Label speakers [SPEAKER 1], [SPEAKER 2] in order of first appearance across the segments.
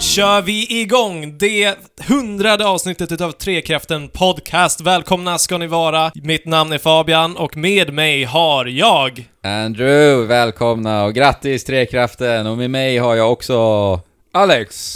[SPEAKER 1] kör vi igång det hundrade avsnittet utav Trekraften Podcast. Välkomna ska ni vara. Mitt namn är Fabian och med mig har jag...
[SPEAKER 2] Andrew, välkomna och grattis Trekraften! Och med mig har jag också Alex!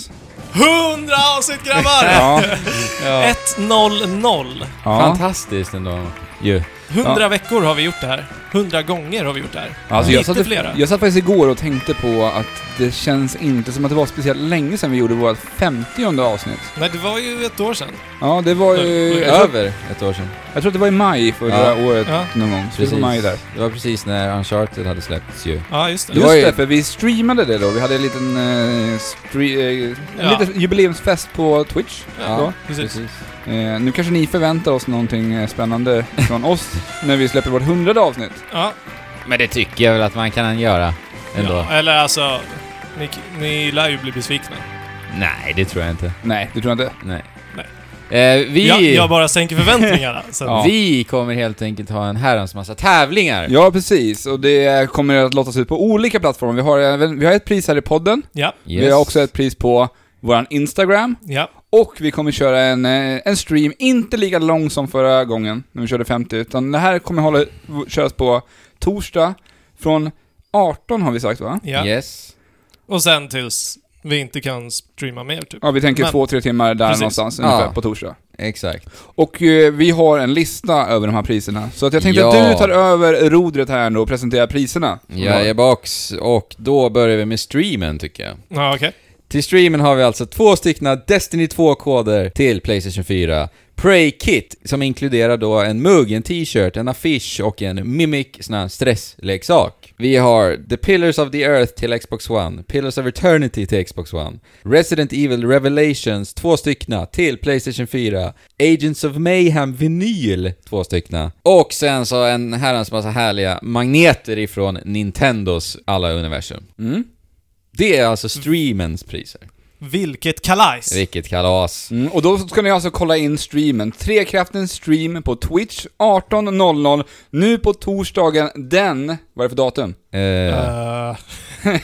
[SPEAKER 1] 100 avsnitt grabbar!
[SPEAKER 3] Ja,
[SPEAKER 1] 1-0-0.
[SPEAKER 3] ja.
[SPEAKER 2] Fantastiskt ändå ju.
[SPEAKER 1] 100
[SPEAKER 3] Ja.
[SPEAKER 1] veckor har vi gjort det här. 100 gånger har vi gjort det här.
[SPEAKER 3] Alltså, jag,
[SPEAKER 1] Lite
[SPEAKER 3] satt,
[SPEAKER 1] flera.
[SPEAKER 3] jag satt faktiskt igår och tänkte på att det känns inte som att det var speciellt länge sedan vi gjorde vårt 50 avsnitt.
[SPEAKER 1] Nej, det var ju ett år sedan.
[SPEAKER 3] Ja, det var
[SPEAKER 1] Mm,
[SPEAKER 3] ju...
[SPEAKER 1] mm.
[SPEAKER 3] Jag tror,
[SPEAKER 2] Över ett år sedan.
[SPEAKER 3] jag tror att det var i maj förra
[SPEAKER 2] Ja.
[SPEAKER 3] året
[SPEAKER 1] Ja.
[SPEAKER 3] någon gång. Slutet på
[SPEAKER 2] Precis.
[SPEAKER 3] maj där.
[SPEAKER 2] Det var precis när Uncharted hade släppts ju.
[SPEAKER 1] Ja, just det.
[SPEAKER 2] Det var
[SPEAKER 3] Just
[SPEAKER 2] ju-
[SPEAKER 3] det, för vi streamade det då. Vi hade en liten, eh, stre- eh, en
[SPEAKER 1] Ja.
[SPEAKER 3] liten jubileumsfest på Twitch.
[SPEAKER 1] Ja.
[SPEAKER 3] Då.
[SPEAKER 1] Precis.
[SPEAKER 3] Eh, nu kanske ni förväntar oss någonting eh, spännande från oss när vi släpper vårt hundrade avsnitt.
[SPEAKER 1] Ja.
[SPEAKER 2] Men det tycker jag väl att man kan göra ändå.
[SPEAKER 1] ja. Eller alltså, ni, ni lär ju bli besvikna.
[SPEAKER 2] Nej, det tror jag inte.
[SPEAKER 3] Nej, det tror jag inte.
[SPEAKER 2] Nej.
[SPEAKER 1] Nej.
[SPEAKER 2] Eh, vi,
[SPEAKER 1] Jag, jag bara sänker förväntningarna. Så att-
[SPEAKER 3] Ja.
[SPEAKER 2] vi kommer helt enkelt ha en herrans massa tävlingar.
[SPEAKER 3] Ja, precis. Och det kommer att lottas ut på olika plattformar. Vi har, även, vi har ett pris här i podden.
[SPEAKER 1] ja.
[SPEAKER 3] Vi
[SPEAKER 2] Yes.
[SPEAKER 3] har också ett pris på vår Instagram.
[SPEAKER 1] Ja.
[SPEAKER 3] Och vi kommer köra en, eh, en stream, inte lika lång som förra gången när vi körde 50, utan det här kommer hålla, köras på torsdag från 18 har vi sagt va?
[SPEAKER 1] ja.
[SPEAKER 2] Yes.
[SPEAKER 1] Och sen tills vi inte kan streama mer typ.
[SPEAKER 3] Ja, vi tänker
[SPEAKER 1] Men-
[SPEAKER 3] två, tre timmar där
[SPEAKER 1] Precis.
[SPEAKER 3] någonstans ungefär
[SPEAKER 2] Ja.
[SPEAKER 3] på torsdag.
[SPEAKER 2] Exakt.
[SPEAKER 3] Och eh, vi har en lista över de här priserna, så att jag tänkte
[SPEAKER 2] Ja.
[SPEAKER 3] att du tar över rodret här ändå och presenterar priserna.
[SPEAKER 2] Jag är box och då börjar vi med streamen tycker jag.
[SPEAKER 1] Ja, okej.
[SPEAKER 2] Till streamen har vi alltså två styckna Destiny 2-koder till Playstation 4. Prey Kit, som inkluderar då en mugg, en t-shirt, en affisch och en Mimic sån här stressleksak. Vi har The Pillars of the Earth till Xbox One, Pillars of Eternity till Xbox One, Resident Evil Revelations, två styckna, till Playstation 4, Agents of Mayhem vinyl, två styckna, och sen så en herrans massa härliga magneter ifrån Nintendos alla universum.
[SPEAKER 3] Mm.
[SPEAKER 2] Det är alltså streamens priser.
[SPEAKER 1] Vilket kalajs!
[SPEAKER 2] Vilket kalas.
[SPEAKER 3] Mm, och då ska ni alltså kolla in streamen, Trekraftens stream på Twitch 18.00 nu på torsdagen den, vad är det för datum?
[SPEAKER 2] Eh,
[SPEAKER 1] Eh,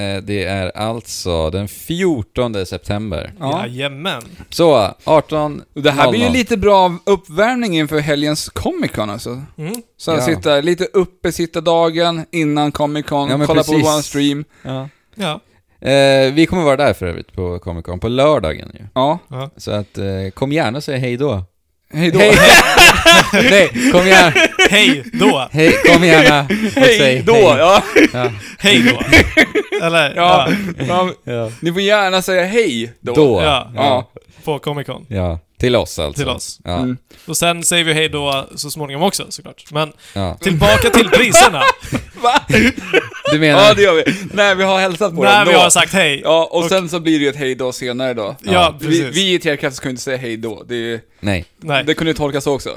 [SPEAKER 2] eh, det är alltså den 14 september.
[SPEAKER 1] Jajamän.
[SPEAKER 2] Så, 18
[SPEAKER 3] Och det här blir ju
[SPEAKER 2] 00.
[SPEAKER 3] lite bra uppvärmning inför helgens Comic Con alltså.
[SPEAKER 1] Mm.
[SPEAKER 3] Så här
[SPEAKER 2] Ja.
[SPEAKER 3] sitta lite uppe sitta dagen innan Comic Con,
[SPEAKER 2] Ja, men
[SPEAKER 3] kolla på
[SPEAKER 2] precis.
[SPEAKER 3] vår stream.
[SPEAKER 2] Ja.
[SPEAKER 1] Ja.
[SPEAKER 2] Eh, vi kommer vara där för övrigt på Comic Con, på lördagen ju.
[SPEAKER 3] Ja,
[SPEAKER 2] Så att, eh, kom gärna och säg hej då.
[SPEAKER 3] hejdå.
[SPEAKER 2] Hej, Nej, kom gärna,
[SPEAKER 1] Hej då!
[SPEAKER 2] hej, kom gärna och säg
[SPEAKER 3] Ja.
[SPEAKER 2] Ja.
[SPEAKER 1] Hej då! Eller, ja.
[SPEAKER 3] Ja. ja.
[SPEAKER 2] Ja.
[SPEAKER 3] Ni får gärna säga hej då.
[SPEAKER 2] Då.
[SPEAKER 1] Ja.
[SPEAKER 3] Ja.
[SPEAKER 1] På Comic Con.
[SPEAKER 2] Ja. Till oss alltså.
[SPEAKER 1] Till oss.
[SPEAKER 2] Ja.
[SPEAKER 3] Mm.
[SPEAKER 1] Och sen säger vi hej då så småningom också såklart. Men
[SPEAKER 2] ja.
[SPEAKER 1] tillbaka till priserna.
[SPEAKER 3] Va?
[SPEAKER 2] Du
[SPEAKER 3] Ja,
[SPEAKER 2] menar?
[SPEAKER 3] det gör vi. Nej, vi har hälsat på
[SPEAKER 1] när
[SPEAKER 3] dem
[SPEAKER 1] vi
[SPEAKER 3] då.
[SPEAKER 1] har sagt hej. Ja,
[SPEAKER 3] Ja, och, sen så blir det ju ett hej då senare då.
[SPEAKER 2] Ja,
[SPEAKER 3] Vi,
[SPEAKER 1] precis.
[SPEAKER 3] vi i Tearcast ska ju inte säga hej då. Det, är ju-
[SPEAKER 2] Nej.
[SPEAKER 1] Nej.
[SPEAKER 3] det kunde ju tolkas så också.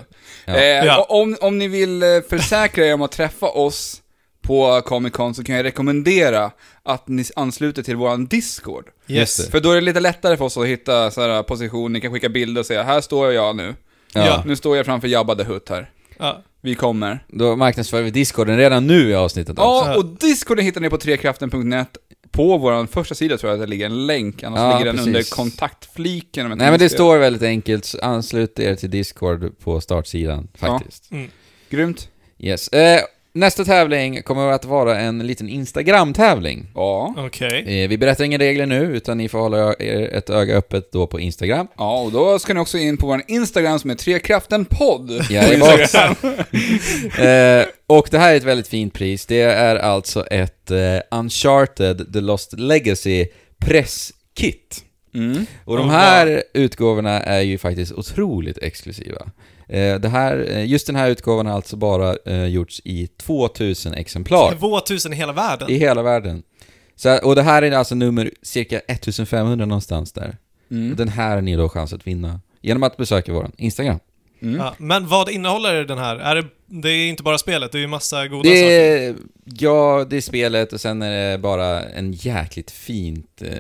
[SPEAKER 2] Ja.
[SPEAKER 3] Eh,
[SPEAKER 1] Ja.
[SPEAKER 3] och Om, om ni vill eh, försäkra er om att träffa oss på Comic Con så kan jag rekommendera att ni ansluter till våran Discord.
[SPEAKER 1] yes.
[SPEAKER 2] just
[SPEAKER 3] För då är det lite lättare för oss att hitta så här position, ni kan skicka bilder och säga här står jag nu.
[SPEAKER 2] Ja.
[SPEAKER 1] Ja.
[SPEAKER 3] Nu står jag framför Jabba the Hutt här.
[SPEAKER 1] Ja.
[SPEAKER 3] Vi kommer.
[SPEAKER 2] Då marknadsför vi discorden redan nu i avsnittet alltså.
[SPEAKER 3] Ja, och Discorden hittar ni på trekraften.net. På vår första sida tror jag att det ligger en länk, annars
[SPEAKER 2] Ja,
[SPEAKER 3] ligger den
[SPEAKER 2] precis.
[SPEAKER 3] under kontaktfliken. om jag inte
[SPEAKER 2] Nej men det
[SPEAKER 3] minns fel.
[SPEAKER 2] står väldigt enkelt, så anslut er till Discord på startsidan faktiskt.
[SPEAKER 3] Grymt.
[SPEAKER 2] Yes. Eh, nästa tävling kommer att vara en liten Instagram-tävling.
[SPEAKER 3] Ja.
[SPEAKER 1] Okej.
[SPEAKER 2] Eh, vi berättar inga regler nu, utan ni får hålla er ett öga öppet då på Instagram.
[SPEAKER 3] Ja, och då ska ni också in på vår Instagram som är trekraftenpodd.
[SPEAKER 2] Jag är box. eh, och det här är ett väldigt fint pris. Det är alltså ett eh, Uncharted The Lost Legacy presskit.
[SPEAKER 3] Mm.
[SPEAKER 2] Och de här utgåvorna är ju faktiskt otroligt exklusiva. Eh, Det här, eh, just den här utgåvan har alltså bara eh, gjorts i 2000 exemplar
[SPEAKER 1] 2000 i hela världen.
[SPEAKER 2] i hela världen. Så, och det här är alltså nummer cirka 1500 någonstans där.
[SPEAKER 3] Mm.
[SPEAKER 2] Den här har ni då chans att vinna genom att besöka vår Instagram.
[SPEAKER 3] Mm.
[SPEAKER 1] Ja. Men vad innehåller den här? Är det, det är inte bara spelet, det är ju massa goda
[SPEAKER 2] Det
[SPEAKER 1] saker.
[SPEAKER 2] är, ja, det är spelet och sen är det bara en jäkligt fint eh,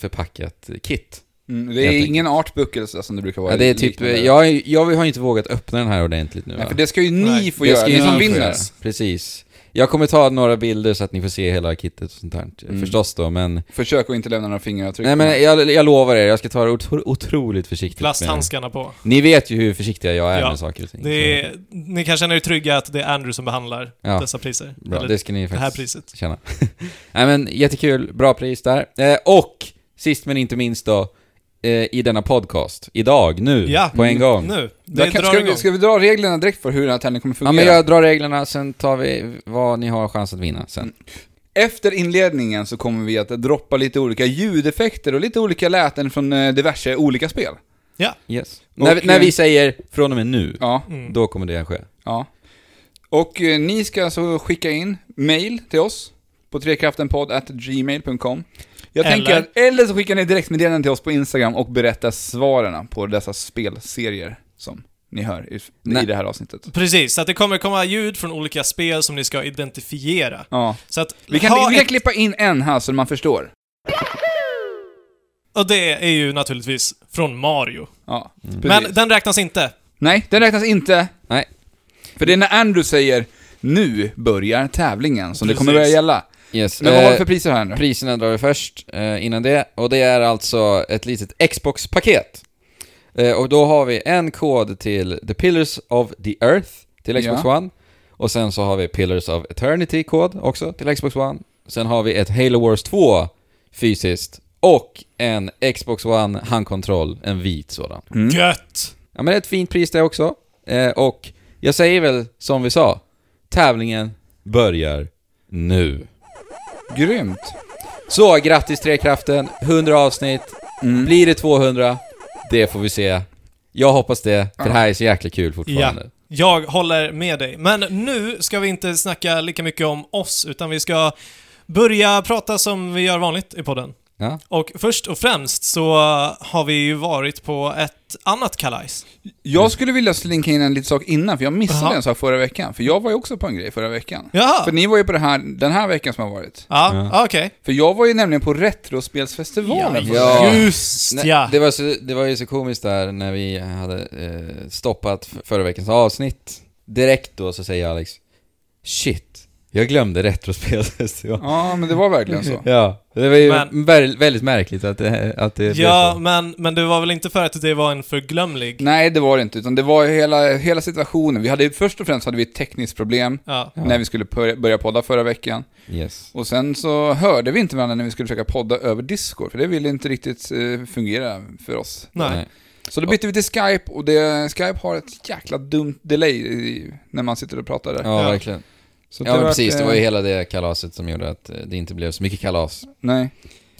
[SPEAKER 2] förpackat kit.
[SPEAKER 3] Mm. Det
[SPEAKER 2] Jag
[SPEAKER 3] är
[SPEAKER 2] tänker-
[SPEAKER 3] ingen artböcker som det brukar vara.
[SPEAKER 2] Ja, det är
[SPEAKER 3] i
[SPEAKER 2] typ,
[SPEAKER 3] liknande-
[SPEAKER 2] jag, jag har ju inte vågat öppna den här ordentligt nu.
[SPEAKER 3] Nej,
[SPEAKER 2] va?
[SPEAKER 3] för det ska ju ni
[SPEAKER 1] Nej.
[SPEAKER 3] få
[SPEAKER 2] Det
[SPEAKER 3] göra,
[SPEAKER 2] ska
[SPEAKER 3] ni
[SPEAKER 2] ju
[SPEAKER 3] som
[SPEAKER 2] ni få
[SPEAKER 3] vinner.
[SPEAKER 2] göra. Precis. Jag kommer ta några bilder så att ni får se hela kittet och sånt där.
[SPEAKER 3] Mm.
[SPEAKER 2] Förstås då, men...
[SPEAKER 3] Försök att inte lämna några fingeravtryck.
[SPEAKER 2] Nej men jag, jag lovar er, jag ska ta det otro, otroligt försiktigt. med-
[SPEAKER 1] Plasthandskarna på.
[SPEAKER 2] Ni vet ju hur försiktiga jag är
[SPEAKER 1] Ja,
[SPEAKER 2] med saker och ting.
[SPEAKER 1] Det är, ni kan känna er trygga att det är Andrew som behandlar
[SPEAKER 2] Ja,
[SPEAKER 1] dessa priser.
[SPEAKER 2] så, bra,
[SPEAKER 1] Eller
[SPEAKER 2] det ska ni
[SPEAKER 1] det här
[SPEAKER 2] faktiskt
[SPEAKER 1] priset.
[SPEAKER 2] känna. Nej men jättekul, bra pris där. Eh, och sist men inte minst då, eh, i denna podcast, idag, nu,
[SPEAKER 1] Ja. Mm.
[SPEAKER 2] på en gång.
[SPEAKER 1] Nu, det
[SPEAKER 3] Där kan,
[SPEAKER 1] drar
[SPEAKER 3] ska, vi,
[SPEAKER 1] igång.
[SPEAKER 3] ska vi dra reglerna direkt för hur den här tävlingen kommer
[SPEAKER 2] Ja
[SPEAKER 3] fungera?
[SPEAKER 2] men jag drar reglerna, sen tar vi vad ni har chans att vinna
[SPEAKER 1] Mm.
[SPEAKER 2] sen.
[SPEAKER 3] Efter inledningen så kommer vi att droppa lite olika ljudeffekter och lite olika läten från eh, diverse olika spel.
[SPEAKER 2] Yes.
[SPEAKER 3] Och,
[SPEAKER 2] när, vi- när
[SPEAKER 3] eh,
[SPEAKER 2] vi säger från och med nu,
[SPEAKER 3] Ja,
[SPEAKER 1] Mm.
[SPEAKER 2] då kommer det ske.
[SPEAKER 3] ja. Och eh, ni ska alltså skicka in mail till oss på trekraftenpodd.gmail.com jag
[SPEAKER 1] Eller-
[SPEAKER 3] tänker att, eller så skickar ni direktmeddelanden till oss på Instagram och berättar svaren på dessa spelserier som ni hör i, i
[SPEAKER 2] Nej.
[SPEAKER 3] det här avsnittet.
[SPEAKER 1] Precis, så att det kommer komma ljud från olika spel som ni ska identifiera.
[SPEAKER 3] Ja.
[SPEAKER 1] Så att
[SPEAKER 3] Vi kan,
[SPEAKER 1] ha
[SPEAKER 3] vi kan
[SPEAKER 1] ett,
[SPEAKER 3] klippa in en här så man förstår.
[SPEAKER 1] Och det är ju naturligtvis från Mario.
[SPEAKER 3] Ja,
[SPEAKER 1] Men den räknas inte.
[SPEAKER 3] Nej, den räknas inte.
[SPEAKER 2] Nej.
[SPEAKER 3] För det är när Andrew säger nu börjar tävlingen som det kommer
[SPEAKER 1] Precis.
[SPEAKER 3] börja gälla.
[SPEAKER 2] Yes.
[SPEAKER 3] Men vad har vi
[SPEAKER 2] eh,
[SPEAKER 3] för priser här nu?
[SPEAKER 2] Priserna drar vi först eh, innan det, och det är alltså ett litet Xbox-paket. Eh, och då har vi en kod till The Pillars of the Earth till Xbox One, och sen så har vi Pillars of Eternity-kod också till Xbox One. Sen har vi ett Halo Wars 2 fysiskt, och en Xbox One handkontroll, en vit sådan.
[SPEAKER 3] Mm.
[SPEAKER 1] Gött!
[SPEAKER 2] Ja men det är ett fint pris det också, eh, och jag säger väl som vi sa, tävlingen börjar nu.
[SPEAKER 3] Grymt.
[SPEAKER 2] Så, grattis Trekraften, 100 avsnitt.
[SPEAKER 3] Mm.
[SPEAKER 2] Blir det 200? Det får vi se. Jag hoppas det, för det här är så jäkla kul fortfarande.
[SPEAKER 1] Jag håller med dig. Men nu ska vi inte snacka lika mycket om oss, utan vi ska börja prata som vi gör vanligt i podden.
[SPEAKER 2] Ja.
[SPEAKER 1] Och först och främst så har vi ju varit på ett annat kalajs.
[SPEAKER 3] Jag skulle vilja slinka in en liten sak innan, för jag missade
[SPEAKER 1] Jaha.
[SPEAKER 3] en sak förra veckan. För jag var ju också på en grej förra veckan.
[SPEAKER 1] Jaha!
[SPEAKER 3] För ni var ju på det här, den här veckan som har varit.
[SPEAKER 1] Ja,
[SPEAKER 2] Ja.
[SPEAKER 1] ja. okej.
[SPEAKER 3] För jag var ju nämligen på Retrospelsfestivalen. förra
[SPEAKER 2] Ja.
[SPEAKER 3] veckan.
[SPEAKER 1] Just
[SPEAKER 2] Nej,
[SPEAKER 1] ja!
[SPEAKER 2] Det, var så, det var ju så komiskt där när vi hade eh, stoppat f- förra veckans avsnitt. Direkt då så säger Alex Shit, jag glömde retrospelsfestivalen.
[SPEAKER 3] ja, men det var verkligen så.
[SPEAKER 2] Ja, det var ju
[SPEAKER 1] Men-
[SPEAKER 2] vä- väldigt märkligt att det, att det
[SPEAKER 1] Ja,
[SPEAKER 2] blev så.
[SPEAKER 1] men, men det var väl inte för att det var en förglömlig...
[SPEAKER 3] Nej, det var det inte, utan det var ju hela, hela situationen. Vi hade, först och främst hade vi ett tekniskt problem
[SPEAKER 1] Ja.
[SPEAKER 2] Ja.
[SPEAKER 3] när vi skulle börja- börja podda förra veckan.
[SPEAKER 2] Yes.
[SPEAKER 3] Och sen så hörde vi inte varandra när vi skulle försöka podda över Discord, för det ville inte riktigt eh, fungera för oss.
[SPEAKER 1] Nej.
[SPEAKER 3] Så då bytte vi till Skype, och det, Skype har ett jäkla dumt delay i, när man sitter och pratar där.
[SPEAKER 2] Ja,
[SPEAKER 1] Ja.
[SPEAKER 2] verkligen.
[SPEAKER 3] Så
[SPEAKER 2] Ja, men
[SPEAKER 3] vart,
[SPEAKER 2] precis. Det
[SPEAKER 3] eh,
[SPEAKER 2] var ju hela det kalaset som gjorde att eh, det inte blev så mycket kalas.
[SPEAKER 3] Nej.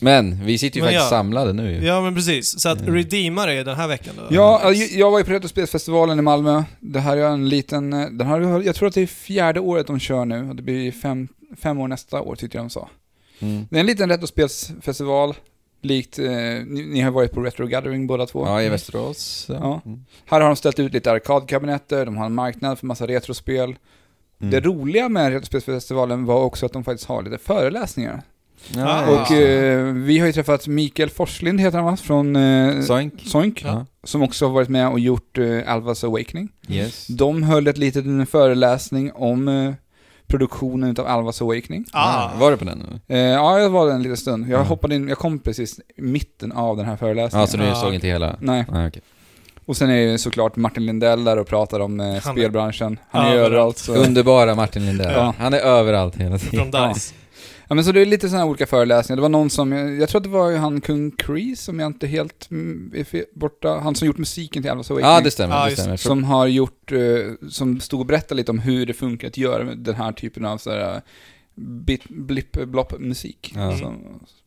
[SPEAKER 2] Men vi sitter ju
[SPEAKER 1] Men
[SPEAKER 2] faktiskt
[SPEAKER 1] ja.
[SPEAKER 2] samlade nu ju.
[SPEAKER 1] Ja, men precis. Så att
[SPEAKER 2] Mm.
[SPEAKER 1] redeema dig den här veckan då.
[SPEAKER 3] Ja, jag, jag var ju på Retrospelsfestivalen i Malmö. Det här är en liten... eh, Den här, jag tror att det är fjärde året de kör nu, och det blir fem, fem år nästa år tyckte jag de sa.
[SPEAKER 2] Mm.
[SPEAKER 3] Det är en liten Retrospelsfestival, likt... Eh, ni, ni har varit på Retro Gathering båda två.
[SPEAKER 2] Ja, i Västerås.
[SPEAKER 3] Ja.
[SPEAKER 2] Mm.
[SPEAKER 3] Här har de ställt ut lite arkadkabinetter, de har en marknad för massa retrospel.
[SPEAKER 2] Mm.
[SPEAKER 3] Det roliga med Retrospelsfestivalen var också att de faktiskt har lite föreläsningar.
[SPEAKER 1] Ja,
[SPEAKER 3] och
[SPEAKER 1] just det.
[SPEAKER 3] eh, vi har ju träffat Mikael Forslind, heter han va? Från eh,
[SPEAKER 2] Soink.
[SPEAKER 3] Soink,
[SPEAKER 2] Ja.
[SPEAKER 3] som också har varit med och gjort eh, Alvas Awakening.
[SPEAKER 2] Yes.
[SPEAKER 3] De höll ett litet föreläsning om eh, produktionen utav Alvas Awakening.
[SPEAKER 1] Ah.
[SPEAKER 2] Var du på den nu?
[SPEAKER 3] Eh, ja, jag var där en liten stund. Jag
[SPEAKER 2] Mm.
[SPEAKER 3] hoppade in, jag kom precis i mitten av den här
[SPEAKER 2] Ja,
[SPEAKER 3] föreläsningen.
[SPEAKER 2] så du
[SPEAKER 1] Ja.
[SPEAKER 2] såg inte hela?
[SPEAKER 3] Nej.
[SPEAKER 2] Nej, okej.
[SPEAKER 3] Och sen är ju såklart Martin Lindell där och pratar om eh,
[SPEAKER 1] är-
[SPEAKER 3] spelbranschen. Han är
[SPEAKER 1] Ja,
[SPEAKER 3] ju
[SPEAKER 1] överallt.
[SPEAKER 3] överallt. Så.
[SPEAKER 2] Underbara Martin Lindell.
[SPEAKER 3] Ja.
[SPEAKER 2] Han är överallt hela tiden.
[SPEAKER 1] Från Dice.
[SPEAKER 3] Ja, men så det är lite sådana olika föreläsningar. Det var någon som, jag, jag tror att det var ju han Kung Kree som jag inte helt mm, är fe- borta, han som gjort musiken till Alvas Awakening.
[SPEAKER 2] Ja, det stämmer.
[SPEAKER 1] Ja,
[SPEAKER 2] det
[SPEAKER 1] just
[SPEAKER 2] stämmer. Från-
[SPEAKER 3] Som har gjort, eh, som stod och berättade lite om hur det funkar att göra den här typen av sådär bit, blipp, blopp musik.
[SPEAKER 2] Ja.
[SPEAKER 3] Så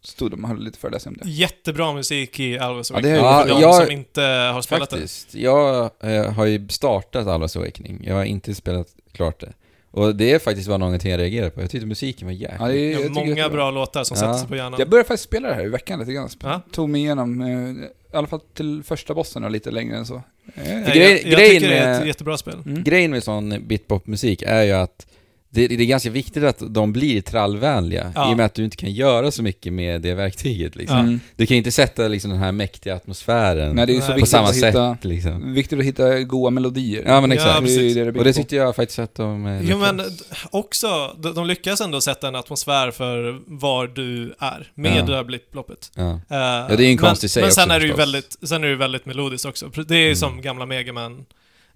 [SPEAKER 3] stod de och höll lite föreläsning om det.
[SPEAKER 1] Jättebra musik i Alvas
[SPEAKER 3] Ja, det är-
[SPEAKER 1] Awakening, för de
[SPEAKER 2] Ja, jag-
[SPEAKER 1] som inte har spelat den.
[SPEAKER 2] Faktiskt. Jag eh, har ju startat Alvas Awakening. Jag har inte spelat klart det. Och det är faktiskt vad någonting jag reagerade på. Jag tyckte musiken var
[SPEAKER 3] Ja, det
[SPEAKER 2] jäkligt...
[SPEAKER 3] är,
[SPEAKER 1] Det
[SPEAKER 3] jag
[SPEAKER 1] är
[SPEAKER 3] tycker det
[SPEAKER 1] många
[SPEAKER 3] är
[SPEAKER 1] bra låtar som
[SPEAKER 2] Ja.
[SPEAKER 1] sätter sig på hjärnan.
[SPEAKER 3] Jag började faktiskt spela det här i veckan lite grann.
[SPEAKER 1] Ja.
[SPEAKER 3] Tog mig igenom, eh, i alla fall till första bossen och lite längre än så. Eh,
[SPEAKER 1] Nej,
[SPEAKER 2] grej-
[SPEAKER 1] jag, jag
[SPEAKER 2] grejen
[SPEAKER 1] tycker det är ett
[SPEAKER 2] med-
[SPEAKER 1] jättebra spel.
[SPEAKER 3] Mm.
[SPEAKER 2] Grejen med sån bitpopmusik är ju att det, det är ganska viktigt att de blir trallvänliga
[SPEAKER 1] Ja.
[SPEAKER 2] i och med att du inte kan göra så mycket med det verktyget liksom.
[SPEAKER 1] Ja.
[SPEAKER 3] Mm.
[SPEAKER 2] Du kan inte sätta liksom den här mäktiga atmosfären
[SPEAKER 3] Nej, det är ju så
[SPEAKER 1] På
[SPEAKER 2] på
[SPEAKER 3] viktigt
[SPEAKER 2] samma
[SPEAKER 3] att
[SPEAKER 2] sätt
[SPEAKER 3] hitta...
[SPEAKER 2] liksom.
[SPEAKER 3] Viktigt att hitta goa melodier.
[SPEAKER 2] Ja men exakt.
[SPEAKER 1] Ja,
[SPEAKER 3] det är ju
[SPEAKER 1] precis.
[SPEAKER 3] det det bygger
[SPEAKER 2] och det
[SPEAKER 3] på.
[SPEAKER 2] tyckte jag faktiskt att de... eh,
[SPEAKER 1] Jo men
[SPEAKER 2] lyckades.
[SPEAKER 1] d- också, de de lyckas ändå sätta en atmosfär för var du är med
[SPEAKER 2] Ja.
[SPEAKER 1] det här blipploppet.
[SPEAKER 2] Ja.
[SPEAKER 1] Eh,
[SPEAKER 2] det är ju en konst i sig
[SPEAKER 1] Men sen
[SPEAKER 2] också,
[SPEAKER 1] är det ju
[SPEAKER 2] förstås.
[SPEAKER 1] väldigt, sen är det ju väldigt melodiskt också. Pre- Det är ju
[SPEAKER 2] Mm.
[SPEAKER 1] som gamla megaman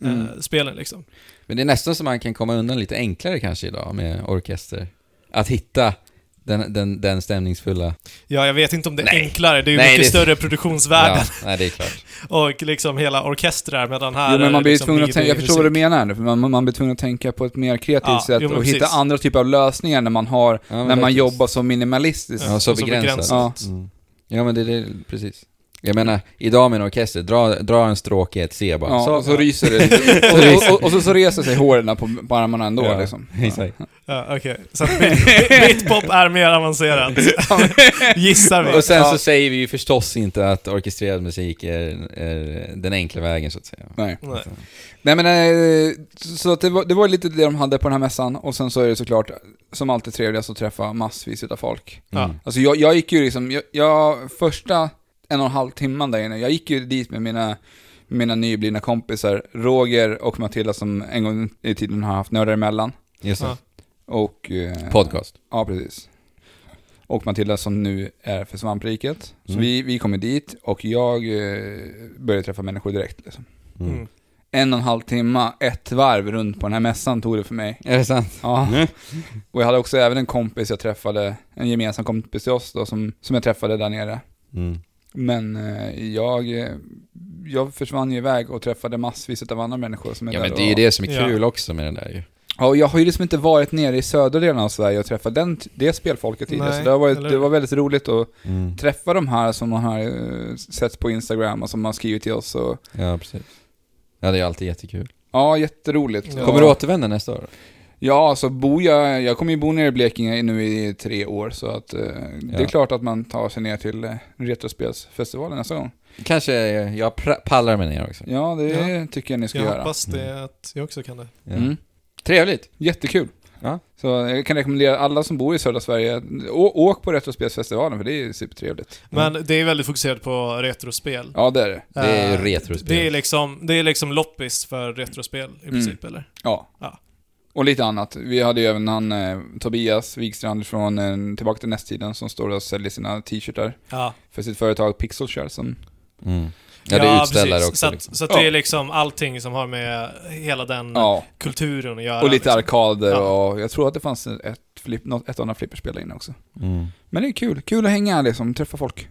[SPEAKER 3] Mm.
[SPEAKER 1] spelen liksom.
[SPEAKER 2] Men det är nästan så man kan komma undan lite enklare kanske idag med orkester. Att hitta den, den, den stämningsfulla...
[SPEAKER 1] Ja, jag vet inte om det är
[SPEAKER 2] Nej.
[SPEAKER 1] enklare, det är ju
[SPEAKER 2] Nej,
[SPEAKER 1] mycket
[SPEAKER 2] det-
[SPEAKER 1] större produktionsvärden
[SPEAKER 2] Ja, nej, det är klart.
[SPEAKER 1] och liksom hela orkestrar medan här
[SPEAKER 3] Jo,
[SPEAKER 1] är
[SPEAKER 3] men man
[SPEAKER 1] det
[SPEAKER 3] blir
[SPEAKER 1] liksom
[SPEAKER 3] tvungen att
[SPEAKER 1] BB
[SPEAKER 3] tänka, jag förstår vad
[SPEAKER 1] musik.
[SPEAKER 3] du menar här nu, för man, man blir tvungen att tänka på ett mer kreativt
[SPEAKER 1] Ja,
[SPEAKER 3] sätt
[SPEAKER 1] jo, men
[SPEAKER 3] och hitta
[SPEAKER 1] precis.
[SPEAKER 3] andra typer av lösningar när man har,
[SPEAKER 2] Ja, men
[SPEAKER 3] när man
[SPEAKER 2] verkligen.
[SPEAKER 3] jobbar så minimalistiskt.
[SPEAKER 2] Ja, så
[SPEAKER 1] och så
[SPEAKER 2] begränsat.
[SPEAKER 1] begränsat.
[SPEAKER 3] Ja.
[SPEAKER 2] Mm. Ja, men det är det- precis. Jag menar, idag med en orkester, dra, dra en stråke i ett C bara.
[SPEAKER 3] Ja,
[SPEAKER 2] så,
[SPEAKER 3] och så ryser det. och, och, och, och så, så reser sig håren på, på armarna ändå
[SPEAKER 2] Ja,
[SPEAKER 3] liksom.
[SPEAKER 2] exakt.
[SPEAKER 1] Ja, okej. Så att bit- bit- bitpop är mer avancerat. Gissar vi.
[SPEAKER 2] Och sen
[SPEAKER 3] Ja.
[SPEAKER 2] så säger vi ju förstås inte att orkestrerad musik är, är den enkla vägen så att säga. Alltså,
[SPEAKER 3] Nej.
[SPEAKER 1] Nej.
[SPEAKER 3] Nej men, eh, så- så att det var, det var lite det de hade på den här mässan, och sen så är det såklart, som alltid trevligast att träffa massvis utav folk.
[SPEAKER 2] mm.
[SPEAKER 1] Ja.
[SPEAKER 3] Alltså jag, jag gick ju liksom, jag, jag, första en och en halv timman där inne, jag gick ju dit med mina, mina nyblivna kompisar, Roger och Matilda som en gång i tiden har haft Nördar emellan.
[SPEAKER 2] Just det.
[SPEAKER 1] Ja.
[SPEAKER 3] Och... eh,
[SPEAKER 2] Podcast.
[SPEAKER 3] Ja, precis. Och Matilda som nu är för svampriket. Så
[SPEAKER 2] Mm.
[SPEAKER 3] vi, vi kommer dit och jag eh, började träffa människor direkt. Liksom.
[SPEAKER 2] Mm.
[SPEAKER 1] Mm.
[SPEAKER 3] En och en halv timma, ett varv runt på den här mässan tog det för mig.
[SPEAKER 2] Är det sant?
[SPEAKER 3] Ja.
[SPEAKER 2] Mm.
[SPEAKER 3] Och jag hade också även en kompis jag träffade, en gemensam kompis till oss då, som, som jag träffade där nere.
[SPEAKER 2] Mm.
[SPEAKER 3] Men eh, jag, eh, jag försvann ju iväg och träffade massvis av andra människor som är
[SPEAKER 2] Ja,
[SPEAKER 3] där.
[SPEAKER 2] men det är ju
[SPEAKER 3] och,
[SPEAKER 2] det som är
[SPEAKER 1] Ja.
[SPEAKER 2] kul också med den där ju.
[SPEAKER 3] Ja, och jag har ju liksom inte varit nere i södra delen av Sverige och träffat den, det spelfolket tidigare.
[SPEAKER 1] Nej,
[SPEAKER 3] Så det, har varit,
[SPEAKER 1] eller
[SPEAKER 3] det
[SPEAKER 1] hur?
[SPEAKER 3] var väldigt roligt att
[SPEAKER 2] Mm.
[SPEAKER 3] träffa de här som man har eh, sett på Instagram och som har skrivit till oss. Och,
[SPEAKER 2] Ja, precis. Ja, det är alltid jättekul.
[SPEAKER 3] ja, jätteroligt.
[SPEAKER 1] Ja.
[SPEAKER 2] Kommer du återvända nästa år?
[SPEAKER 3] Ja, alltså bor jag, jag kommer ju bo nere i Blekinge nu i tre år, så att eh, det är
[SPEAKER 2] Ja.
[SPEAKER 3] klart att man tar sig ner till eh, Retrospelsfestivalen nästa gång.
[SPEAKER 2] Kanske eh, jag pra- pallar mig ner också.
[SPEAKER 3] Ja, det tycker jag ni ska
[SPEAKER 1] Jag
[SPEAKER 3] göra.
[SPEAKER 1] hoppas
[SPEAKER 2] Mm.
[SPEAKER 1] det att jag också kan det.
[SPEAKER 2] Ja.
[SPEAKER 3] Mm.
[SPEAKER 2] Trevligt!
[SPEAKER 3] Jättekul.
[SPEAKER 2] Ja.
[SPEAKER 3] Så jag kan rekommendera alla som bor i södra Sverige, å, åk på Retrospelsfestivalen för det är supertrevligt.
[SPEAKER 1] Men det är väldigt fokuserat på retrospel.
[SPEAKER 3] Ja, det är det.
[SPEAKER 2] Mm. Det är ju
[SPEAKER 1] Eh,
[SPEAKER 2] retrospel.
[SPEAKER 1] Det är liksom, det är liksom loppis för retrospel
[SPEAKER 3] Mm.
[SPEAKER 1] i princip, eller?
[SPEAKER 3] Ja.
[SPEAKER 1] Ja.
[SPEAKER 3] Och lite annat. Vi hade ju även han eh, Tobias Wikstrand från eh, Tillbaka till nästtiden som står och säljer sina t-shirtar
[SPEAKER 1] Ja,
[SPEAKER 3] för sitt företag Pixelshare som...
[SPEAKER 2] Mm. Ja, det är utställare också.
[SPEAKER 1] Så att,
[SPEAKER 2] liksom.
[SPEAKER 1] så att
[SPEAKER 3] Ja.
[SPEAKER 1] det är liksom allting som har med hela den
[SPEAKER 3] Ja,
[SPEAKER 1] kulturen att göra.
[SPEAKER 3] och lite
[SPEAKER 1] liksom.
[SPEAKER 3] arkader
[SPEAKER 1] Ja.
[SPEAKER 3] och jag tror att det fanns ett, flipp, något, ett annat flipperspel där inne också.
[SPEAKER 2] Mm.
[SPEAKER 3] Men det är kul. Kul att hänga liksom, träffa folk.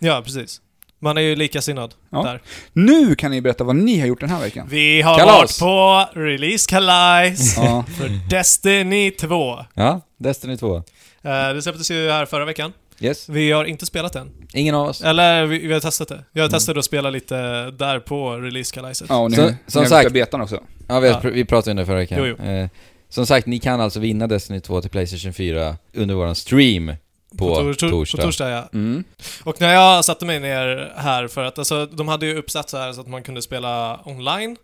[SPEAKER 1] Ja, precis. Man är ju likasinnad
[SPEAKER 3] Ja.
[SPEAKER 1] där.
[SPEAKER 3] Nu kan ni berätta vad ni har gjort den här veckan.
[SPEAKER 1] Vi har
[SPEAKER 2] Kalas!
[SPEAKER 1] varit på release-kalas
[SPEAKER 3] Ja,
[SPEAKER 1] för Destiny 2.
[SPEAKER 2] Ja, Destiny 2.
[SPEAKER 1] Eh, Det släpptes ju här förra veckan.
[SPEAKER 2] Yes.
[SPEAKER 1] Vi har inte spelat den.
[SPEAKER 2] Ingen av oss.
[SPEAKER 1] Eller vi, vi har testat det. Jag
[SPEAKER 2] Mm.
[SPEAKER 1] testade att spela lite där på release-kalaset.
[SPEAKER 3] ja och ni,
[SPEAKER 2] Så-
[SPEAKER 3] ni
[SPEAKER 2] som
[SPEAKER 3] har
[SPEAKER 2] sagt-
[SPEAKER 3] sagt, betan också.
[SPEAKER 2] Ja, vi,
[SPEAKER 1] Ja.
[SPEAKER 2] har, vi pratade om det förra veckan.
[SPEAKER 1] Jo, jo.
[SPEAKER 2] Eh, som sagt, ni kan alltså vinna Destiny 2 till Playstation 4 under våran stream på,
[SPEAKER 1] tor- tor-
[SPEAKER 2] torsdag.
[SPEAKER 1] På torsdag ja.
[SPEAKER 3] Mm.
[SPEAKER 1] Och när jag satte mig ner här för att, alltså de hade ju uppsatt så här så att man kunde spela online.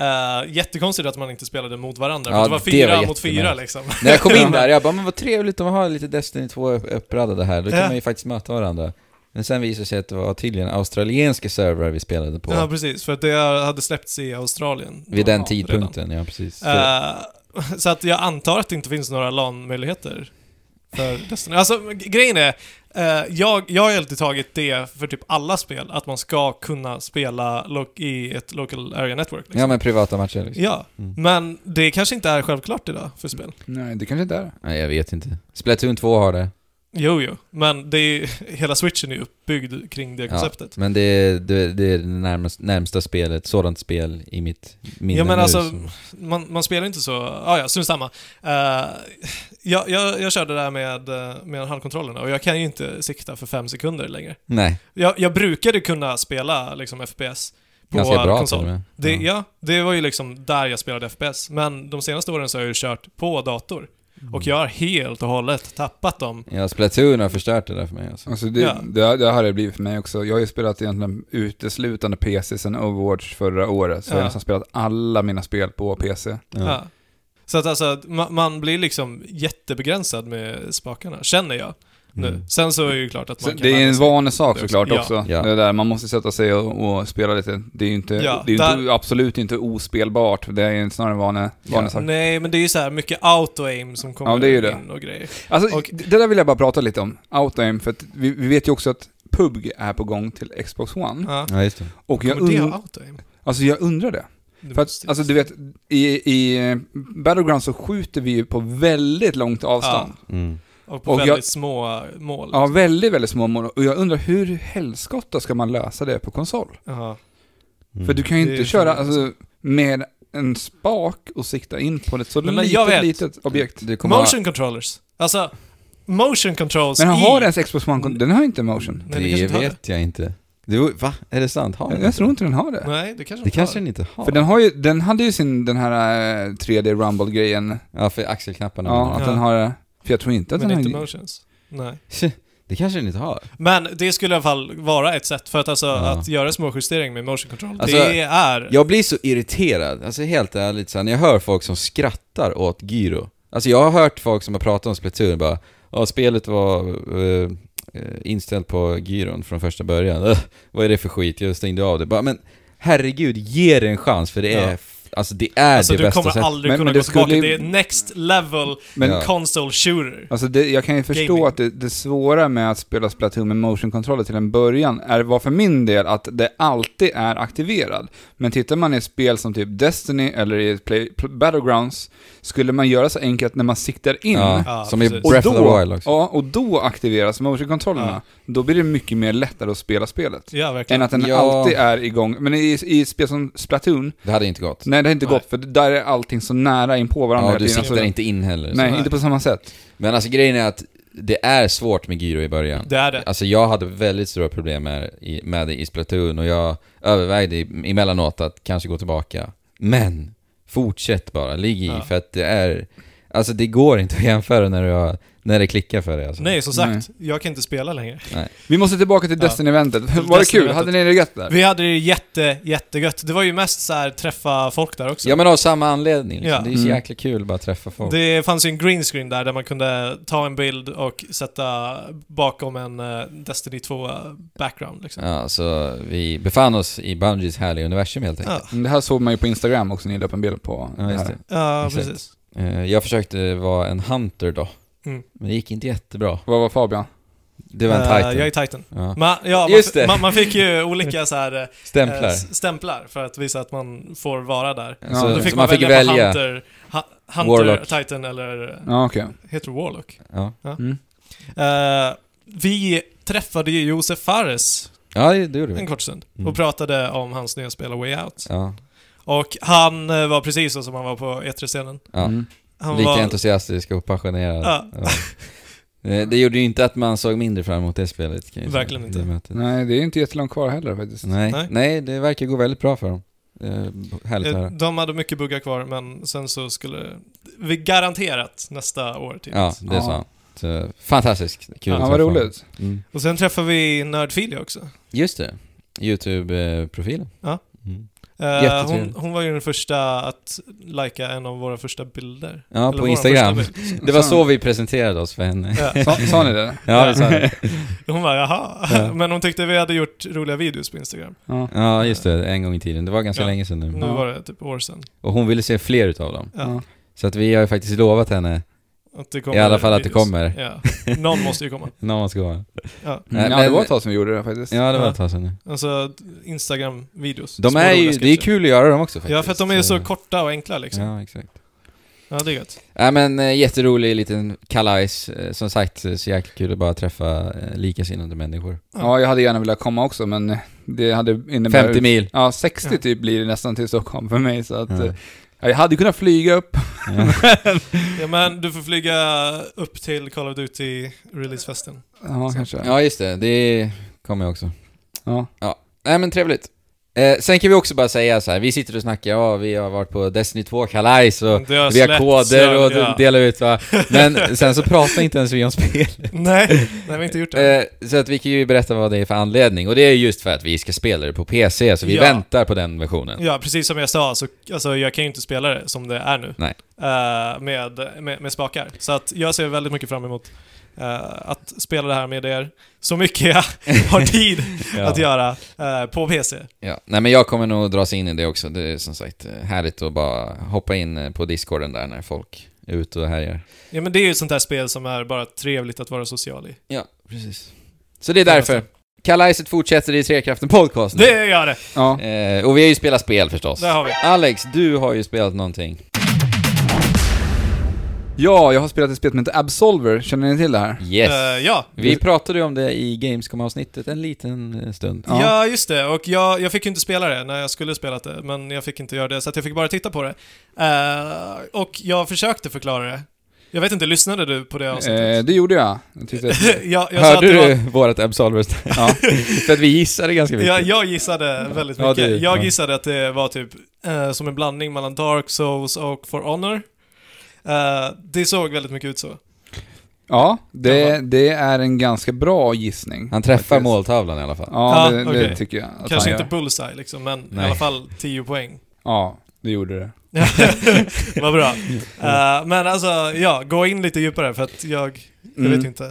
[SPEAKER 1] Uh, jättekonstigt att man inte spelade mot varandra,
[SPEAKER 2] Ja,
[SPEAKER 1] för det var
[SPEAKER 2] det
[SPEAKER 1] fyra
[SPEAKER 2] var
[SPEAKER 1] mot
[SPEAKER 2] jättemärkligt.
[SPEAKER 1] fyra liksom.
[SPEAKER 2] När jag kom in där, jag bara men vad trevligt att ha lite Destiny 2 upp- uppradade här, då kan
[SPEAKER 1] Ja.
[SPEAKER 2] man ju faktiskt möta varandra. Men sen visade det sig att det var tydligen australienska servrar vi spelade på.
[SPEAKER 1] Ja, precis. För att det hade släppts i Australien.
[SPEAKER 2] vid den
[SPEAKER 1] Ja,
[SPEAKER 2] tidpunkten, ja precis.
[SPEAKER 1] redan. Eh, så att jag antar att det inte finns några LAN-möjligheter för Destiny. Alltså g- grejen är, eh, jag, jag har ju alltid tagit det för typ alla spel, att man ska kunna spela lo- i ett local area network. Liksom.
[SPEAKER 2] ja men privata matcher liksom.
[SPEAKER 1] Ja,
[SPEAKER 2] Mm.
[SPEAKER 1] men det kanske inte är självklart idag för spel.
[SPEAKER 3] Nej, det kanske inte är det.
[SPEAKER 2] Nej, jag vet inte. Splatoon 2 har det.
[SPEAKER 1] Jo, jo, men det är ju, hela switchen är ju uppbyggd kring det konceptet.
[SPEAKER 2] Men det är det, det, är det närmast, närmsta spelet, sådant spel i mitt minne
[SPEAKER 1] Ja, men
[SPEAKER 2] nu,
[SPEAKER 1] alltså,
[SPEAKER 2] så-
[SPEAKER 1] Man, man spelar ju inte så, ah, ja, strunt samma. Eh, jag, jag, jag körde det här med, eh, med handkontrollerna och jag kan ju inte sikta för fem sekunder längre.
[SPEAKER 2] Nej,
[SPEAKER 1] Jag, jag brukade kunna spela liksom FPS på
[SPEAKER 2] ganska bra
[SPEAKER 1] konsol.
[SPEAKER 2] till och med.
[SPEAKER 1] Det, ja. det var ju liksom där jag spelade FPS, men de senaste åren så har jag ju kört på dator. Och
[SPEAKER 2] Mm.
[SPEAKER 1] jag har helt och hållet tappat dem.
[SPEAKER 2] Ja, Splatoon har förstört det där för mig alltså.
[SPEAKER 3] Alltså det,
[SPEAKER 1] Ja.
[SPEAKER 3] det, det har det blivit för mig också. Jag har ju spelat egentligen uteslutande PC sedan Overwatch förra året. Så jag
[SPEAKER 1] Ja.
[SPEAKER 3] har nästan spelat alla mina spel på PC.
[SPEAKER 1] Ja. Så att alltså, att ma- man blir liksom jättebegränsad med spakarna, känner jag nu.
[SPEAKER 2] Mm.
[SPEAKER 1] Sen så är det ju klart att
[SPEAKER 3] Så
[SPEAKER 1] man kan
[SPEAKER 3] det är
[SPEAKER 1] lära
[SPEAKER 3] en
[SPEAKER 1] sig.
[SPEAKER 3] vanesak
[SPEAKER 1] Det också.
[SPEAKER 3] såklart
[SPEAKER 1] Ja.
[SPEAKER 3] också.
[SPEAKER 2] Ja.
[SPEAKER 3] Det där, man måste sätta sig och, och spela lite. Det är ju inte,
[SPEAKER 1] Ja,
[SPEAKER 3] det är ju inte, absolut inte ospelbart. Det är ju snarare en vane, vanesak.
[SPEAKER 1] Nej, men det är ju så här mycket auto-aim som kommer
[SPEAKER 3] Ja, det är ju det.
[SPEAKER 1] in och grejer.
[SPEAKER 3] Alltså,
[SPEAKER 1] Och-
[SPEAKER 3] det där vill jag bara prata lite om. Out-aim, för att vi, vi vet ju också att PUBG är på gång till Xbox One.
[SPEAKER 1] Ja.
[SPEAKER 2] Ja, just det.
[SPEAKER 3] Och jag,
[SPEAKER 1] Kommer det
[SPEAKER 3] und-
[SPEAKER 1] ha auto-aim?
[SPEAKER 3] alltså, jag undrar det.
[SPEAKER 1] Det
[SPEAKER 3] För att,
[SPEAKER 1] måste-
[SPEAKER 3] alltså du vet, i, i Battleground så skjuter vi ju på väldigt långt avstånd.
[SPEAKER 2] Mm.
[SPEAKER 1] och på
[SPEAKER 3] och jag-
[SPEAKER 1] väldigt små äh, mål.
[SPEAKER 3] Ja, väldigt, väldigt små mål. Och jag undrar hur helskotta ska man lösa det på konsol?
[SPEAKER 1] Jaha.
[SPEAKER 2] Mm.
[SPEAKER 3] För du kan ju
[SPEAKER 1] Det är
[SPEAKER 3] inte
[SPEAKER 1] ju
[SPEAKER 3] köra
[SPEAKER 1] fan-
[SPEAKER 3] alltså, med en spak och sikta in på ett så
[SPEAKER 1] Nej, men jag
[SPEAKER 3] litet,
[SPEAKER 1] vet.
[SPEAKER 3] litet objekt.
[SPEAKER 2] Du kommer
[SPEAKER 1] Motion controllers. Alltså, motion controls
[SPEAKER 3] Men han
[SPEAKER 1] i...
[SPEAKER 3] har ens Xbox One, kon- den har inte motion.
[SPEAKER 1] Nej, det
[SPEAKER 2] ha...
[SPEAKER 1] kanske
[SPEAKER 2] Det
[SPEAKER 1] inte har
[SPEAKER 2] vet jag inte. Du, va? Är det sant? Har
[SPEAKER 3] Jag,
[SPEAKER 2] den
[SPEAKER 3] jag
[SPEAKER 2] inte?
[SPEAKER 3] tror inte den har det.
[SPEAKER 1] Nej, det kanske
[SPEAKER 2] Det
[SPEAKER 1] inte har.
[SPEAKER 2] kanske den inte har.
[SPEAKER 3] För den, har ju, den hade ju sin, den här eh, 3D Rumble-grejen.
[SPEAKER 2] Ja, för axelknapparna.
[SPEAKER 3] Ja, att
[SPEAKER 1] Ja.
[SPEAKER 3] den har... För jag tror inte att
[SPEAKER 1] Men
[SPEAKER 3] den
[SPEAKER 1] inte
[SPEAKER 3] har...
[SPEAKER 1] motions. Nej.
[SPEAKER 2] Det kanske den inte har.
[SPEAKER 1] Men det skulle i alla fall vara ett sätt för att alltså,
[SPEAKER 2] Ja.
[SPEAKER 1] att göra små justeringar med motion control.
[SPEAKER 2] Alltså,
[SPEAKER 1] det är...
[SPEAKER 2] Jag blir så irriterad, alltså helt ärligt så här, när jag hör folk som skrattar åt gyro. Alltså jag har hört folk som har pratat om Splatoon bara Ja, spelet var eh, eh, inställt på gyron från första början. Ugh, vad är det för skit? Jag stängde av det. Bara, men herregud, ge det en chans för det är,
[SPEAKER 1] Ja.
[SPEAKER 2] f- alltså det är
[SPEAKER 1] alltså
[SPEAKER 2] det
[SPEAKER 1] du
[SPEAKER 2] bästa
[SPEAKER 1] kommer
[SPEAKER 2] sättet.
[SPEAKER 1] aldrig
[SPEAKER 3] Men-
[SPEAKER 1] kunna
[SPEAKER 3] men det
[SPEAKER 1] gå tillbaka.
[SPEAKER 3] skulle-
[SPEAKER 1] Det är next level
[SPEAKER 3] Men,
[SPEAKER 2] Ja.
[SPEAKER 1] console shooter.
[SPEAKER 3] Alltså det, jag kan ju förstå
[SPEAKER 1] Gaming.
[SPEAKER 3] att det, det svåra med att spela Splatoon med motion-kontroller till en början är, var för min del att det alltid är aktiverad. Men tittar man i spel som typ Destiny eller i Play, Pl- Battlegrounds, skulle man göra så enkelt när man siktar in,
[SPEAKER 2] Ja,
[SPEAKER 1] Ja,
[SPEAKER 2] som i
[SPEAKER 1] precis.
[SPEAKER 2] Breath
[SPEAKER 3] Och
[SPEAKER 2] of
[SPEAKER 3] då-
[SPEAKER 2] the Wild också.
[SPEAKER 3] ja, och då aktiveras motion-kontrollerna, då blir det mycket mer lättare att spela spelet.
[SPEAKER 1] Ja, verkligen.
[SPEAKER 3] Än att den
[SPEAKER 2] Ja.
[SPEAKER 3] alltid är igång. Men i, i spel som Splatoon,
[SPEAKER 2] Det hade inte gått.
[SPEAKER 3] nej det har inte
[SPEAKER 1] Nej.
[SPEAKER 3] gått, för där är allting så nära in på varandra
[SPEAKER 2] Ja,
[SPEAKER 3] hela
[SPEAKER 2] du
[SPEAKER 3] tiden,
[SPEAKER 2] siktar
[SPEAKER 3] så-
[SPEAKER 2] inte in heller. liksom.
[SPEAKER 3] Nej,
[SPEAKER 1] så här.
[SPEAKER 3] inte på samma sätt.
[SPEAKER 2] Men alltså grejen är att det är svårt med gyro i början.
[SPEAKER 1] Det är det.
[SPEAKER 2] Alltså jag hade väldigt stora problem med, i- med det i Splatoon och jag övervägde i- emellanåt att kanske gå tillbaka. Men, fortsätt bara, ligg i
[SPEAKER 1] Ja.
[SPEAKER 2] för att det är... Alltså det går inte att jämföra när, du har, när det klickar för dig alltså.
[SPEAKER 1] Nej, som sagt, jag kan inte spela längre.
[SPEAKER 3] Vi måste tillbaka till
[SPEAKER 1] Ja.
[SPEAKER 3] Destiny-eventet. Var det kul?
[SPEAKER 1] Destiny-eventet.
[SPEAKER 3] Hade ni det gött där?
[SPEAKER 1] Vi hade det ju jätte, jättegött. Det var ju mest så här träffa folk där också.
[SPEAKER 2] Ja men av samma anledning liksom.
[SPEAKER 1] Ja.
[SPEAKER 2] Det är så
[SPEAKER 3] Mm.
[SPEAKER 2] jäkla kul bara att träffa folk.
[SPEAKER 1] Det fanns ju en green screen där, där man kunde ta en bild och sätta bakom en eh, Destiny 2 background liksom.
[SPEAKER 2] Ja, så vi befann oss i Bungies härliga universum helt enkelt.
[SPEAKER 1] Ja,
[SPEAKER 3] Men Det här såg man ju på Instagram också, ni la upp en bild på
[SPEAKER 2] Ja, just
[SPEAKER 3] här.
[SPEAKER 2] det.
[SPEAKER 1] ja
[SPEAKER 2] Exakt.
[SPEAKER 1] precis.
[SPEAKER 2] Eh, Jag försökte vara en hunter då.
[SPEAKER 1] Mm.
[SPEAKER 2] Men det gick inte jättebra.
[SPEAKER 3] Vad var Fabian?
[SPEAKER 2] Det var en
[SPEAKER 1] Eh,
[SPEAKER 2] titan.
[SPEAKER 1] jag är Titan.
[SPEAKER 2] Ja.
[SPEAKER 1] Man, ja,
[SPEAKER 2] Just
[SPEAKER 1] man,
[SPEAKER 2] det.
[SPEAKER 1] man, man fick ju olika så här eh,
[SPEAKER 2] Stämplar.
[SPEAKER 1] eh, s- stämplar för att visa att man får vara där.
[SPEAKER 3] Ja,
[SPEAKER 2] så,
[SPEAKER 1] Då fick
[SPEAKER 2] så
[SPEAKER 1] man,
[SPEAKER 2] man fick
[SPEAKER 1] välja, på
[SPEAKER 2] välja.
[SPEAKER 1] Hunter, ha, Hunter
[SPEAKER 2] Warlock.
[SPEAKER 1] Titan eller... eh,
[SPEAKER 3] Ja, okej.
[SPEAKER 1] Heter Warlock.
[SPEAKER 2] Ja.
[SPEAKER 3] Mm.
[SPEAKER 1] Eh, vi träffade ju Josef Fares
[SPEAKER 2] ja, det det gjorde vi.
[SPEAKER 1] en kort stund
[SPEAKER 2] Mm.
[SPEAKER 1] och pratade om hans nya spel A Way Out.
[SPEAKER 2] Ja,
[SPEAKER 1] Och han eh, var precis så som han var på E3-scenen.
[SPEAKER 2] ja.
[SPEAKER 3] Mm.
[SPEAKER 1] Han
[SPEAKER 2] Lika
[SPEAKER 1] var...
[SPEAKER 2] entusiastisk och passionerad.
[SPEAKER 1] Ja.
[SPEAKER 2] Ja. Eh, Det gjorde ju inte att man såg mindre fram emot det spelet. Kan jag ju säga,
[SPEAKER 1] Verkligen inte.
[SPEAKER 2] det mötet.
[SPEAKER 3] Nej, det är inte jättelångt kvar heller faktiskt.
[SPEAKER 2] Nej.
[SPEAKER 1] Nej.
[SPEAKER 2] Nej. det verkar gå väldigt bra för dem. Eh, Härligt att
[SPEAKER 1] Eh,
[SPEAKER 2] höra.
[SPEAKER 1] De hade mycket buggar kvar, men sen så skulle... Vi garanterat nästa år typ.
[SPEAKER 2] Ja, det
[SPEAKER 3] Ja.
[SPEAKER 2] sa han. Så, fantastiskt. Kul
[SPEAKER 3] Ja,
[SPEAKER 2] att
[SPEAKER 3] vad
[SPEAKER 2] träffa honom.
[SPEAKER 3] roligt.
[SPEAKER 2] Mm.
[SPEAKER 1] Och sen träffade vi Nördfilia också.
[SPEAKER 2] Just det. YouTube-profilen.
[SPEAKER 1] Ja.
[SPEAKER 2] Mm.
[SPEAKER 1] Eh, hon,
[SPEAKER 2] Jättetrevligt.
[SPEAKER 1] hon var ju den första att lika en av våra första bilder.
[SPEAKER 2] Ja,
[SPEAKER 1] Eller
[SPEAKER 2] på
[SPEAKER 1] vår
[SPEAKER 2] Instagram.
[SPEAKER 1] första bild.
[SPEAKER 2] Det var så vi presenterade oss för henne.
[SPEAKER 1] Ja.
[SPEAKER 3] Sa, sa ni det?
[SPEAKER 2] Ja, det sa det.
[SPEAKER 1] Hon var jaha.
[SPEAKER 2] Ja.
[SPEAKER 1] Men hon tyckte vi hade gjort roliga videos på Instagram.
[SPEAKER 3] Ja.
[SPEAKER 2] Ja, just det. En gång i tiden. Det var ganska
[SPEAKER 1] Ja.
[SPEAKER 2] länge sedan nu.
[SPEAKER 1] Nu
[SPEAKER 3] Ja.
[SPEAKER 1] var det typ år sedan.
[SPEAKER 2] Och hon ville se fler utav dem.
[SPEAKER 1] Ja.
[SPEAKER 2] Så att vi har ju faktiskt lovat henne
[SPEAKER 1] Att det kommer
[SPEAKER 2] I alla fall att det
[SPEAKER 1] videos.
[SPEAKER 2] kommer.
[SPEAKER 1] Ja. Någon måste ju komma.
[SPEAKER 2] när man ska vara.
[SPEAKER 1] Ja.
[SPEAKER 3] Mm.
[SPEAKER 2] Nej,
[SPEAKER 3] ja, det
[SPEAKER 2] men-
[SPEAKER 3] var ett tag som vi gjorde det faktiskt.
[SPEAKER 2] Ja, det var
[SPEAKER 1] Ja.
[SPEAKER 2] ett tag sedan nu.
[SPEAKER 1] Alltså, Instagram-videos.
[SPEAKER 2] De
[SPEAKER 1] Små
[SPEAKER 2] är ju,
[SPEAKER 1] roliga
[SPEAKER 2] det är
[SPEAKER 1] sketcher.
[SPEAKER 2] kul att göra dem också faktiskt.
[SPEAKER 1] Ja, för att de är så korta och enkla liksom. Ja,
[SPEAKER 2] Ja, exakt.
[SPEAKER 1] det är gött.
[SPEAKER 2] Ja, men äh, jätterolig liten kalajs. Eh, Som sagt, eh, så jäkla kul att bara träffa äh, likasinnade människor.
[SPEAKER 3] Ja, jag hade gärna velat komma också, men det hade inneburit...
[SPEAKER 2] 50 mil.
[SPEAKER 3] Ja, 60
[SPEAKER 1] Ja.
[SPEAKER 3] typ blir det nästan till Stockholm för mig, så att...
[SPEAKER 2] Ja.
[SPEAKER 3] eh, Jag hade kunnat flyga upp.
[SPEAKER 2] Ja.
[SPEAKER 1] Ja, men du får flyga upp till Call of Duty-releasefesten.
[SPEAKER 3] Ja, kanske. Ja.
[SPEAKER 2] ja, just det. Det kommer jag också.
[SPEAKER 3] Ja.
[SPEAKER 2] Nej, men trevligt. Eh, Eh, sen kan vi också bara säga så här, vi sitter och snackar, ja vi har varit på Destiny 2 kalajs och
[SPEAKER 1] Det har
[SPEAKER 2] vi har
[SPEAKER 1] släppts,
[SPEAKER 2] koder
[SPEAKER 1] Mm. ja,
[SPEAKER 2] och
[SPEAKER 1] ja.
[SPEAKER 2] delar ut va. Men sen så pratar inte ens vi om spel.
[SPEAKER 1] Nej, nej, vi har inte gjort det.
[SPEAKER 2] Eh, så att vi kan ju berätta vad det är för anledning. Och det är just för att vi ska spela det på PC, så vi
[SPEAKER 1] Ja.
[SPEAKER 2] väntar på den versionen.
[SPEAKER 1] Ja, precis som jag sa, så alltså, jag kan ju inte spela det som det är nu.
[SPEAKER 2] Nej.
[SPEAKER 1] Eh, med, med, med spakar. Så att jag ser väldigt mycket fram emot eh, att spela det här med er så mycket jag har tid
[SPEAKER 2] Ja.
[SPEAKER 1] att göra eh, på PC.
[SPEAKER 2] Ja. Nej men jag kommer nog dras in i det också. Det är som sagt eh, härligt att bara hoppa in eh, på discorden där när folk är ute och härjar.
[SPEAKER 1] Ja, men det är ju ett sånt här spel som är bara trevligt att vara social i.
[SPEAKER 2] Ja, precis. Så det är därför. Kalajset fortsätter i Trekraften Podcast nu.
[SPEAKER 1] Det gör det!
[SPEAKER 3] Ja.
[SPEAKER 2] Eh, och vi har ju spelat spel förstås.
[SPEAKER 1] Där har vi.
[SPEAKER 2] Alex, du har ju spelat någonting.
[SPEAKER 3] ja, jag har spelat ett spel som heter Absolver, känner ni till det här?
[SPEAKER 2] Yes.
[SPEAKER 1] Eh, ja.
[SPEAKER 2] vi pratade ju om det i Gamescom-avsnittet en liten eh, stund.
[SPEAKER 3] Ja.
[SPEAKER 1] Ja. just det. Och jag, jag fick ju inte spela det när jag skulle spela det, men jag fick inte göra det, så att jag fick bara titta på det. Eh, och jag försökte förklara det. Jag vet inte, lyssnade du på det
[SPEAKER 3] Eh,
[SPEAKER 1] avsnittet?
[SPEAKER 3] det gjorde jag. jag tyckte att,
[SPEAKER 1] jag, jag, sa att
[SPEAKER 2] Hörde
[SPEAKER 1] det var,
[SPEAKER 2] du vårat Absolver?
[SPEAKER 3] ja.
[SPEAKER 2] För att vi gissade ganska mycket.
[SPEAKER 1] jag, jag gissade väldigt
[SPEAKER 2] Ja,
[SPEAKER 1] mycket.
[SPEAKER 2] det- ja.
[SPEAKER 1] jag gissade att det var typ eh, som en blandning mellan Dark Souls och For Honor. Eh, det såg väldigt mycket ut så.
[SPEAKER 3] ja det, det är en ganska bra gissning.
[SPEAKER 2] Han träffar
[SPEAKER 3] Faktiskt.
[SPEAKER 2] måltavlan i alla fall.
[SPEAKER 1] Ja,
[SPEAKER 3] Ja, det,
[SPEAKER 1] Ah,
[SPEAKER 3] det
[SPEAKER 1] okej.
[SPEAKER 3] tycker jag. att
[SPEAKER 1] Kanske
[SPEAKER 3] han
[SPEAKER 1] inte
[SPEAKER 3] gör.
[SPEAKER 1] bullseye liksom, men
[SPEAKER 2] Nej.
[SPEAKER 1] i alla fall 10 poäng.
[SPEAKER 3] Ja, det gjorde det.
[SPEAKER 1] Vad bra.
[SPEAKER 3] Mm.
[SPEAKER 1] Eh, men alltså, ja, gå in lite djupare för att jag, jag
[SPEAKER 3] Mm.
[SPEAKER 1] vet inte.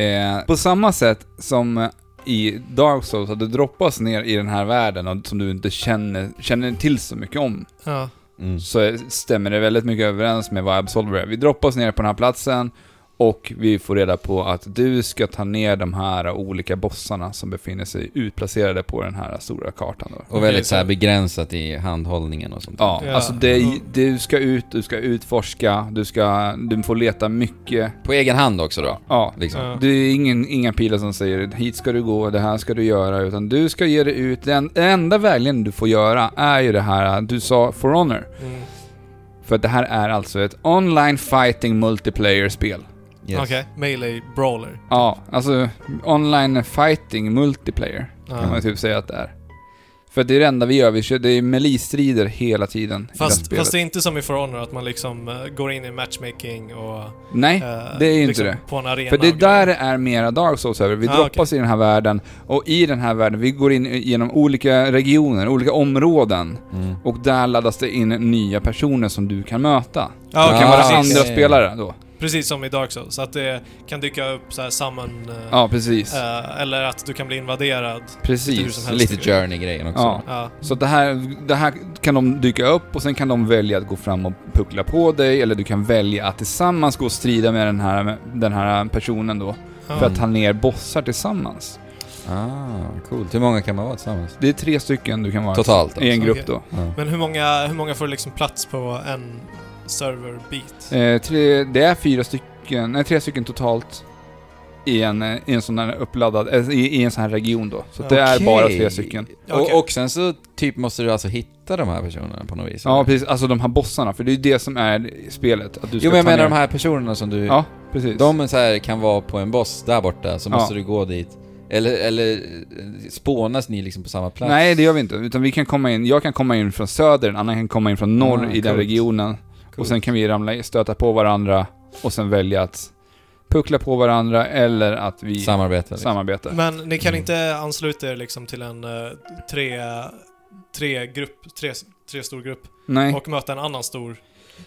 [SPEAKER 3] Eh, på samma sätt som eh, i Dark Souls, att du droppas ner i den här världen och som du inte känner, känner till så mycket om,
[SPEAKER 1] Ja.
[SPEAKER 2] Mm.
[SPEAKER 3] så stämmer det väldigt mycket överens med vad Absolver är. Vi droppas ner på den här platsen och vi får reda på att du ska ta ner de här olika bossarna som befinner sig utplacerade på den här stora kartan. Då.
[SPEAKER 2] Och väldigt så här begränsat i handhållningen och sånt.
[SPEAKER 3] Ja,
[SPEAKER 1] Ja.
[SPEAKER 3] alltså det, du ska ut, du ska utforska, du ska, du får leta mycket.
[SPEAKER 2] På egen hand också då.
[SPEAKER 3] Ja,
[SPEAKER 2] Liksom.
[SPEAKER 1] Ja.
[SPEAKER 3] Det är ingen, inga pilar som säger hit ska du gå, det här ska du göra, utan du ska ge dig ut. Den den enda vägledningen du får göra är ju det här, du sa For Honor.
[SPEAKER 1] Mm.
[SPEAKER 3] För att det här är alltså ett online fighting multiplayer-spel.
[SPEAKER 2] Yes.
[SPEAKER 1] Okej, melee brawler.
[SPEAKER 3] Ja, alltså online fighting multiplayer
[SPEAKER 1] Ja.
[SPEAKER 3] kan man typ säga att det är. För det är det enda vi gör, vi kör, det är melee-strider hela tiden i det
[SPEAKER 1] Fast,
[SPEAKER 3] spelet.
[SPEAKER 1] fast det är inte som i For Honor att man liksom eh, går in i matchmaking och...
[SPEAKER 3] Nej,
[SPEAKER 1] eh,
[SPEAKER 3] det är ju inte
[SPEAKER 1] liksom
[SPEAKER 3] det.
[SPEAKER 1] På en arena
[SPEAKER 3] För det är
[SPEAKER 1] och grejer.
[SPEAKER 3] där det är mera Dark Souls över. Vi
[SPEAKER 1] Ah,
[SPEAKER 3] droppas i den här världen och i den här världen, vi går in genom olika regioner, olika områden
[SPEAKER 2] Mm.
[SPEAKER 3] och där laddas det in nya personer som du kan möta.
[SPEAKER 1] Ja,
[SPEAKER 3] det
[SPEAKER 1] Ah, okej,
[SPEAKER 3] kan vara
[SPEAKER 1] precis.
[SPEAKER 2] Eh.
[SPEAKER 3] andra spelare då.
[SPEAKER 1] Precis som i Dark Souls, så att det kan dyka upp så här summon... eh,
[SPEAKER 3] Ja, precis.
[SPEAKER 1] eh, eller att du kan bli invaderad. hur som
[SPEAKER 3] Precis.
[SPEAKER 1] helst.
[SPEAKER 2] Lite Journey-grejen också.
[SPEAKER 3] Ja.
[SPEAKER 1] Ja.
[SPEAKER 3] Så det här, det här kan de dyka upp och sen kan de välja att gå fram och puckla på dig eller du kan välja att tillsammans gå och strida med den här, den här personen då
[SPEAKER 1] Ja.
[SPEAKER 3] för att ta ner bossar tillsammans.
[SPEAKER 2] Ah, coolt. Hur många kan man vara tillsammans?
[SPEAKER 3] Det är tre stycken du kan vara
[SPEAKER 2] Totalt alltså.
[SPEAKER 3] i en grupp
[SPEAKER 1] Okej.
[SPEAKER 3] då.
[SPEAKER 2] Ja.
[SPEAKER 1] Men hur många, hur många får liksom plats på en server beat?
[SPEAKER 3] Eh, tre, det är fyra stycken, nej tre stycken totalt i en, eh, i en sån här uppladdad, eh, i, i en sån här region då. Så det är
[SPEAKER 2] Okej.
[SPEAKER 3] bara tre stycken.
[SPEAKER 1] Okej.
[SPEAKER 2] Och, och sen så typ måste du alltså hitta de här personerna på något vis?
[SPEAKER 3] Ja
[SPEAKER 2] eller?
[SPEAKER 3] precis, alltså de här bossarna, för det är ju det som är spelet. Att du ska
[SPEAKER 2] Jo men jag
[SPEAKER 3] ta
[SPEAKER 2] menar
[SPEAKER 3] ner-
[SPEAKER 2] de här personerna som du...
[SPEAKER 3] Ja, precis.
[SPEAKER 2] De är så här, kan vara på en boss där borta, så
[SPEAKER 3] Ja.
[SPEAKER 2] måste du gå dit. Eller, eller eh, spånas ni liksom på samma plats?
[SPEAKER 3] Nej, det gör vi inte. Utan vi kan komma in, jag kan komma in från söder, en annan kan komma in från norr
[SPEAKER 2] Ah,
[SPEAKER 3] i den
[SPEAKER 2] coolt.
[SPEAKER 3] regionen. Och sen kan vi ramla, i- stöta på varandra och sen välja att puckla på varandra eller att vi
[SPEAKER 2] Samarbete. Liksom.
[SPEAKER 3] samarbetar.
[SPEAKER 1] Men ni kan
[SPEAKER 2] Mm.
[SPEAKER 1] inte ansluta er liksom till en eh, tre, tre grupp, tre, tre stor grupp
[SPEAKER 3] Nej,
[SPEAKER 1] och eh, möta en annan stor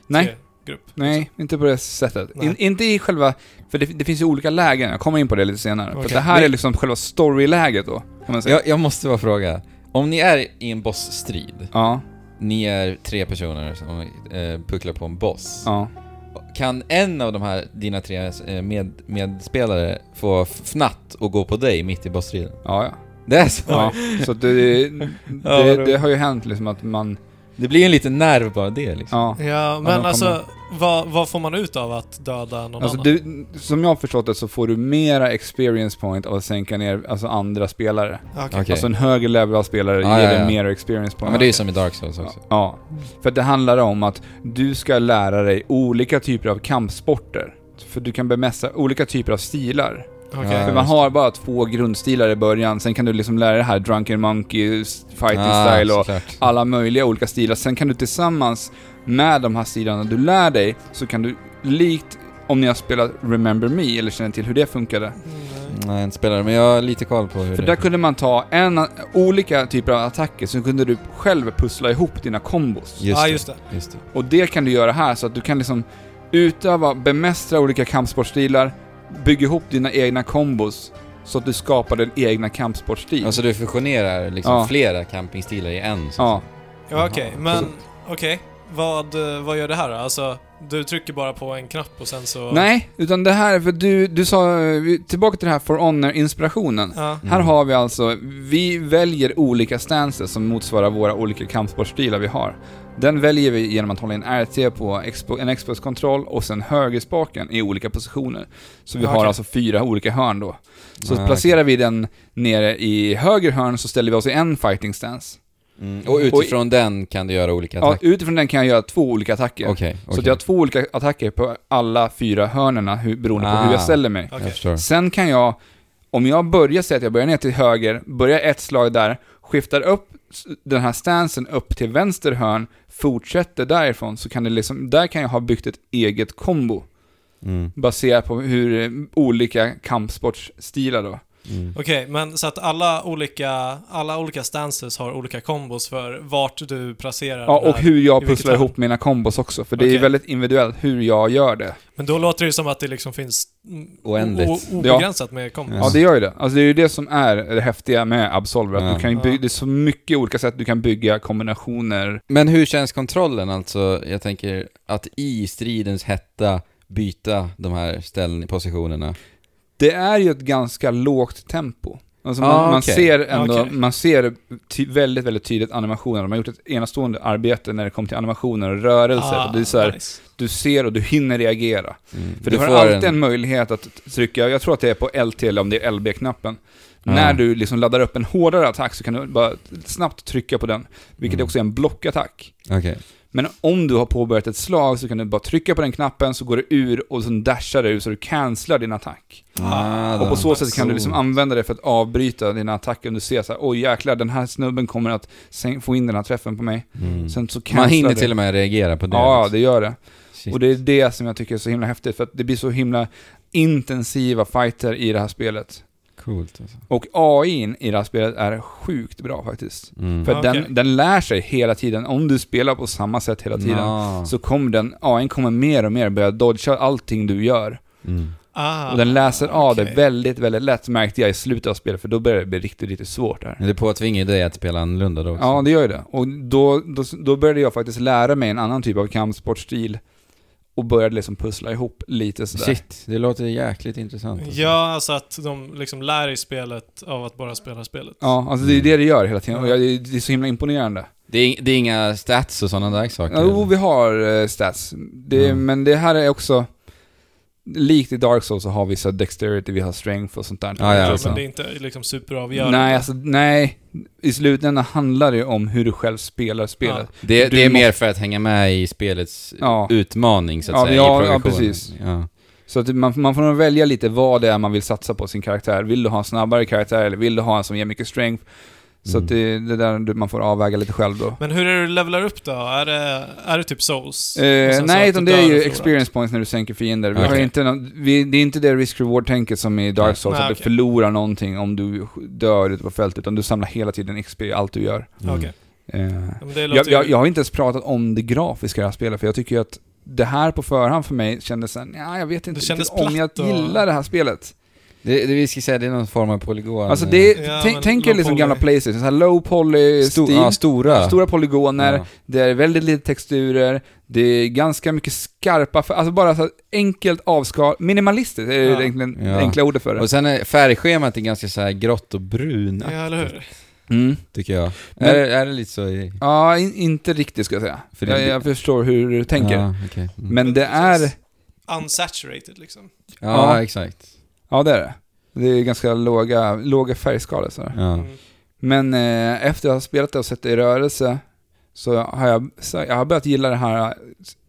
[SPEAKER 3] nej,
[SPEAKER 1] tre grupp? liksom.
[SPEAKER 3] nej,
[SPEAKER 2] Alltså-
[SPEAKER 3] inte på det sättet.
[SPEAKER 1] Nej.
[SPEAKER 3] In, inte i själva... För det, det finns ju olika lägen, jag kommer in på det lite senare. För
[SPEAKER 1] Okej.
[SPEAKER 3] det här är
[SPEAKER 2] Men-
[SPEAKER 3] liksom själva storyläget då, kan man säga.
[SPEAKER 2] Jag, jag måste bara fråga. Om ni är i en bossstrid,
[SPEAKER 3] Ja,
[SPEAKER 2] ni är tre personer som eh, pucklar på en boss.
[SPEAKER 3] ja.
[SPEAKER 2] Kan en av de här, dina tre eh, med, medspelare få fnatt och gå på dig mitt i bossstriden?
[SPEAKER 3] Ja, ja.
[SPEAKER 2] Det är så?
[SPEAKER 3] ja. Så att det, det,
[SPEAKER 2] roligt.
[SPEAKER 3] det har ju hänt liksom att man...
[SPEAKER 2] Det blir en liten nerv bara det liksom.
[SPEAKER 3] Ja.
[SPEAKER 1] Ja,
[SPEAKER 3] de
[SPEAKER 1] men
[SPEAKER 3] kommer-
[SPEAKER 1] alltså vad, vad får man ut av att döda någon
[SPEAKER 3] Alltså
[SPEAKER 1] annan?
[SPEAKER 3] du, som jag har förstått det så får du mera experience point av att sänka ner alltså andra spelare.
[SPEAKER 1] Okej.
[SPEAKER 2] Okej.
[SPEAKER 3] Alltså en högre level av spelare
[SPEAKER 2] Ja,
[SPEAKER 3] ger
[SPEAKER 2] ja,
[SPEAKER 3] dig
[SPEAKER 2] ja.
[SPEAKER 3] mera experience
[SPEAKER 2] Ja
[SPEAKER 3] point.
[SPEAKER 2] men det är ju som i Dark Souls också.
[SPEAKER 3] Ja. För det handlar om att du ska lära dig olika typer av kampsporter. För du kan bemästra olika typer av stilar.
[SPEAKER 1] Okej.
[SPEAKER 2] Ja,
[SPEAKER 3] För man har bara två grundstilar i början, sen kan du liksom lära dig det här Drunken Monkey, Fighting
[SPEAKER 2] Ah,
[SPEAKER 3] Style och
[SPEAKER 2] såklart.
[SPEAKER 3] alla möjliga olika stilar. Sen kan du tillsammans med de här stilarna du lär dig, så kan du likt om ni har spelat Remember Me eller känner till hur det funkade.
[SPEAKER 1] Nej.
[SPEAKER 2] Nej, inte spelare, men jag har lite koll på hur
[SPEAKER 3] För
[SPEAKER 2] det
[SPEAKER 3] där kunde man ta en, olika typer av attacker, så kunde du själv pussla ihop dina kombos.
[SPEAKER 2] Just
[SPEAKER 1] Ja,
[SPEAKER 2] det,
[SPEAKER 1] just det.
[SPEAKER 2] just det.
[SPEAKER 3] Och det kan du göra här, så att du kan liksom utöva, bemästra olika kampsportstilar, bygga ihop dina egna kombos, så att du skapar din egna kampsportsstil.
[SPEAKER 2] Alltså du fusionerar liksom
[SPEAKER 3] Ja.
[SPEAKER 2] flera campingstilar i en? Så.
[SPEAKER 3] ja.
[SPEAKER 1] Ja, okej.
[SPEAKER 2] Jaha.
[SPEAKER 1] Men, okej. Vad, eh, vad gör det här då? Alltså, du trycker bara på en knapp och sen så...
[SPEAKER 3] Nej, utan det här, för du, du sa, eh, vi- tillbaka till det här For Honor-inspirationen.
[SPEAKER 1] Ja.
[SPEAKER 2] Mm.
[SPEAKER 3] Här har vi alltså, vi väljer olika stances som motsvarar våra olika kampsportstilar vi har. Den väljer vi genom att hålla in RT på expo, en Xbox-kontroll och sen högerspaken i olika positioner. Så vi
[SPEAKER 1] Ja,
[SPEAKER 3] har
[SPEAKER 1] okej.
[SPEAKER 3] alltså fyra olika hörn då. Så
[SPEAKER 2] Ah,
[SPEAKER 3] placerar vi den nere i höger hörn så ställer vi oss i en fighting stance.
[SPEAKER 2] Mm. Och utifrån den kan du göra olika
[SPEAKER 3] Ja,
[SPEAKER 2] attacker?
[SPEAKER 3] utifrån den kan jag göra två olika attacker.
[SPEAKER 2] Okej, okej.
[SPEAKER 3] Så att jag har två olika attacker på alla fyra hörnerna hur, beroende på
[SPEAKER 2] Ah.
[SPEAKER 3] hur jag ställer mig.
[SPEAKER 1] Okej.
[SPEAKER 2] Jag förstår.
[SPEAKER 3] Sen kan jag, om jag börjar, säga att jag börjar ner till höger, börjar ett slag där, skiftar upp s- den här stansen upp till vänster hörn, fortsätter därifrån, så kan det liksom, där kan jag ha byggt ett eget kombo.
[SPEAKER 2] Mm.
[SPEAKER 3] Baserat på hur eh, olika kampsportsstilar då.
[SPEAKER 2] Mm.
[SPEAKER 1] Okej, men så att alla olika, alla olika stances har olika kombos för vart du placerar
[SPEAKER 3] Ja,
[SPEAKER 1] den här.
[SPEAKER 3] och hur
[SPEAKER 1] i
[SPEAKER 3] jag
[SPEAKER 1] vilket
[SPEAKER 3] pusslar
[SPEAKER 1] hörn?
[SPEAKER 3] ihop mina kombos också, för det
[SPEAKER 1] Okej.
[SPEAKER 3] är väldigt individuellt hur jag gör det.
[SPEAKER 1] Men då låter det ju som att det liksom finns mm,
[SPEAKER 2] Oändligt.
[SPEAKER 1] o- obegränsat med kombos.
[SPEAKER 2] Ja.
[SPEAKER 3] Ja, det gör ju det. Alltså det är ju det som är det häftiga med Absolver, att
[SPEAKER 2] Ja.
[SPEAKER 3] du kan ju
[SPEAKER 1] Ja.
[SPEAKER 3] bygga, det är så mycket olika sätt du kan bygga kombinationer.
[SPEAKER 2] Men hur känns kontrollen alltså? Jag tänker att i stridens hetta byta de här ställ- positionerna.
[SPEAKER 3] Det är ju ett ganska lågt tempo. Alltså man,
[SPEAKER 2] Ah,
[SPEAKER 3] man
[SPEAKER 2] okej.
[SPEAKER 3] ser ändå,
[SPEAKER 1] Okej.
[SPEAKER 3] man ser ty- väldigt, väldigt tydligt animationer. De har gjort ett enastående arbete när det kommer till animationer och rörelser. och det är så här,
[SPEAKER 1] Ah, nice.
[SPEAKER 3] du ser och du hinner reagera.
[SPEAKER 2] Mm.
[SPEAKER 3] För du, har
[SPEAKER 2] får
[SPEAKER 3] alltid en... möjlighet att trycka, jag tror att det är på LT eller om det är LB-knappen.
[SPEAKER 2] Ja.
[SPEAKER 3] När du liksom laddar upp en hårdare attack så kan du bara snabbt trycka på den, vilket
[SPEAKER 2] Mm.
[SPEAKER 3] också är en blockattack.
[SPEAKER 2] Okej.
[SPEAKER 3] Men om du har påbörjat ett slag så kan du bara trycka på den knappen så går det ur och sen dashar det ur så du cancelar din attack.
[SPEAKER 2] Ah,
[SPEAKER 1] Ja,
[SPEAKER 3] Och på så sätt kan du
[SPEAKER 2] coolt.
[SPEAKER 3] liksom använda det för att avbryta dina attacker om du ser så här, oj jäklar den här snubben kommer att sen- få in den här träffen på mig.
[SPEAKER 2] Mm.
[SPEAKER 3] Sen så cancelar
[SPEAKER 2] Man hinner
[SPEAKER 3] det.
[SPEAKER 2] till och med reagera på det.
[SPEAKER 3] Ja,
[SPEAKER 2] liksom.
[SPEAKER 3] det gör det.
[SPEAKER 2] Shit.
[SPEAKER 3] Och det är det som jag tycker är så himla häftigt, för att det blir så himla intensiva fighter i det här spelet.
[SPEAKER 2] Coolt alltså.
[SPEAKER 3] Och AI i det här spelet är sjukt bra faktiskt.
[SPEAKER 2] Mm.
[SPEAKER 3] För att
[SPEAKER 1] Okej.
[SPEAKER 3] den, den lär sig hela tiden, om du spelar på samma sätt hela tiden,
[SPEAKER 2] Ja.
[SPEAKER 3] så kommer den, AI kommer mer och mer börja dodga allting du gör.
[SPEAKER 2] Mm.
[SPEAKER 1] Ah,
[SPEAKER 3] och den läser av
[SPEAKER 1] okej.
[SPEAKER 3] det väldigt, väldigt lätt märkte jag i slutet av spelet, för då börjar det bli riktigt, riktigt svårt där.
[SPEAKER 2] Men det påtvingar ju dig att spela annorlunda då också.
[SPEAKER 3] Ja, det gör ju det. Och då, då, då började jag faktiskt lära mig en annan typ av kampsportstil och började liksom pussla ihop lite sådär.
[SPEAKER 2] Shit, det låter jäkligt intressant. alltså.
[SPEAKER 1] Ja, alltså att de liksom lär i spelet av att bara spela spelet.
[SPEAKER 3] Ja, alltså det är
[SPEAKER 2] Mm.
[SPEAKER 3] det det gör hela tiden. Och jag, det är så himla imponerande.
[SPEAKER 2] Det är, det är inga stats och sådana där saker?
[SPEAKER 3] Ja, jo,
[SPEAKER 2] eller?
[SPEAKER 3] vi har eh, stats. Det,
[SPEAKER 2] Mm.
[SPEAKER 3] Men det här är också... Likt i Dark Souls så har vi så här dexterity, vi har strength och sånt där.
[SPEAKER 2] Ja, ja,
[SPEAKER 1] Ja,
[SPEAKER 2] alltså.
[SPEAKER 1] Men det är inte liksom superavgörande.
[SPEAKER 3] nej, alltså nej. I slutändan handlar det ju om hur du själv spelar spelet.
[SPEAKER 2] det,
[SPEAKER 3] du
[SPEAKER 2] det är
[SPEAKER 3] måste-
[SPEAKER 2] mer för att hänga med i spelets
[SPEAKER 3] Ja.
[SPEAKER 2] utmaning så att
[SPEAKER 3] Ja,
[SPEAKER 2] säga,
[SPEAKER 3] ja,
[SPEAKER 2] i
[SPEAKER 3] ja,
[SPEAKER 2] progressionen.
[SPEAKER 3] precis.
[SPEAKER 2] Ja. Mm.
[SPEAKER 3] Så att man, man får nog välja lite vad det är man vill satsa på sin karaktär. Vill du ha en snabbare karaktär eller vill du ha en som ger mycket strength? Så
[SPEAKER 2] Mm.
[SPEAKER 3] att det, det är där du- man får avväga lite själv då.
[SPEAKER 1] Men hur är det du levelar upp då? Är det, är det typ souls? Och
[SPEAKER 3] Eh,
[SPEAKER 1] sen så att
[SPEAKER 3] nej,
[SPEAKER 1] du
[SPEAKER 3] utan
[SPEAKER 1] dör
[SPEAKER 3] det är
[SPEAKER 1] och
[SPEAKER 3] ju
[SPEAKER 1] förlorar?
[SPEAKER 3] experience points när du sänker fiender. Vi har
[SPEAKER 2] Okej.
[SPEAKER 3] inte någon, vi, det är inte det risk-reward-tänket som i Dark Souls,
[SPEAKER 1] Nej,
[SPEAKER 3] att du
[SPEAKER 1] okej.
[SPEAKER 3] förlorar någonting om du dör ute på fältet, utan du samlar hela tiden XP i allt du gör.
[SPEAKER 1] Mm. Okej.
[SPEAKER 3] Eh,
[SPEAKER 1] Ja, men det
[SPEAKER 3] jag,
[SPEAKER 1] låter
[SPEAKER 3] jag,
[SPEAKER 1] ju-
[SPEAKER 3] jag har inte ens pratat om det grafiska i det här spelet, för jag tycker ju att det här på förhand för mig kändes såhär, nej jag vet inte
[SPEAKER 1] Det kändes
[SPEAKER 3] riktigt om jag
[SPEAKER 1] platt och-
[SPEAKER 3] gillar det här spelet.
[SPEAKER 2] Det, det, vi ska säga, det är någon form av polygon. eh,
[SPEAKER 3] Alltså det,
[SPEAKER 1] Ja,
[SPEAKER 3] är
[SPEAKER 1] men
[SPEAKER 3] tänk- tänk er
[SPEAKER 1] low
[SPEAKER 3] liksom
[SPEAKER 1] poly.
[SPEAKER 3] gamla Playstation, såhär low poly
[SPEAKER 2] Sto-
[SPEAKER 3] stil,
[SPEAKER 2] ja, stora.
[SPEAKER 3] stora polygoner,
[SPEAKER 2] Ja.
[SPEAKER 3] Det är väldigt lite texturer, det är ganska mycket skarpa, för, alltså bara så här enkelt avskal, minimalistiskt är
[SPEAKER 1] Ja.
[SPEAKER 3] det egentligen
[SPEAKER 2] Ja.
[SPEAKER 3] enkla ordet för det.
[SPEAKER 2] Och sen är färgschemat är ganska så här grått och brun
[SPEAKER 1] Ja, eller hur?
[SPEAKER 3] Mm.
[SPEAKER 2] tycker jag.
[SPEAKER 3] Men-
[SPEAKER 2] är, det- är det lite så i...
[SPEAKER 3] Ja, in, inte riktigt ska jag säga.
[SPEAKER 2] För det-
[SPEAKER 3] jag, jag förstår hur du tänker.
[SPEAKER 2] Ja, okej. Mm.
[SPEAKER 3] Men det är,
[SPEAKER 1] Unsaturated liksom.
[SPEAKER 2] ja,
[SPEAKER 3] ja.
[SPEAKER 2] exakt.
[SPEAKER 3] ja det är det. Det är ganska låga, låga färgskalor sådär.
[SPEAKER 2] Ja.
[SPEAKER 1] Mm.
[SPEAKER 3] Men eh, efter att ha spelat det och sett det i rörelse så har jag, så jag har börjat gilla det här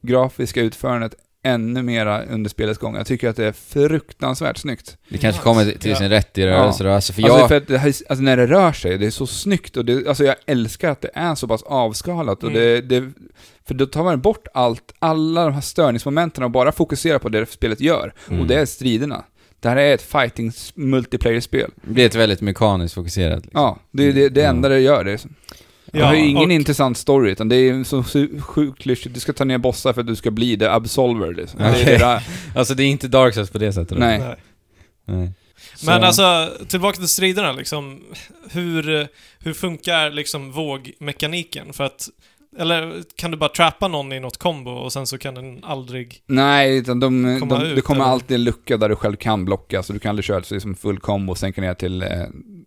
[SPEAKER 3] grafiska utförandet ännu mera under spelets gång. Jag tycker att det är fruktansvärt snyggt.
[SPEAKER 2] Det kanske kommer till sin rätt i
[SPEAKER 3] Ja.
[SPEAKER 2] rörelser och alltså, för
[SPEAKER 3] alltså,
[SPEAKER 2] jag...
[SPEAKER 3] för att det här, alltså när det rör sig, det är så snyggt och det, alltså jag älskar att det är så pass avskalat och
[SPEAKER 1] Mm.
[SPEAKER 3] det, det, för då tar man bort allt, alla de här störningsmomenten och bara fokuserar på det spelet gör.
[SPEAKER 2] Mm.
[SPEAKER 3] Och det är striderna. Det här är ett fighting multiplayer-spel.
[SPEAKER 2] Det blir ett väldigt mekaniskt fokuserat. liksom.
[SPEAKER 3] Ja, det är det, det enda det gör. Det, är, det har ju ingen
[SPEAKER 1] och-
[SPEAKER 3] intressant story, utan det är ju så su- sjukt klyschigt. Du ska ta ner bossar för att du ska bli the absolver liksom.
[SPEAKER 2] Okej.
[SPEAKER 3] Det är det där.
[SPEAKER 2] Alltså det är inte Dark Souls på det sättet. då.
[SPEAKER 3] Nej.
[SPEAKER 1] Nej.
[SPEAKER 2] Nej.
[SPEAKER 1] Men
[SPEAKER 3] Så-
[SPEAKER 1] alltså, tillbaka till striderna liksom. Hur, hur funkar liksom vågmekaniken? För att, eller kan du bara trappa någon i något kombo och sen så kan den aldrig...
[SPEAKER 3] Nej, utan de,
[SPEAKER 1] Komma
[SPEAKER 3] de,
[SPEAKER 1] ut,
[SPEAKER 3] det kommer
[SPEAKER 1] eller?
[SPEAKER 3] alltid en lucka där du själv kan blocka, så du kan aldrig köra så liksom full combo och sänka ner till, eh,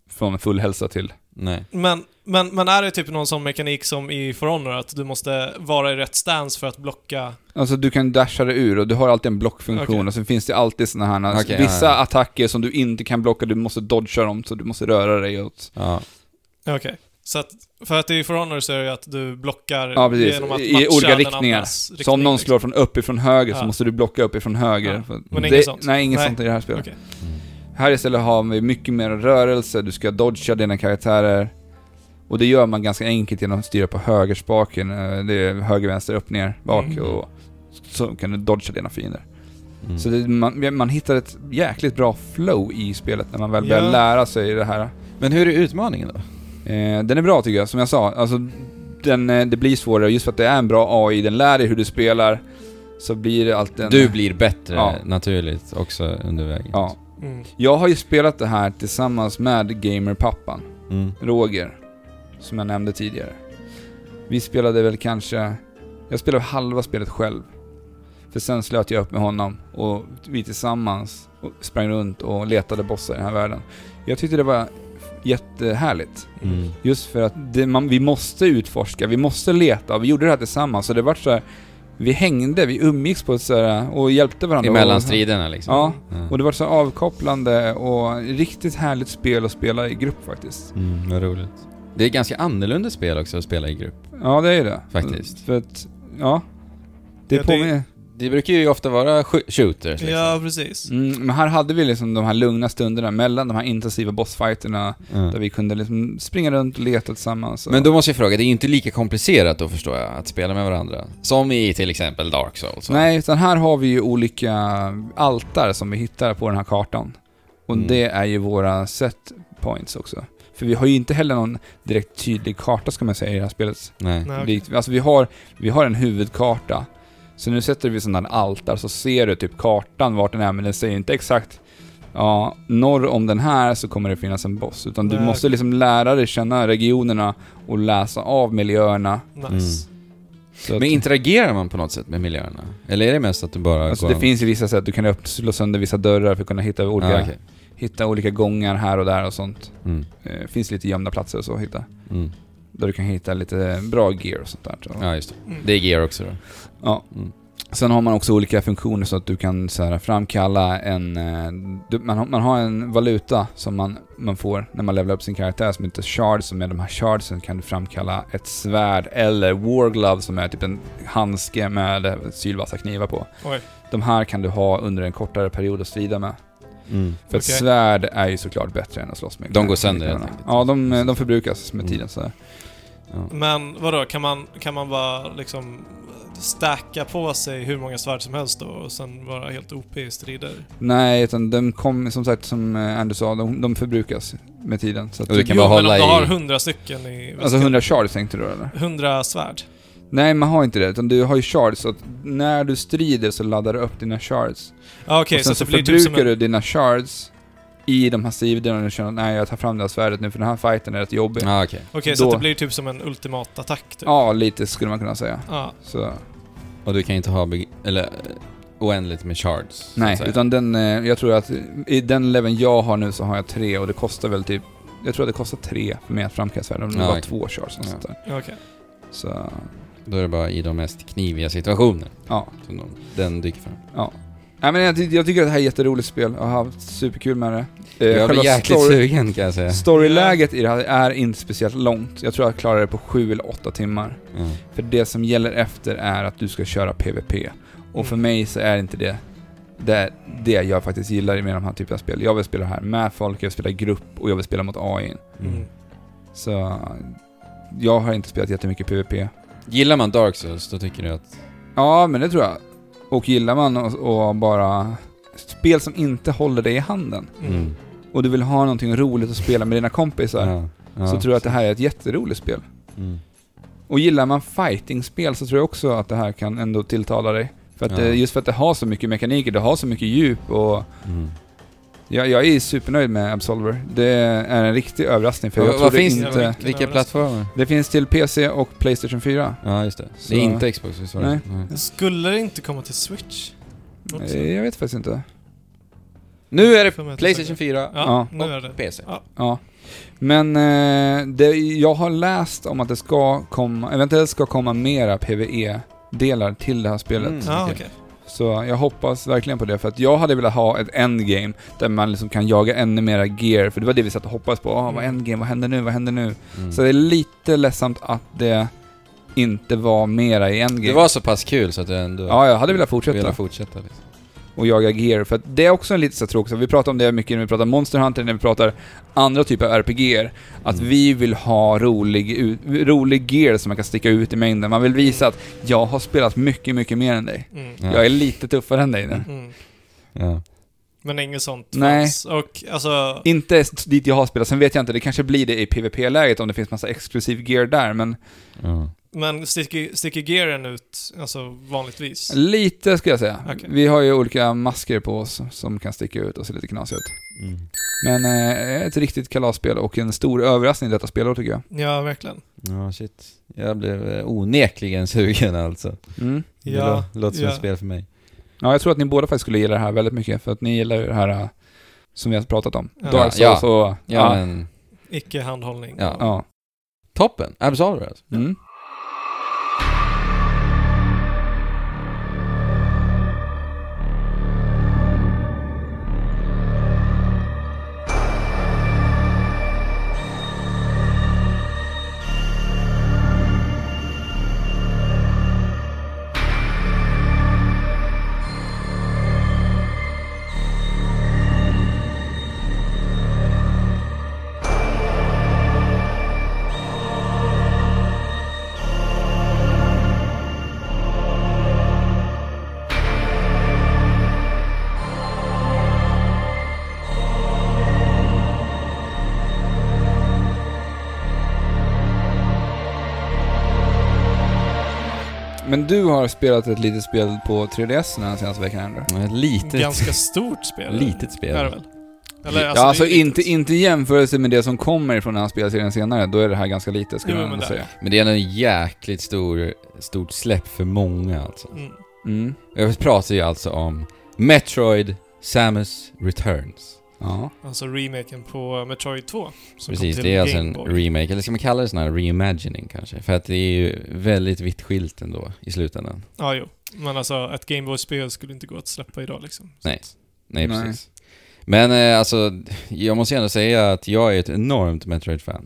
[SPEAKER 3] från full hälsa till...
[SPEAKER 2] Nej.
[SPEAKER 1] Men, men, men är det typ någon sån mekanik som i For Honor, att du måste vara i rätt stance för att blocka?
[SPEAKER 3] Alltså du kan dasha dig ur och du har alltid en blockfunktion
[SPEAKER 1] Okej.
[SPEAKER 3] och sen finns det alltid såna här,
[SPEAKER 2] Okej,
[SPEAKER 3] vissa
[SPEAKER 2] ja, ja.
[SPEAKER 3] attacker som du inte kan blocka, du måste dodga dem, så du måste röra dig åt...
[SPEAKER 2] Ja.
[SPEAKER 1] Okej. Så att, för att i For Honor så är det ju att du blockar
[SPEAKER 3] Ja, precis.
[SPEAKER 1] genom att matcha
[SPEAKER 3] I olika
[SPEAKER 1] den
[SPEAKER 3] riktningar.
[SPEAKER 1] andras
[SPEAKER 3] så om
[SPEAKER 1] riktning,
[SPEAKER 3] någon
[SPEAKER 1] liksom.
[SPEAKER 3] slår från uppifrån höger så
[SPEAKER 1] Ja.
[SPEAKER 3] måste du blocka uppifrån höger.
[SPEAKER 1] Ja,
[SPEAKER 3] För-
[SPEAKER 1] men
[SPEAKER 3] det,
[SPEAKER 1] inget sånt?
[SPEAKER 3] Nej, inget
[SPEAKER 1] Nej.
[SPEAKER 3] sånt i det här spelet.
[SPEAKER 1] Okej.
[SPEAKER 2] Mm.
[SPEAKER 3] Här istället har vi mycket mer rörelse, du ska dodga dina karaktärer. Och det gör man ganska enkelt genom att styra på högerspaken. eh, Det är höger, vänster, upp, ner, bak
[SPEAKER 1] Mm.
[SPEAKER 3] och så kan du dodga dina fiender.
[SPEAKER 2] Mm.
[SPEAKER 3] Så det, man, man hittar ett jäkligt bra flow i spelet när man väl
[SPEAKER 1] Ja.
[SPEAKER 3] börjar lära sig det här.
[SPEAKER 2] Men hur är utmaningen då?
[SPEAKER 3] Eh, den är bra tycker jag, som jag sa. Alltså, den, eh, det blir svårare just för att det är en bra AI, den lär dig hur du spelar. Så blir det alltid en...
[SPEAKER 2] Du blir bättre
[SPEAKER 3] Ja.
[SPEAKER 2] naturligt också under vägen.
[SPEAKER 3] Ja.
[SPEAKER 1] Mm.
[SPEAKER 3] Jag har ju spelat det här tillsammans med gamerpappan.
[SPEAKER 2] Mm.
[SPEAKER 3] Roger, som jag nämnde tidigare. Vi spelade väl kanske... Jag spelade halva spelet själv. För sen slöt jag upp med honom och vi tillsammans och sprang runt och letade bossar i den här världen. Jag tyckte det var jättehärligt.
[SPEAKER 2] Mm.
[SPEAKER 3] Just för att det, man, vi måste utforska, vi måste leta. Vi gjorde det här tillsammans så det var så här, Vi hängde, vi umgicks på ett så här, och hjälpte varandra.
[SPEAKER 2] Emellan
[SPEAKER 3] Och-
[SPEAKER 2] striderna liksom.
[SPEAKER 3] Ja,
[SPEAKER 2] Ja.
[SPEAKER 3] och det var så här avkopplande och riktigt härligt spel att spela i grupp faktiskt.
[SPEAKER 2] Mm, vad roligt. Det är ett ganska annorlunda spel också att spela i grupp.
[SPEAKER 3] Ja, det är det.
[SPEAKER 2] Faktiskt.
[SPEAKER 3] För att, ja. Det
[SPEAKER 1] Ja, det-
[SPEAKER 3] påminner...
[SPEAKER 2] Det brukar ju ofta vara sh- shooters liksom.
[SPEAKER 1] Ja, precis.
[SPEAKER 3] Mm, men här hade vi liksom de här lugna stunderna mellan de här intensiva bossfighterna
[SPEAKER 2] Ja.
[SPEAKER 3] där vi kunde liksom springa runt och leta tillsammans. Och,
[SPEAKER 2] Men då måste jag fråga, det är ju inte lika komplicerat då förstår jag, att spela med varandra. Som i till exempel Dark Souls. va?
[SPEAKER 3] Nej, utan här har vi ju olika altar som vi hittar på den här kartan. Och
[SPEAKER 2] Mm.
[SPEAKER 3] det är ju våra set points också. För vi har ju inte heller någon direkt tydlig karta ska man säga i det här spelet.
[SPEAKER 2] Nej.
[SPEAKER 1] Nej, okej.
[SPEAKER 3] Likt, alltså vi har, vi har en huvudkarta. Så nu sätter vi sådana här altar så ser du typ kartan vart den är men den säger inte exakt Ja, norr om den här så kommer det finnas en boss. Utan du
[SPEAKER 1] Nej.
[SPEAKER 3] måste liksom lära dig känna regionerna och läsa av miljöerna.
[SPEAKER 1] Nice.
[SPEAKER 3] Så att,
[SPEAKER 2] Men interagerar man på något sätt med miljöerna? Eller är det mest att du bara
[SPEAKER 3] alltså
[SPEAKER 2] går...
[SPEAKER 3] det finns ju vissa sätt, du kan upp, slå sönder vissa dörrar för att kunna hitta olika,
[SPEAKER 2] Ah, okej.
[SPEAKER 3] hitta olika gångar här och där och sånt.
[SPEAKER 2] mm.
[SPEAKER 3] Eh, finns lite gömda platser och så att hitta.
[SPEAKER 2] Mm.
[SPEAKER 3] Där du kan hitta lite bra gear och sånt där. Så.
[SPEAKER 2] Ja, just det.
[SPEAKER 1] Mm.
[SPEAKER 2] Det är gear också då.
[SPEAKER 3] Ja.
[SPEAKER 2] Mm.
[SPEAKER 3] Sen har man också olika funktioner så att du kan så här, framkalla en... eh, Du, man, har- man har en valuta som man, man får när man levlar upp sin karaktär som heter shards och med de här shardsen kan du framkalla ett svärd eller warglove som är typ en handske med eh, sylvassa knivar på.
[SPEAKER 1] Oj.
[SPEAKER 3] De här kan du ha under en kortare period att strida med. För
[SPEAKER 1] Okej.
[SPEAKER 3] ett svärd är ju såklart bättre än att slåss med.
[SPEAKER 2] De går sönder helt enkelt.
[SPEAKER 3] Ja, de, de förbrukas med
[SPEAKER 2] Mm.
[SPEAKER 3] tiden så här.
[SPEAKER 2] Ja.
[SPEAKER 1] Men vadå, kan man, kan man bara liksom stacka på sig hur många svärd som helst då och sen vara helt OP i strider?
[SPEAKER 3] Nej, utan de kommer, som sagt, som eh, Anders sa, de, de förbrukas med tiden. Så att
[SPEAKER 2] Och det kan
[SPEAKER 1] jo,
[SPEAKER 2] bara
[SPEAKER 1] men om
[SPEAKER 2] hålla
[SPEAKER 1] du
[SPEAKER 2] i-
[SPEAKER 1] har hundra stycken i...
[SPEAKER 3] Alltså 100 shards tänkte du då, eller?
[SPEAKER 1] 100 svärd?
[SPEAKER 3] Nej, man har inte det. Utan du har ju shards, så att när du strider så laddar du upp dina shards.
[SPEAKER 1] Ja, okej,
[SPEAKER 3] och
[SPEAKER 1] så,
[SPEAKER 3] sen
[SPEAKER 1] så
[SPEAKER 3] så,
[SPEAKER 1] det blir typ som
[SPEAKER 3] förbrukar
[SPEAKER 1] en...
[SPEAKER 3] du dina shards i de här sidorna och du känner nej jag tar fram det här svärdet nu för den här fighten är rätt jobbig.
[SPEAKER 2] Ah, okej.
[SPEAKER 1] Okej, så
[SPEAKER 3] då-
[SPEAKER 1] att det blir typ som en ultimat attack typ?
[SPEAKER 3] Ja, lite skulle man kunna säga.
[SPEAKER 1] Ja,
[SPEAKER 3] Så,
[SPEAKER 2] Och du kan inte ha... beg- Eller eh, oändligt med shards. så att
[SPEAKER 3] nej,
[SPEAKER 2] säga.
[SPEAKER 3] utan den, eh, jag tror att i den leveln jag har nu så har jag tre och det kostar väl typ, jag tror att det kostar tre för mig att framkalla svärd om det
[SPEAKER 2] Ja,
[SPEAKER 3] var
[SPEAKER 2] okej.
[SPEAKER 3] två shards och sånt där.
[SPEAKER 1] okej.
[SPEAKER 3] Så,
[SPEAKER 2] Då är det bara i de mest kniviga situationer
[SPEAKER 3] ja.
[SPEAKER 2] som de, den dyker
[SPEAKER 3] Eh,
[SPEAKER 2] fram.
[SPEAKER 3] Nej, men jag, ty- jag tycker att det här är ett jätteroligt spel, jag har haft superkul med det. Eh,
[SPEAKER 2] jag blir
[SPEAKER 3] själva
[SPEAKER 2] jäkligt
[SPEAKER 3] story-
[SPEAKER 2] sugen kan jag säga.
[SPEAKER 3] Storyläget i det här är inte speciellt långt. Jag tror jag
[SPEAKER 2] Mm.
[SPEAKER 3] klarar det på sju eller åtta timmar.
[SPEAKER 2] Ja.
[SPEAKER 3] För det som gäller efter är att du ska köra PVP. Och
[SPEAKER 2] Mm.
[SPEAKER 3] för mig så är inte det det, det jag faktiskt gillar med de här typen av spel. Jag vill spela här med folk, jag vill spela i grupp och jag vill spela mot AI.
[SPEAKER 1] Mm.
[SPEAKER 3] Så jag har inte spelat jättemycket PVP.
[SPEAKER 2] Gillar man Dark Souls, då tycker du att...
[SPEAKER 3] Ja, men det tror jag. Och gillar man att- att bara spel som inte håller dig i handen
[SPEAKER 1] Mm.
[SPEAKER 3] och du vill ha någonting roligt att spela med dina kompisar
[SPEAKER 2] Ja, ja.
[SPEAKER 3] så tror jag att det här är ett jätteroligt spel.
[SPEAKER 2] Mm.
[SPEAKER 3] Och gillar man fightingspel så tror jag också att det här kan ändå tilltala dig. För att
[SPEAKER 2] Ja.
[SPEAKER 3] det, just för att det har så mycket mekaniker, det har så mycket djup och
[SPEAKER 2] Mm.
[SPEAKER 3] jag, jag är supernöjd med Absolver. Det är en riktig överraskning för jag
[SPEAKER 2] Vad-
[SPEAKER 3] trodde
[SPEAKER 2] vad finns
[SPEAKER 1] det?
[SPEAKER 3] inte... Det?
[SPEAKER 2] Vilka plattformar?
[SPEAKER 3] finns till PC och Playstation 4.
[SPEAKER 2] Ja, just det.
[SPEAKER 3] Så-
[SPEAKER 2] Det är Mm. inte Xbox, visst var det?
[SPEAKER 3] Nej.
[SPEAKER 1] Skulle det inte komma till Switch? Också?
[SPEAKER 3] Eh, Jag vet faktiskt inte.
[SPEAKER 2] Nu är
[SPEAKER 1] För mig
[SPEAKER 2] det
[SPEAKER 1] att
[SPEAKER 2] Playstation
[SPEAKER 1] säga.
[SPEAKER 2] 4
[SPEAKER 1] Ja,
[SPEAKER 3] Ja.
[SPEAKER 1] nu är det.
[SPEAKER 2] PC.
[SPEAKER 3] Ja. Men eh, det, jag har läst om att det ska komma, eventuellt ska komma mera PVE-delar till det här spelet.
[SPEAKER 2] Mm.
[SPEAKER 1] Ja, okej.
[SPEAKER 2] Okej.
[SPEAKER 3] Så jag hoppas verkligen på det, för att jag hade velat ha ett endgame där man liksom kan jaga ännu mera gear, för det var det vi satt och hoppades på. Ah, vad är endgame, vad händer nu, vad händer nu?
[SPEAKER 2] Mm.
[SPEAKER 3] Så det är lite ledsamt att det inte var mera i endgame.
[SPEAKER 2] Det var så pass kul så att jag ändå
[SPEAKER 3] Ja, jag hade velat fortsätta
[SPEAKER 2] ville fortsätta. Liksom.
[SPEAKER 3] och jaga gear, för att det är också en lite så tråkig sak. Vi pratar om det mycket när vi pratar Monster Hunter, när vi pratar andra typer av RPG. Att
[SPEAKER 2] Mm.
[SPEAKER 3] vi vill ha rolig, ut- rolig gear som man kan sticka ut i mängden. Man vill visa att jag har spelat mycket, mycket mer än dig.
[SPEAKER 1] Mm.
[SPEAKER 2] Ja.
[SPEAKER 3] Jag är lite tuffare än dig nu.
[SPEAKER 1] Mm.
[SPEAKER 2] Ja.
[SPEAKER 1] Men inget sånt
[SPEAKER 3] Nej.
[SPEAKER 1] fanns. Och alltså...
[SPEAKER 3] Inte s- dit jag har spelat, sen vet jag inte, det kanske blir det i PVP-läget om det finns massa exklusiv gear där, men
[SPEAKER 2] Ja.
[SPEAKER 1] Men sticker, sticker gearen ut, alltså vanligtvis?
[SPEAKER 3] lite skulle jag säga.
[SPEAKER 1] Okej.
[SPEAKER 3] Vi har ju olika masker på oss som kan sticka ut och se lite knasiga ut.
[SPEAKER 2] Mm.
[SPEAKER 3] Men eh, ett riktigt kalasspel och en stor överraskning i detta spelår tycker jag.
[SPEAKER 1] Ja, verkligen.
[SPEAKER 2] ja, shit. Jag blev eh, onekligen sugen alltså.
[SPEAKER 3] Mm.
[SPEAKER 2] det
[SPEAKER 1] Ja,
[SPEAKER 2] lå- låter som
[SPEAKER 1] ja.
[SPEAKER 2] ett spel för mig.
[SPEAKER 3] Ja, jag tror att ni båda faktiskt skulle gilla det här väldigt mycket, för att ni gillar ju det här eh, som vi har pratat om.
[SPEAKER 1] Ja.
[SPEAKER 3] Dark Souls
[SPEAKER 2] Ja,
[SPEAKER 3] och...
[SPEAKER 2] Ja, men
[SPEAKER 1] Icke handhållning.
[SPEAKER 2] Ja.
[SPEAKER 3] ja.
[SPEAKER 2] toppen. Absolver alltså.
[SPEAKER 3] Mm. Men du har spelat ett litet spel på 3DS den här senaste veckan, Andrew.
[SPEAKER 2] Mm. Ett litet,
[SPEAKER 1] Ganska stort spel.
[SPEAKER 2] litet spel.
[SPEAKER 1] Är det väl? Eller,
[SPEAKER 3] ja,
[SPEAKER 1] det är
[SPEAKER 3] alltså
[SPEAKER 1] litet.
[SPEAKER 3] inte, inte i jämförelse med det som kommer från den här spelserien senare, då är det här ganska lite skulle
[SPEAKER 1] Jo,
[SPEAKER 3] jag
[SPEAKER 1] men
[SPEAKER 3] ändå
[SPEAKER 1] där.
[SPEAKER 3] säga.
[SPEAKER 2] Men det är en jäkligt stor, stort släpp för många alltså.
[SPEAKER 1] Mm.
[SPEAKER 3] Mm.
[SPEAKER 2] Jag pratar ju alltså om Metroid Samus Returns.
[SPEAKER 3] Ja.
[SPEAKER 1] Alltså remaken på Metroid 2. Som
[SPEAKER 2] Precis,
[SPEAKER 1] kom till
[SPEAKER 2] det är alltså
[SPEAKER 1] Game
[SPEAKER 2] en
[SPEAKER 1] Boy.
[SPEAKER 2] remake, eller ska man kalla det sån här reimagining kanske? För att det är ju väldigt vitt skilt ändå i slutändan.
[SPEAKER 1] Ja, jo. Men alltså ett Gameboy-spel skulle inte gå att släppa idag liksom. Så
[SPEAKER 2] Nej.
[SPEAKER 1] att-
[SPEAKER 2] Nej,
[SPEAKER 3] Nej.
[SPEAKER 2] precis. Men eh, alltså, jag måste ändå säga att jag är ett enormt Metroid-fan.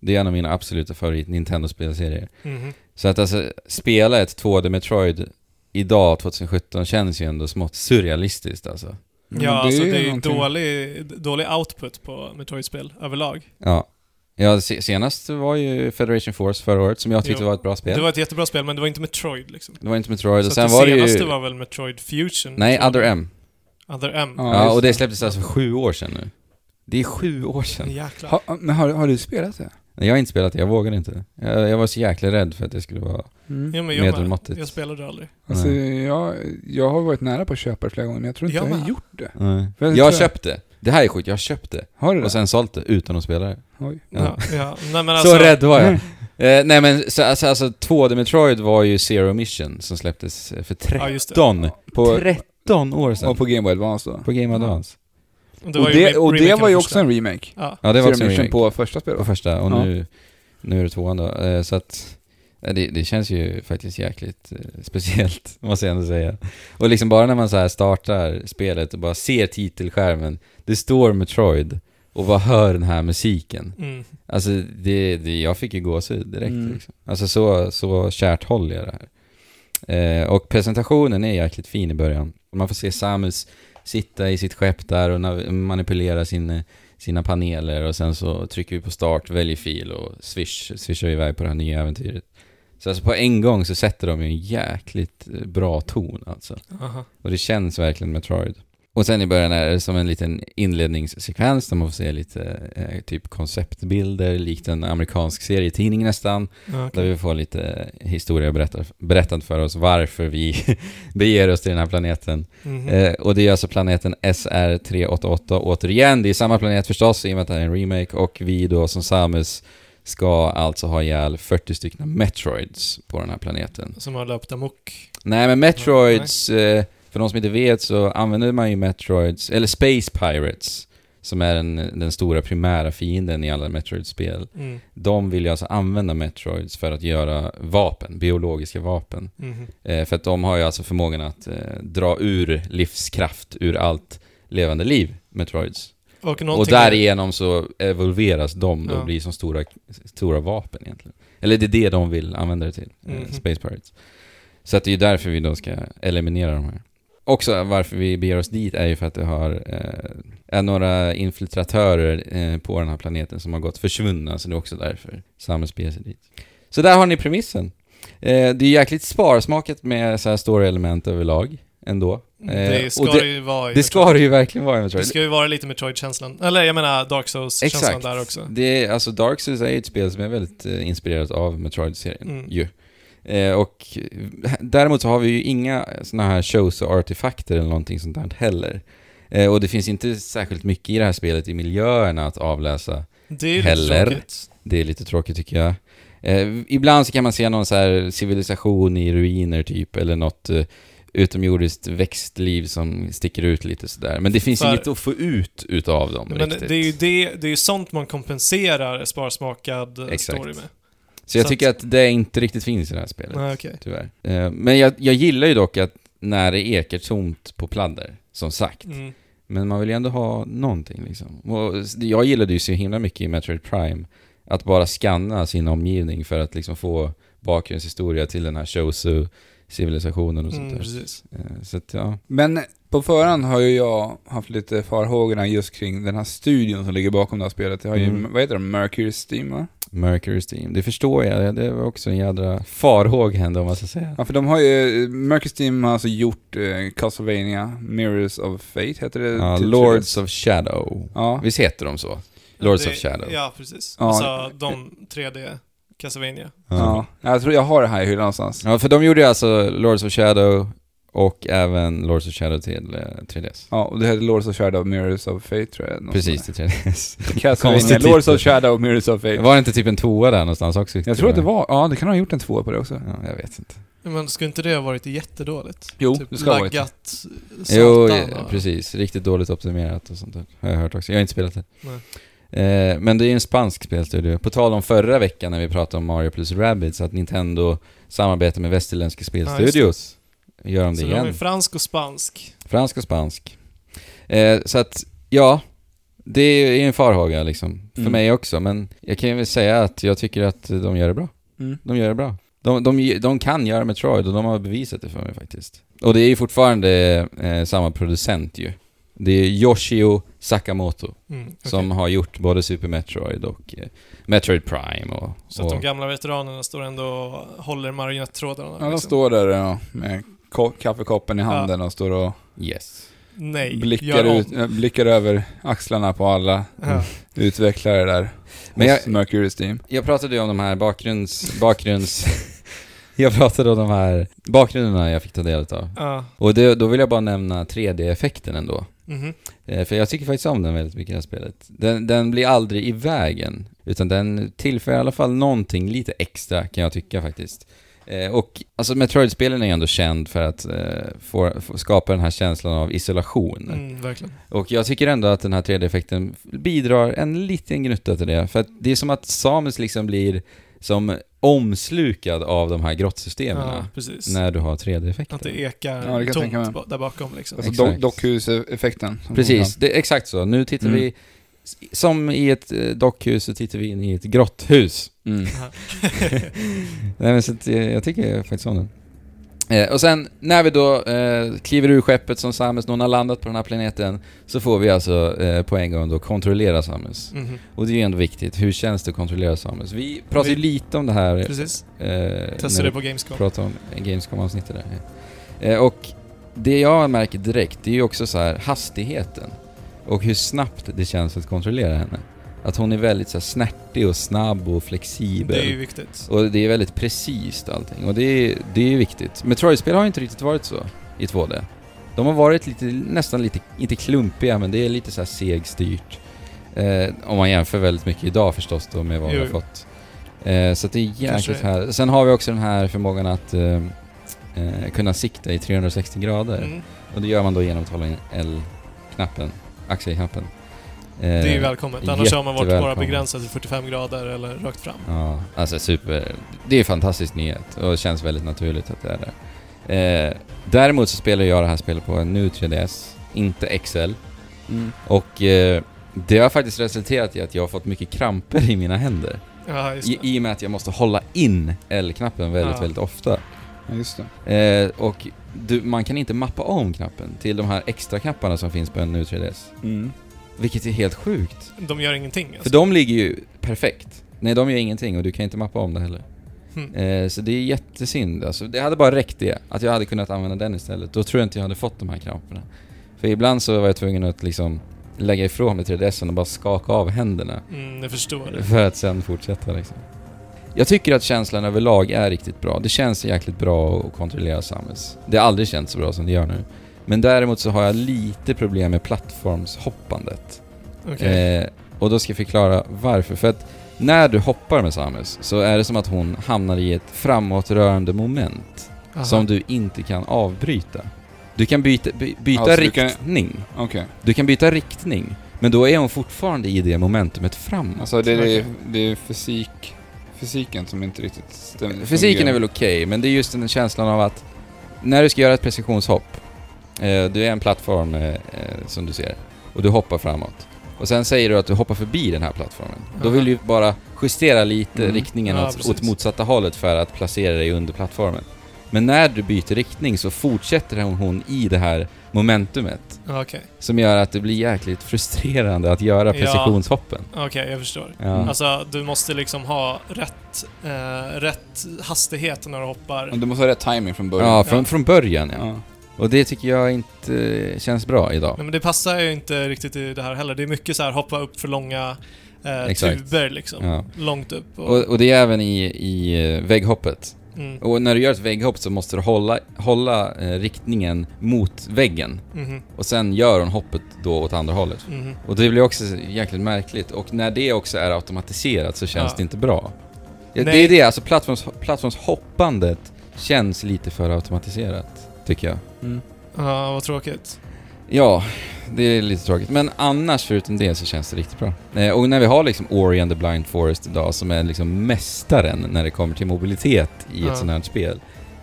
[SPEAKER 2] Det är en av mina absoluta favorit Nintendo-spelserier.
[SPEAKER 1] Mhm.
[SPEAKER 2] Så att alltså, spela ett 2D Metroid idag, 2017, känns ju ändå smått surrealistiskt alltså.
[SPEAKER 3] Mm. Men
[SPEAKER 1] Ja, alltså
[SPEAKER 3] ju
[SPEAKER 1] det är ju
[SPEAKER 3] någonting.
[SPEAKER 1] dålig, dålig output på Metroid-spel överlag.
[SPEAKER 2] Ja. Ja, se- senast var ju Federation Force förra året, som jag tyckte
[SPEAKER 1] Jo.
[SPEAKER 2] var ett bra spel.
[SPEAKER 1] Det var ett jättebra spel, men det var inte Metroid liksom.
[SPEAKER 2] Det var inte Metroid,
[SPEAKER 1] Så
[SPEAKER 2] och
[SPEAKER 1] att
[SPEAKER 2] sen
[SPEAKER 1] det
[SPEAKER 2] var det
[SPEAKER 1] senaste
[SPEAKER 2] ju...
[SPEAKER 1] var väl Metroid Fusion?
[SPEAKER 2] Nej,
[SPEAKER 1] tror jag.
[SPEAKER 2] Other M.
[SPEAKER 1] Other M.
[SPEAKER 3] Ja,
[SPEAKER 2] Ja,
[SPEAKER 3] just
[SPEAKER 2] och
[SPEAKER 3] det.
[SPEAKER 2] det släpptes alltså för sju år sedan nu. Det är sju år sedan.
[SPEAKER 1] Jäklar.
[SPEAKER 3] Ha, men har, har du spelat det?
[SPEAKER 2] Nej, Jag har inte spelat det, jag vågade inte. Jag, jag var så jäkla rädd för att det skulle vara...
[SPEAKER 3] Mm.
[SPEAKER 1] Ja, men jag, med.
[SPEAKER 2] Medelmåttigt.
[SPEAKER 1] jag spelade aldrig.
[SPEAKER 3] Alltså,
[SPEAKER 2] Nej.
[SPEAKER 3] jag, jag har varit nära på att köpa det flera gånger, men jag tror inte
[SPEAKER 1] Jag
[SPEAKER 3] jag, har
[SPEAKER 1] med.
[SPEAKER 3] gjort det.
[SPEAKER 2] Nej.
[SPEAKER 3] För jag
[SPEAKER 2] Jag
[SPEAKER 3] tror jag-
[SPEAKER 2] köpte. Det här är sjukt, jag köpte.
[SPEAKER 3] Har du det?
[SPEAKER 2] Och sen sålt det utan att spela det.
[SPEAKER 3] Oj.
[SPEAKER 1] Ja.
[SPEAKER 2] Ja.
[SPEAKER 1] Ja. Nej, men alltså,
[SPEAKER 2] Så rädd var jag. Eh, nej men så, alltså, alltså 2D Metroid var ju Zero Mission som släpptes eh, för
[SPEAKER 1] Ja, just det.
[SPEAKER 2] 13,
[SPEAKER 3] På,
[SPEAKER 2] 13 år sedan.
[SPEAKER 3] och
[SPEAKER 2] På,
[SPEAKER 3] på Game Boy Advance då.
[SPEAKER 2] Game Advance.
[SPEAKER 1] Det
[SPEAKER 3] och det,
[SPEAKER 1] re-
[SPEAKER 3] och det
[SPEAKER 1] remaken
[SPEAKER 3] var ju
[SPEAKER 1] av
[SPEAKER 3] också
[SPEAKER 1] första.
[SPEAKER 3] en remake.
[SPEAKER 1] Ja.
[SPEAKER 2] Ja det var också
[SPEAKER 3] Zero
[SPEAKER 2] en
[SPEAKER 3] Mission
[SPEAKER 2] remake på,
[SPEAKER 3] på första spelet.
[SPEAKER 2] första och
[SPEAKER 3] Ja.
[SPEAKER 2] nu, nu är det tvåan då. Eh, så att eh, det, det känns ju faktiskt jäkligt eh, speciellt måste jag ändå säga. Och liksom bara när man så här startar spelet och bara ser titelskärmen. Det står Metroid och bara hör den här musiken.
[SPEAKER 1] Mm.
[SPEAKER 2] Alltså, det, det, jag fick ju gåshud direkt
[SPEAKER 3] Mm.
[SPEAKER 2] liksom. Alltså så, så kärt håll är det här. Eh, och presentationen är jäkligt fin i början. Man får se Samus sitta i sitt skepp där och nav- manipulera sin, eh, sina paneler och sen så trycker vi på start, väljer fil och swish, swishar vi iväg på det här nya äventyret. Så alltså på en gång så sätter de ju en jäkligt eh, bra ton alltså.
[SPEAKER 1] Aha.
[SPEAKER 2] Och det känns verkligen Metroid. Och sen i början är det som en liten inledningssekvens där man får se lite eh, typ konceptbilder, likt en amerikansk serietidning nästan.
[SPEAKER 1] Ja, okej.
[SPEAKER 2] Där vi får lite historia berättad, berättad för oss varför vi beger oss till den här planeten.
[SPEAKER 1] Mhm.
[SPEAKER 2] Eh, och det är alltså planeten SR388 återigen. Det är samma planet förstås i och med att det här är en remake och vi då som Samus ska alltså ha ihjäl 40 stycken Metroids på den här planeten.
[SPEAKER 1] Som har löpt amok.
[SPEAKER 2] Nej men Metroids, eh, för de som inte vet så använder man ju Metroids, eller Space Pirates, som är den, den stora primära fienden i alla Metroid-spel.
[SPEAKER 1] Mm.
[SPEAKER 2] De vill ju alltså använda Metroids för att göra vapen, biologiska vapen.
[SPEAKER 1] Mhm.
[SPEAKER 2] Eh, för att de har ju alltså förmågan att eh, dra ur livskraft ur allt levande liv, Metroids.
[SPEAKER 1] Och,
[SPEAKER 2] och
[SPEAKER 1] någonting-
[SPEAKER 2] därigenom så evolveras de, de
[SPEAKER 1] Ja.
[SPEAKER 2] blir som stora, stora vapen egentligen. Eller det är det de vill använda det till, eh,
[SPEAKER 1] Mhm.
[SPEAKER 2] Space Pirates. Så att det är ju därför vi då ska eliminera de här. Också varför vi beger oss dit är ju för att det har eh, är några infiltratörer eh, på den här planeten som har gått försvunna, så det är också därför Samus beger sig dit. Så där har ni premissen. Eh, det är jäkligt sparsmaket med så här story-element överlag, ändå. Eh,
[SPEAKER 1] Det
[SPEAKER 2] och
[SPEAKER 1] ska det, ju vara i
[SPEAKER 2] Det ska
[SPEAKER 1] Metroid.
[SPEAKER 2] det ju verkligen vara i Metroid.
[SPEAKER 1] Det ska ju vara lite Metroid-känslan. Eller jag menar Dark Souls-känslan
[SPEAKER 2] Exakt.
[SPEAKER 1] där också.
[SPEAKER 2] Det är, alltså Dark Souls är ju ett spel som är väldigt eh, inspirerat av Metroid-serien
[SPEAKER 1] Mm.
[SPEAKER 2] ju. Eh, och eh, däremot så har vi ju inga sådana här shows och artefakter eller någonting sånt där heller. Eh, och det finns inte särskilt mycket i det här spelet i miljöerna att avläsa.
[SPEAKER 1] Det är ju
[SPEAKER 2] Heller.
[SPEAKER 1] lite tråkigt.
[SPEAKER 2] Det är lite tråkigt tycker jag. Eh, ibland så kan man se någon så här civilisation i ruiner typ, eller något eh, utomjordiskt växtliv som sticker ut lite sådär. Men det finns
[SPEAKER 1] För-
[SPEAKER 2] inget att få ut utav dem
[SPEAKER 1] Men
[SPEAKER 2] riktigt.
[SPEAKER 1] det är ju det, det är ju sånt man kompenserar sparsmakad eh,
[SPEAKER 2] Exakt.
[SPEAKER 1] story med.
[SPEAKER 2] Så jag
[SPEAKER 1] Så att-
[SPEAKER 2] tycker att det inte riktigt finns i det här spelet.
[SPEAKER 1] Nej, Ah, okej.
[SPEAKER 2] Tyvärr. Eh, Men jag, jag gillar ju dock att när det ekar tomt på pladder, som sagt.
[SPEAKER 1] Mm.
[SPEAKER 2] Men man vill ju ändå ha någonting liksom. Och s- jag gillade ju så himla mycket i Metroid Prime, att bara scanna sin omgivning för att liksom få bakgrundshistoria till den här Shosu-civilisationen och sånt
[SPEAKER 1] Mm,
[SPEAKER 2] där.
[SPEAKER 1] precis.
[SPEAKER 2] Eh, Så att, ja.
[SPEAKER 3] Men på förhand har ju jag haft lite farhågorna just kring den här studion som ligger bakom det här spelet. Det har ju,
[SPEAKER 2] Mm.
[SPEAKER 3] vad heter det, Mercury Steam va?
[SPEAKER 2] Mercury's Team, det förstår jag. Det var också en jädra farhåga ändå om man ska säga.
[SPEAKER 3] Ja, för de har ju, Mercury Steam har alltså gjort eh, Castlevania, Mirrors of Fate heter det?
[SPEAKER 2] Ja,
[SPEAKER 3] till-
[SPEAKER 2] Lords of Shadow.
[SPEAKER 3] Ja.
[SPEAKER 2] Visst heter de så? Lords
[SPEAKER 1] Det-
[SPEAKER 2] of Shadow.
[SPEAKER 1] Ja, precis.
[SPEAKER 3] Ja.
[SPEAKER 1] Alltså de 3D Castlevania.
[SPEAKER 3] Ja. jag tror jag har det här i hyllan någonstans.
[SPEAKER 2] Ja, för de gjorde ju alltså Lords of Shadow och även Lords of Shadow till eh, 3DS.
[SPEAKER 3] Ja, och det heter Lords of Shadow, Mirrors of Fate tror jag. något
[SPEAKER 2] Precis,
[SPEAKER 3] sånt
[SPEAKER 2] till 3DS.
[SPEAKER 3] där. Castlevania,
[SPEAKER 2] Konstigt
[SPEAKER 3] Lords of
[SPEAKER 2] titel.
[SPEAKER 3] Shadow, Mirrors of Fate.
[SPEAKER 2] Var det inte typ en toa där någonstans också?
[SPEAKER 3] Jag tror att det var, ja det kan ha gjort en tvåa på det också.
[SPEAKER 2] Ja, jag vet inte.
[SPEAKER 1] Men skulle inte det ha varit jättedåligt?
[SPEAKER 3] Jo,
[SPEAKER 1] typ
[SPEAKER 3] det ska ha varit.
[SPEAKER 1] laggat, satan
[SPEAKER 2] Jo,
[SPEAKER 1] och-
[SPEAKER 2] ja, precis. Riktigt dåligt optimerat och sånt där. Har jag hört också. Jag har inte spelat det.
[SPEAKER 1] Nej.
[SPEAKER 2] Eh, men det är ju en spansk spelstudio. På tal om förra veckan när vi pratade om Mario plus Rabbids, att Nintendo samarbetar med västerländska spelstudios. Gör de det
[SPEAKER 1] Så de
[SPEAKER 2] igen.
[SPEAKER 1] är fransk och spansk.
[SPEAKER 2] Fransk och spansk. Eh, så att, ja. Det är en farhåga liksom. För
[SPEAKER 3] Mm.
[SPEAKER 2] mig också. Men jag kan ju väl säga att jag tycker att de gör det bra.
[SPEAKER 3] Mm.
[SPEAKER 2] De gör det bra. De, de, de kan göra Metroid och de har bevisat det för mig faktiskt. Och det är ju fortfarande eh, samma producent ju. Det är Yoshio Sakamoto
[SPEAKER 1] Mm, okej.
[SPEAKER 2] som har gjort både Super Metroid och eh, Metroid Prime och...
[SPEAKER 1] Så att
[SPEAKER 2] och
[SPEAKER 1] de gamla veteranerna står ändå och håller marionettrådarna.
[SPEAKER 3] Ja, de
[SPEAKER 1] liksom.
[SPEAKER 3] står där ja, med ko- kaffekoppen i handen och står och
[SPEAKER 2] Yes.
[SPEAKER 1] Nej,
[SPEAKER 3] blickar,
[SPEAKER 1] gör om.
[SPEAKER 3] ut, eh, blickar över axlarna på alla
[SPEAKER 1] Ja.
[SPEAKER 3] utvecklare där.
[SPEAKER 2] Men
[SPEAKER 3] Men
[SPEAKER 2] jag-
[SPEAKER 3] jag, Mercury Steam.
[SPEAKER 2] Jag pratade ju om de här bakgrunds... bakgrunds... jag pratade om de här bakgrunderna jag fick ta del av.
[SPEAKER 1] Ja.
[SPEAKER 2] Och det, då vill jag bara nämna 3D-effekten ändå.
[SPEAKER 1] Mhm.
[SPEAKER 2] Eh, för jag tycker faktiskt om den väldigt mycket i det här spelet. Den, den blir aldrig i vägen, utan den tillför i alla fall någonting lite extra kan jag tycka faktiskt. Eh, och alltså Metroid-spelen är ju ändå känd för att eh, få, få skapa den här känslan av isolation.
[SPEAKER 1] Mm, verkligen.
[SPEAKER 2] Och jag tycker ändå att den här 3D-effekten bidrar en liten gnutta till det. För att det är som att Samus liksom blir som omslukad av de här grottsystemen
[SPEAKER 1] Ja, precis.
[SPEAKER 2] när du har 3D-effekter.
[SPEAKER 1] Att det ekar
[SPEAKER 3] Ja, det kan jag tänka
[SPEAKER 1] tomt
[SPEAKER 3] mig.
[SPEAKER 1] ba- där bakom liksom.
[SPEAKER 3] Alltså do-
[SPEAKER 2] Exakt.
[SPEAKER 3] dockhuseffekten.
[SPEAKER 1] Mm.
[SPEAKER 3] som
[SPEAKER 2] Precis, det är exakt så. Nu tittar
[SPEAKER 3] Mm.
[SPEAKER 2] vi, som i ett eh, dockhus så tittar vi in i ett grotthus.
[SPEAKER 3] kom fram. Mm.
[SPEAKER 2] Nej men så att, eh, jag tycker faktiskt om den. Eh, och sen när vi då eh, kliver ur skeppet som Samus, någon har landat på den här planeten, så får vi alltså eh, på en gång då kontrollera Samus.
[SPEAKER 1] Mhm.
[SPEAKER 2] Och det är ju ändå viktigt, hur känns det att kontrollera Samus? Vi pratade ju
[SPEAKER 1] Vi-
[SPEAKER 2] lite om det här...
[SPEAKER 1] Precis.
[SPEAKER 2] Eh, när
[SPEAKER 1] Testade det på Gamescom.
[SPEAKER 2] prata om Gamescom-avsnittet där. Eh, och det jag märker direkt, det är ju också så här hastigheten. Och hur snabbt det känns att kontrollera henne. Att hon är väldigt så här, snärtig och snabb och flexibel.
[SPEAKER 1] Det är ju viktigt.
[SPEAKER 2] Och det är väldigt precis allting. Och det är, det är ju viktigt. Metroid-spel har ju inte riktigt varit så i 2D. De har varit lite, nästan lite, inte klumpiga, men det är lite så här segstyrt. Eh, om man jämför väldigt mycket idag förstås då med vad vi
[SPEAKER 1] Jo.
[SPEAKER 2] har fått. Eh, så att det är
[SPEAKER 1] Kanske
[SPEAKER 2] jäkligt
[SPEAKER 1] det.
[SPEAKER 2] här. Sen har vi också den här förmågan att eh, eh, kunna sikta i 360 grader.
[SPEAKER 1] Mm.
[SPEAKER 2] Och det gör man då genom att hålla in L-knappen, axelknappen.
[SPEAKER 1] Det
[SPEAKER 2] Eh,
[SPEAKER 1] är ju välkommet. Annars har man varit bara
[SPEAKER 2] jättevälkommen.
[SPEAKER 1] begränsad till 45 grader eller rakt fram.
[SPEAKER 2] Ja, alltså super. Det är en fantastisk nyhet och det känns väldigt naturligt att det är det. Eh, däremot så spelar jag det här spelet på en nu 3DS, inte XL.
[SPEAKER 3] Mm.
[SPEAKER 2] Och eh, det har faktiskt resulterat i att jag har fått mycket kramper i mina händer.
[SPEAKER 1] Ja, just
[SPEAKER 2] I,
[SPEAKER 1] det.
[SPEAKER 2] I och med att jag måste hålla in L-knappen väldigt,
[SPEAKER 1] Ja.
[SPEAKER 2] väldigt ofta.
[SPEAKER 3] Ja, just det.
[SPEAKER 2] Eh, och du, man kan inte mappa om knappen till de här extra knapparna som finns på en nu 3DS.
[SPEAKER 3] Mm.
[SPEAKER 2] Vilket är helt sjukt.
[SPEAKER 1] De gör ingenting
[SPEAKER 2] För
[SPEAKER 1] alltså.
[SPEAKER 2] de ligger ju perfekt. Nej, de gör ingenting och du kan inte mappa om det heller.
[SPEAKER 1] Mm.
[SPEAKER 2] Eh, så det är jättesynd alltså. Det hade bara räckt det, att jag hade kunnat använda den istället. Då tror jag inte jag hade fått de här kramperna. För ibland så var jag tvungen att liksom lägga ifrån mig 3DSen och bara skaka av händerna.
[SPEAKER 1] Mm, jag förstår det.
[SPEAKER 2] För att sen fortsätta liksom. Jag tycker att känslan överlag är riktigt bra. Det känns jäkligt bra att kontrollera Samus. Det har aldrig känts så bra som det gör nu. Men däremot så har jag lite problem med plattformshoppandet.
[SPEAKER 1] Okej.
[SPEAKER 2] Eh, och då ska jag förklara varför. För att när du hoppar med Samus så är det som att hon hamnar i ett framåtrörande moment
[SPEAKER 1] Aha.
[SPEAKER 2] som du inte kan avbryta. Du kan byta, by, byta
[SPEAKER 3] Alltså, du kan-
[SPEAKER 2] riktning. Du kan...
[SPEAKER 3] Okej.
[SPEAKER 2] byta riktning, men då är hon fortfarande i det momentumet framåt.
[SPEAKER 3] Alltså det är, det,
[SPEAKER 1] Okej.
[SPEAKER 3] det är fysik, fysiken som inte riktigt stämmer.
[SPEAKER 2] Fysiken är väl okej, men det är just den känslan av att när du ska göra ett precisionshopp, eh, du är en plattform eh, eh, som du ser, och du hoppar framåt. Och sen säger du att du hoppar förbi den här plattformen. Då vill du bara justera lite
[SPEAKER 3] Mm.
[SPEAKER 2] riktningen
[SPEAKER 1] Ja,
[SPEAKER 2] åt,
[SPEAKER 1] precis.
[SPEAKER 2] åt motsatta hållet för att placera dig under plattformen. Men när du byter riktning så fortsätter hon, hon i det här momentumet
[SPEAKER 1] Ja, Okej,
[SPEAKER 2] som gör att det blir jäkligt frustrerande att göra
[SPEAKER 1] Ja.
[SPEAKER 2] precisionshoppen.
[SPEAKER 1] Okej, jag förstår.
[SPEAKER 2] Ja.
[SPEAKER 1] Alltså, du måste liksom ha rätt, eh, rätt hastighet när du hoppar.
[SPEAKER 3] Du måste ha rätt timing från början.
[SPEAKER 2] Ja, från, från början ja.
[SPEAKER 3] Ja.
[SPEAKER 2] Och det tycker jag inte känns bra idag.
[SPEAKER 1] Nej, men det passar ju inte riktigt i det här heller. Det är mycket så här hoppa upp för långa eh,
[SPEAKER 2] Exakt.
[SPEAKER 1] tuber liksom.
[SPEAKER 2] Ja.
[SPEAKER 1] Långt upp. Och,
[SPEAKER 2] Och, och det är även i, i eh, vägghoppet.
[SPEAKER 1] mm,
[SPEAKER 2] Och när du gör ett vägghopp så måste du hålla, hålla eh, riktningen mot väggen.
[SPEAKER 1] mhm,
[SPEAKER 2] Och sen gör hon hoppet då åt andra hållet.
[SPEAKER 1] mhm.
[SPEAKER 2] Och det blir också jäkligt märkligt. Och när det också är automatiserat så känns
[SPEAKER 1] Ja.
[SPEAKER 2] det inte bra. Ja, det
[SPEAKER 1] Nej.
[SPEAKER 2] är det, alltså plattforms, plattformshoppandet känns lite för automatiserat, tycker jag.
[SPEAKER 1] Ja, vad tråkigt.
[SPEAKER 2] Ja, det är lite tråkigt. Men annars, förutom det, så känns det riktigt bra. Eh, och när vi har liksom Ori and the Blind Forest idag, som är liksom mästaren när det kommer till mobilitet i
[SPEAKER 1] Ja.
[SPEAKER 2] ett sånt här spel,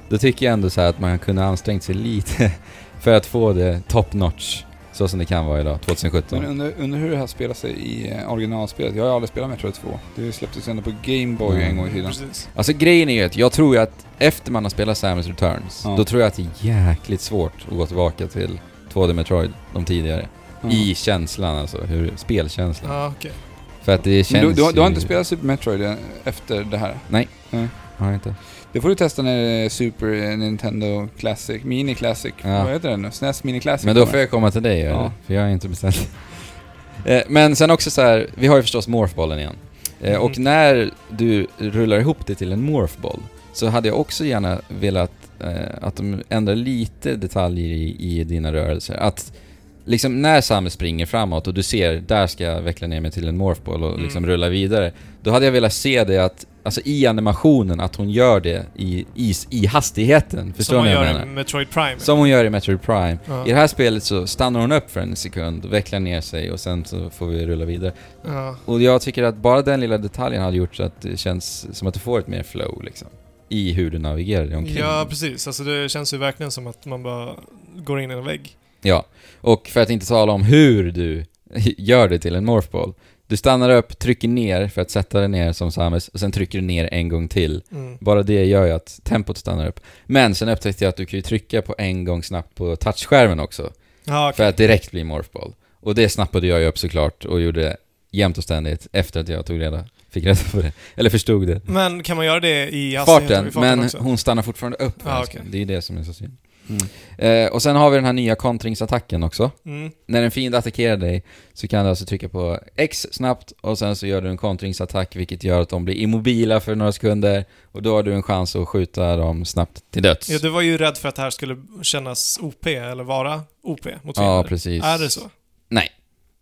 [SPEAKER 2] då tycker jag ändå så här att man kunde ha ansträngt sig lite för att få det top notch, så som det kan vara idag,
[SPEAKER 3] Men
[SPEAKER 2] 2017.
[SPEAKER 3] undrar, undrar hur det här spelar sig i eh, originalspelet. Jag har ju aldrig spelat Metroid 2. Det släpptes ju ändå på Game Boy
[SPEAKER 2] Mm.
[SPEAKER 3] en gång i tiden.
[SPEAKER 1] Precis.
[SPEAKER 2] Alltså grejen är ju att jag tror ju att efter man har spelat Samus Returns,
[SPEAKER 3] Ja.
[SPEAKER 2] då tror jag att det är jäkligt svårt att gå tillbaka till 2D Metroid, de tidigare.
[SPEAKER 3] Ja.
[SPEAKER 2] I känslan alltså, hur, spelkänslan.
[SPEAKER 1] Ja, okej.
[SPEAKER 2] För att det
[SPEAKER 3] Men
[SPEAKER 2] känns
[SPEAKER 3] du, du, har- du har
[SPEAKER 2] ju-
[SPEAKER 3] inte spelat Super Metroid eh, efter det här?
[SPEAKER 2] Har jag inte.
[SPEAKER 3] Det får du testa när det är Super eh, Nintendo Classic, Mini Classic,
[SPEAKER 2] Ja.
[SPEAKER 3] vad heter den nu? SNES Mini Classic?
[SPEAKER 2] Men då får jag komma till dig eller?
[SPEAKER 3] Ja.
[SPEAKER 2] för jag är inte bestämd. Eh, Men sen också så här, vi har ju förstås morphbollen igen. Eh, Och
[SPEAKER 1] Mm.
[SPEAKER 2] när du rullar ihop det till en morphboll så hade jag också gärna velat eh, att de ändrar lite detaljer i, i dina rörelser. Att liksom när Samus springer framåt och du ser, där ska jag veckla ner mig till en morphboll och liksom
[SPEAKER 1] Mm.
[SPEAKER 2] rulla vidare. Då hade jag velat se det att, alltså i animationen, att hon gör det i, i, i hastigheten. Förstår
[SPEAKER 1] Som man
[SPEAKER 2] ni vad jag
[SPEAKER 1] gör i
[SPEAKER 2] menar?
[SPEAKER 1] Metroid Prime.
[SPEAKER 2] Som hon gör i Metroid Prime.
[SPEAKER 1] Ja.
[SPEAKER 2] I det här spelet så stannar hon upp för en sekund, vecklar ner sig och sen så får vi rulla vidare.
[SPEAKER 1] Ja.
[SPEAKER 2] Och jag tycker att bara den lilla detaljen hade gjort så att det känns som att du får ett mer flow liksom. I hur du navigerar dig omkring.
[SPEAKER 1] ja, precis. Alltså, det känns ju verkligen som att man bara går in i en vägg.
[SPEAKER 2] Ja. Och för att inte tala om hur du gör det till en morphball. Du stannar upp, trycker ner för att sätta dig ner som Samus, och sen trycker du ner en gång till.
[SPEAKER 1] Mm.
[SPEAKER 2] Bara det gör ju att tempot stannar upp. Men sen upptäckte jag att du kan ju trycka på en gång snabbt på touchskärmen också.
[SPEAKER 1] Ja, okej.
[SPEAKER 2] För att direkt bli morphball. Och det snappade jag ju upp såklart och gjorde jämt och ständigt efter att jag tog reda, fick reda på det. Eller förstod det.
[SPEAKER 1] Men kan man göra det i hastigheten?
[SPEAKER 2] Farten,
[SPEAKER 1] i farten
[SPEAKER 2] men
[SPEAKER 1] också?
[SPEAKER 2] hon stannar fortfarande upp.
[SPEAKER 1] Ja,
[SPEAKER 2] älskling.
[SPEAKER 1] okej.
[SPEAKER 2] Det är det som är så synd.
[SPEAKER 3] Mm.
[SPEAKER 2] Eh, och sen har vi den här nya kontringsattacken också.
[SPEAKER 1] Mm.
[SPEAKER 2] När en fiende attackerar dig så kan du alltså trycka på X snabbt och sen så gör du en kontringsattack vilket gör att de blir immobila för några sekunder och då har du en chans att skjuta dem snabbt till döds.
[SPEAKER 1] Ja, du var ju rädd för att det här skulle kännas OP, eller vara OP mot fiender.
[SPEAKER 2] Ja, precis.
[SPEAKER 1] Är det så?
[SPEAKER 2] Nej.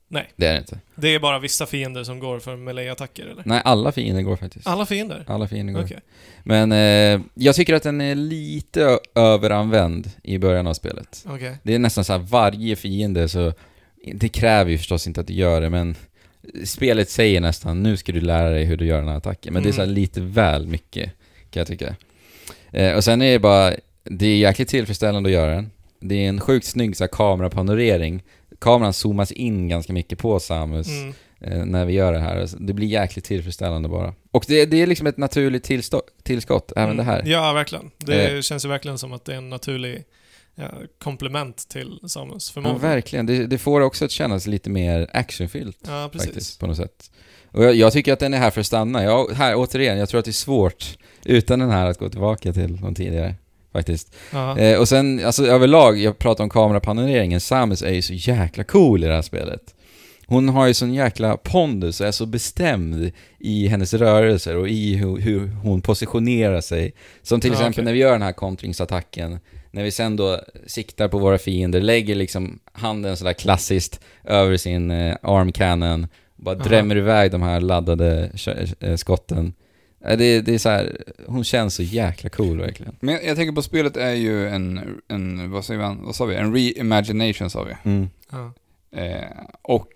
[SPEAKER 1] Nej.
[SPEAKER 2] Det är det inte.
[SPEAKER 1] Det är bara vissa fiender som går för melee-attacker, eller?
[SPEAKER 2] Nej, alla fiender går faktiskt.
[SPEAKER 1] Alla fiender?
[SPEAKER 2] Alla fiender går.
[SPEAKER 1] Okej.
[SPEAKER 2] Men eh, jag tycker att den är lite ö- överanvänd i början av spelet.
[SPEAKER 1] Okej.
[SPEAKER 2] Det är nästan så här varje fiende så... Det kräver ju förstås inte att du gör det, men spelet säger nästan nu ska du lära dig hur du gör den här attacken. Men det är så här
[SPEAKER 1] Mm.
[SPEAKER 2] lite väl mycket, kan jag tycka. Eh, och sen är det bara... Det är jäkligt tillfredsställande att göra den. Det är en sjukt snygg så här, kamerapanorering. Kameran zoomas in ganska mycket på Samus
[SPEAKER 1] Mm.
[SPEAKER 2] eh, när vi gör det här. Alltså, Det blir jäkligt tillfredsställande bara. Och det, det är liksom ett naturligt tillstå- tillskott, även
[SPEAKER 1] Mm.
[SPEAKER 2] det här.
[SPEAKER 1] Ja, verkligen. Det
[SPEAKER 2] Eh.
[SPEAKER 1] känns ju verkligen som att det är en naturlig ja, komplement till Samus
[SPEAKER 2] Ja,
[SPEAKER 1] förmåga.
[SPEAKER 2] verkligen. Det, det får också att kännas lite mer actionfyllt
[SPEAKER 1] Ja, precis.
[SPEAKER 2] faktiskt, på något sätt. Och jag, jag tycker att den är här för att stanna. Jag, här, återigen, jag tror att det är svårt utan den här att gå tillbaka till de tidigare, faktiskt.
[SPEAKER 1] Ja.
[SPEAKER 2] Eh, och sen, alltså överlag, jag pratar om kamerapanoreringen, Samus är ju så jäkla cool i det här spelet. Hon har ju sån jäkla pondus och är så bestämd i hennes rörelser och i hur, hur hon positionerar sig. Som till
[SPEAKER 1] Ja,
[SPEAKER 2] exempel
[SPEAKER 1] okej.
[SPEAKER 2] när vi gör den här kontringsattacken, när vi sen då siktar på våra fiender, lägger liksom handen sådär klassiskt över sin eh, arm cannon, bara
[SPEAKER 1] Aha.
[SPEAKER 2] drämmer iväg de här laddade kö- eh, skotten. Eh, Det, det är så här, hon känns så jäkla cool verkligen.
[SPEAKER 3] Men jag, jag tänker på spelet är ju en, en vad, säger man, vad sa vi, en reimagination sa vi.
[SPEAKER 2] Mm,
[SPEAKER 1] Ja.
[SPEAKER 3] Eh, och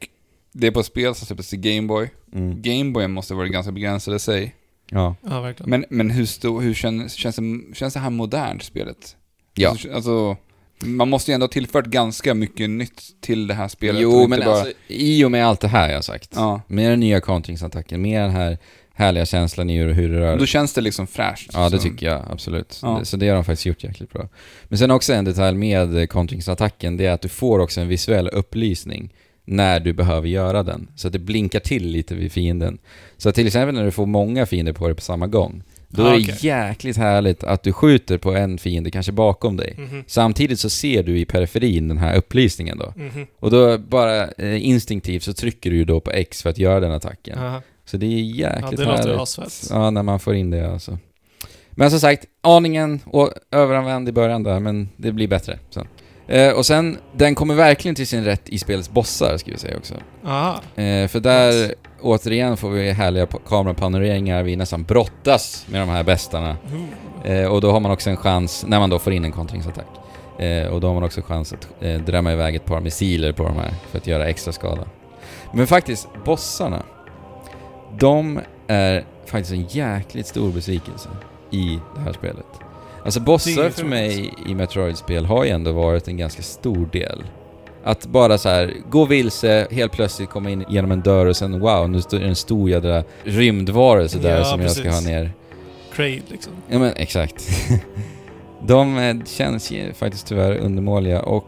[SPEAKER 3] det är på spel som släpptes till Gameboy.
[SPEAKER 2] Mm.
[SPEAKER 3] Gameboyen måste ha varit ganska begränsad i sig.
[SPEAKER 2] Ja.
[SPEAKER 1] ja, verkligen.
[SPEAKER 3] Men, men hur, stor, hur känns, känns, det, känns det här modernt, spelet?
[SPEAKER 2] Ja.
[SPEAKER 3] Alltså, alltså, man måste ju ändå ha tillfört ganska mycket nytt till det här spelet. och
[SPEAKER 2] Jo,
[SPEAKER 3] inte
[SPEAKER 2] men alltså, i och med allt det här jag har sagt,
[SPEAKER 3] Ja.
[SPEAKER 2] med den nya kontringsattacken, med den här härliga känslan i hur, hur det rör
[SPEAKER 3] Då känns det liksom fräscht.
[SPEAKER 2] Ja, det
[SPEAKER 3] Så-
[SPEAKER 2] tycker jag absolut.
[SPEAKER 3] Ja.
[SPEAKER 2] Det- Så det har de faktiskt gjort jäkligt bra. Men sen också en detalj med eh, kontringsattacken, det är att du får också en visuell upplysning när du behöver göra den. Så att det blinkar till lite vid fienden. Så att till exempel när du får många fiender på dig på samma gång, då
[SPEAKER 1] Ah,
[SPEAKER 2] är
[SPEAKER 1] okej.
[SPEAKER 2] det jäkligt härligt att du skjuter på en fiende, kanske bakom dig.
[SPEAKER 1] Mhm.
[SPEAKER 2] Samtidigt så ser du i periferin den här upplysningen då.
[SPEAKER 1] Mhm.
[SPEAKER 2] Och då bara eh, instinktivt så trycker du ju då på X för att göra den attacken.
[SPEAKER 1] Aha.
[SPEAKER 2] Så det är
[SPEAKER 1] Ja,
[SPEAKER 2] jäkligt
[SPEAKER 1] det låter ju
[SPEAKER 2] härligt.
[SPEAKER 1] asfett.
[SPEAKER 2] Ja, när man får in det alltså. Men som sagt, aningen och överanvänd i början där, men det blir bättre sen. Eh, och sen, den kommer verkligen till sin rätt i spelets bossar, ska vi säga också.
[SPEAKER 1] Aha.
[SPEAKER 2] Eh, för där,
[SPEAKER 1] Nice.
[SPEAKER 2] återigen, får vi härliga pa- kamerapanoreringar. Vi nästan brottas med de här bästarna.
[SPEAKER 1] Ooh.
[SPEAKER 2] Eh, och då har man också en chans, när man då får in en kontringsattack, eh, och då har man också chans att eh, drämma iväg ett par missiler på de här för att göra extra skada. Men faktiskt, bossarna, de är faktiskt en jäkligt stor besvikelse i det här spelet. Alltså
[SPEAKER 1] Det är
[SPEAKER 2] bossar
[SPEAKER 1] ju
[SPEAKER 2] för mig i Metroid-spel har ju ändå varit en ganska stor del. Att bara så här gå vilse, helt plötsligt komma in genom en dörr och sen wow, nu står det en stor jädra rymdvarelse där
[SPEAKER 1] Ja,
[SPEAKER 2] som jag ska
[SPEAKER 1] precis.
[SPEAKER 2] ha ner.
[SPEAKER 1] Crade, liksom.
[SPEAKER 2] Ja men exakt. De eh, känns ju faktiskt tyvärr undermåliga och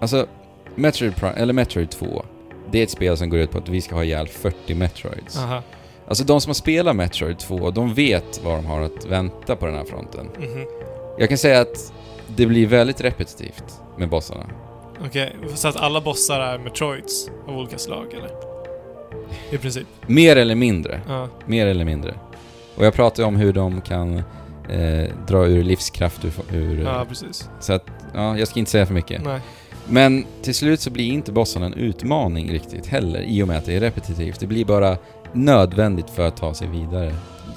[SPEAKER 2] alltså Metroid, Prime, eller Metroid 2, det är ett spel som går ut på att vi ska ha ihjäl 40 Metroids.
[SPEAKER 1] Aha.
[SPEAKER 2] Alltså de som har spelat Metroid 2, de vet vad de har att vänta på den här fronten.
[SPEAKER 1] Mhm.
[SPEAKER 2] Jag kan säga att det blir väldigt repetitivt med bossarna.
[SPEAKER 1] Okej, så att alla bossar är Metroids av olika slag, eller? I princip.
[SPEAKER 2] Mer eller mindre.
[SPEAKER 1] Ja.
[SPEAKER 2] Mer eller mindre. Och jag pratar ju om hur de kan eh, dra ur livskraft ur... ur
[SPEAKER 1] Ja, precis.
[SPEAKER 2] Så att, ja, jag ska inte säga för mycket.
[SPEAKER 1] Nej.
[SPEAKER 2] Men till slut så blir inte bossarna en utmaning riktigt heller i och med att det är repetitivt. Det blir bara nödvändigt för att ta sig vidare.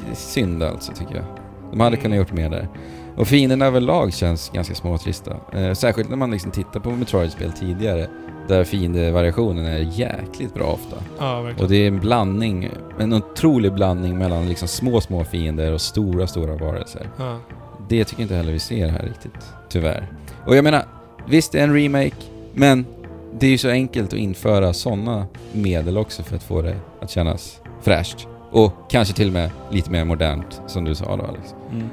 [SPEAKER 2] Det är synd alltså tycker jag. De hade
[SPEAKER 1] Mm.
[SPEAKER 2] kunnat gjort mer där. Och fienden överlag känns ganska små och trista. Eh, särskilt när man liksom tittar på Metroid-spel tidigare där fiendevariationen är jäkligt bra ofta.
[SPEAKER 1] Ja, verkligen.
[SPEAKER 2] Och det är en blandning, en otrolig blandning mellan liksom små, små fiender och stora, stora varelser.
[SPEAKER 1] Ja.
[SPEAKER 2] Det tycker jag inte heller vi ser här riktigt, tyvärr. Och jag menar, visst det är en remake, men Det är ju så enkelt att införa sådana medel också för att få det att kännas fräscht. Och kanske till och med lite mer modernt, som du sa då Alex.
[SPEAKER 3] Mm.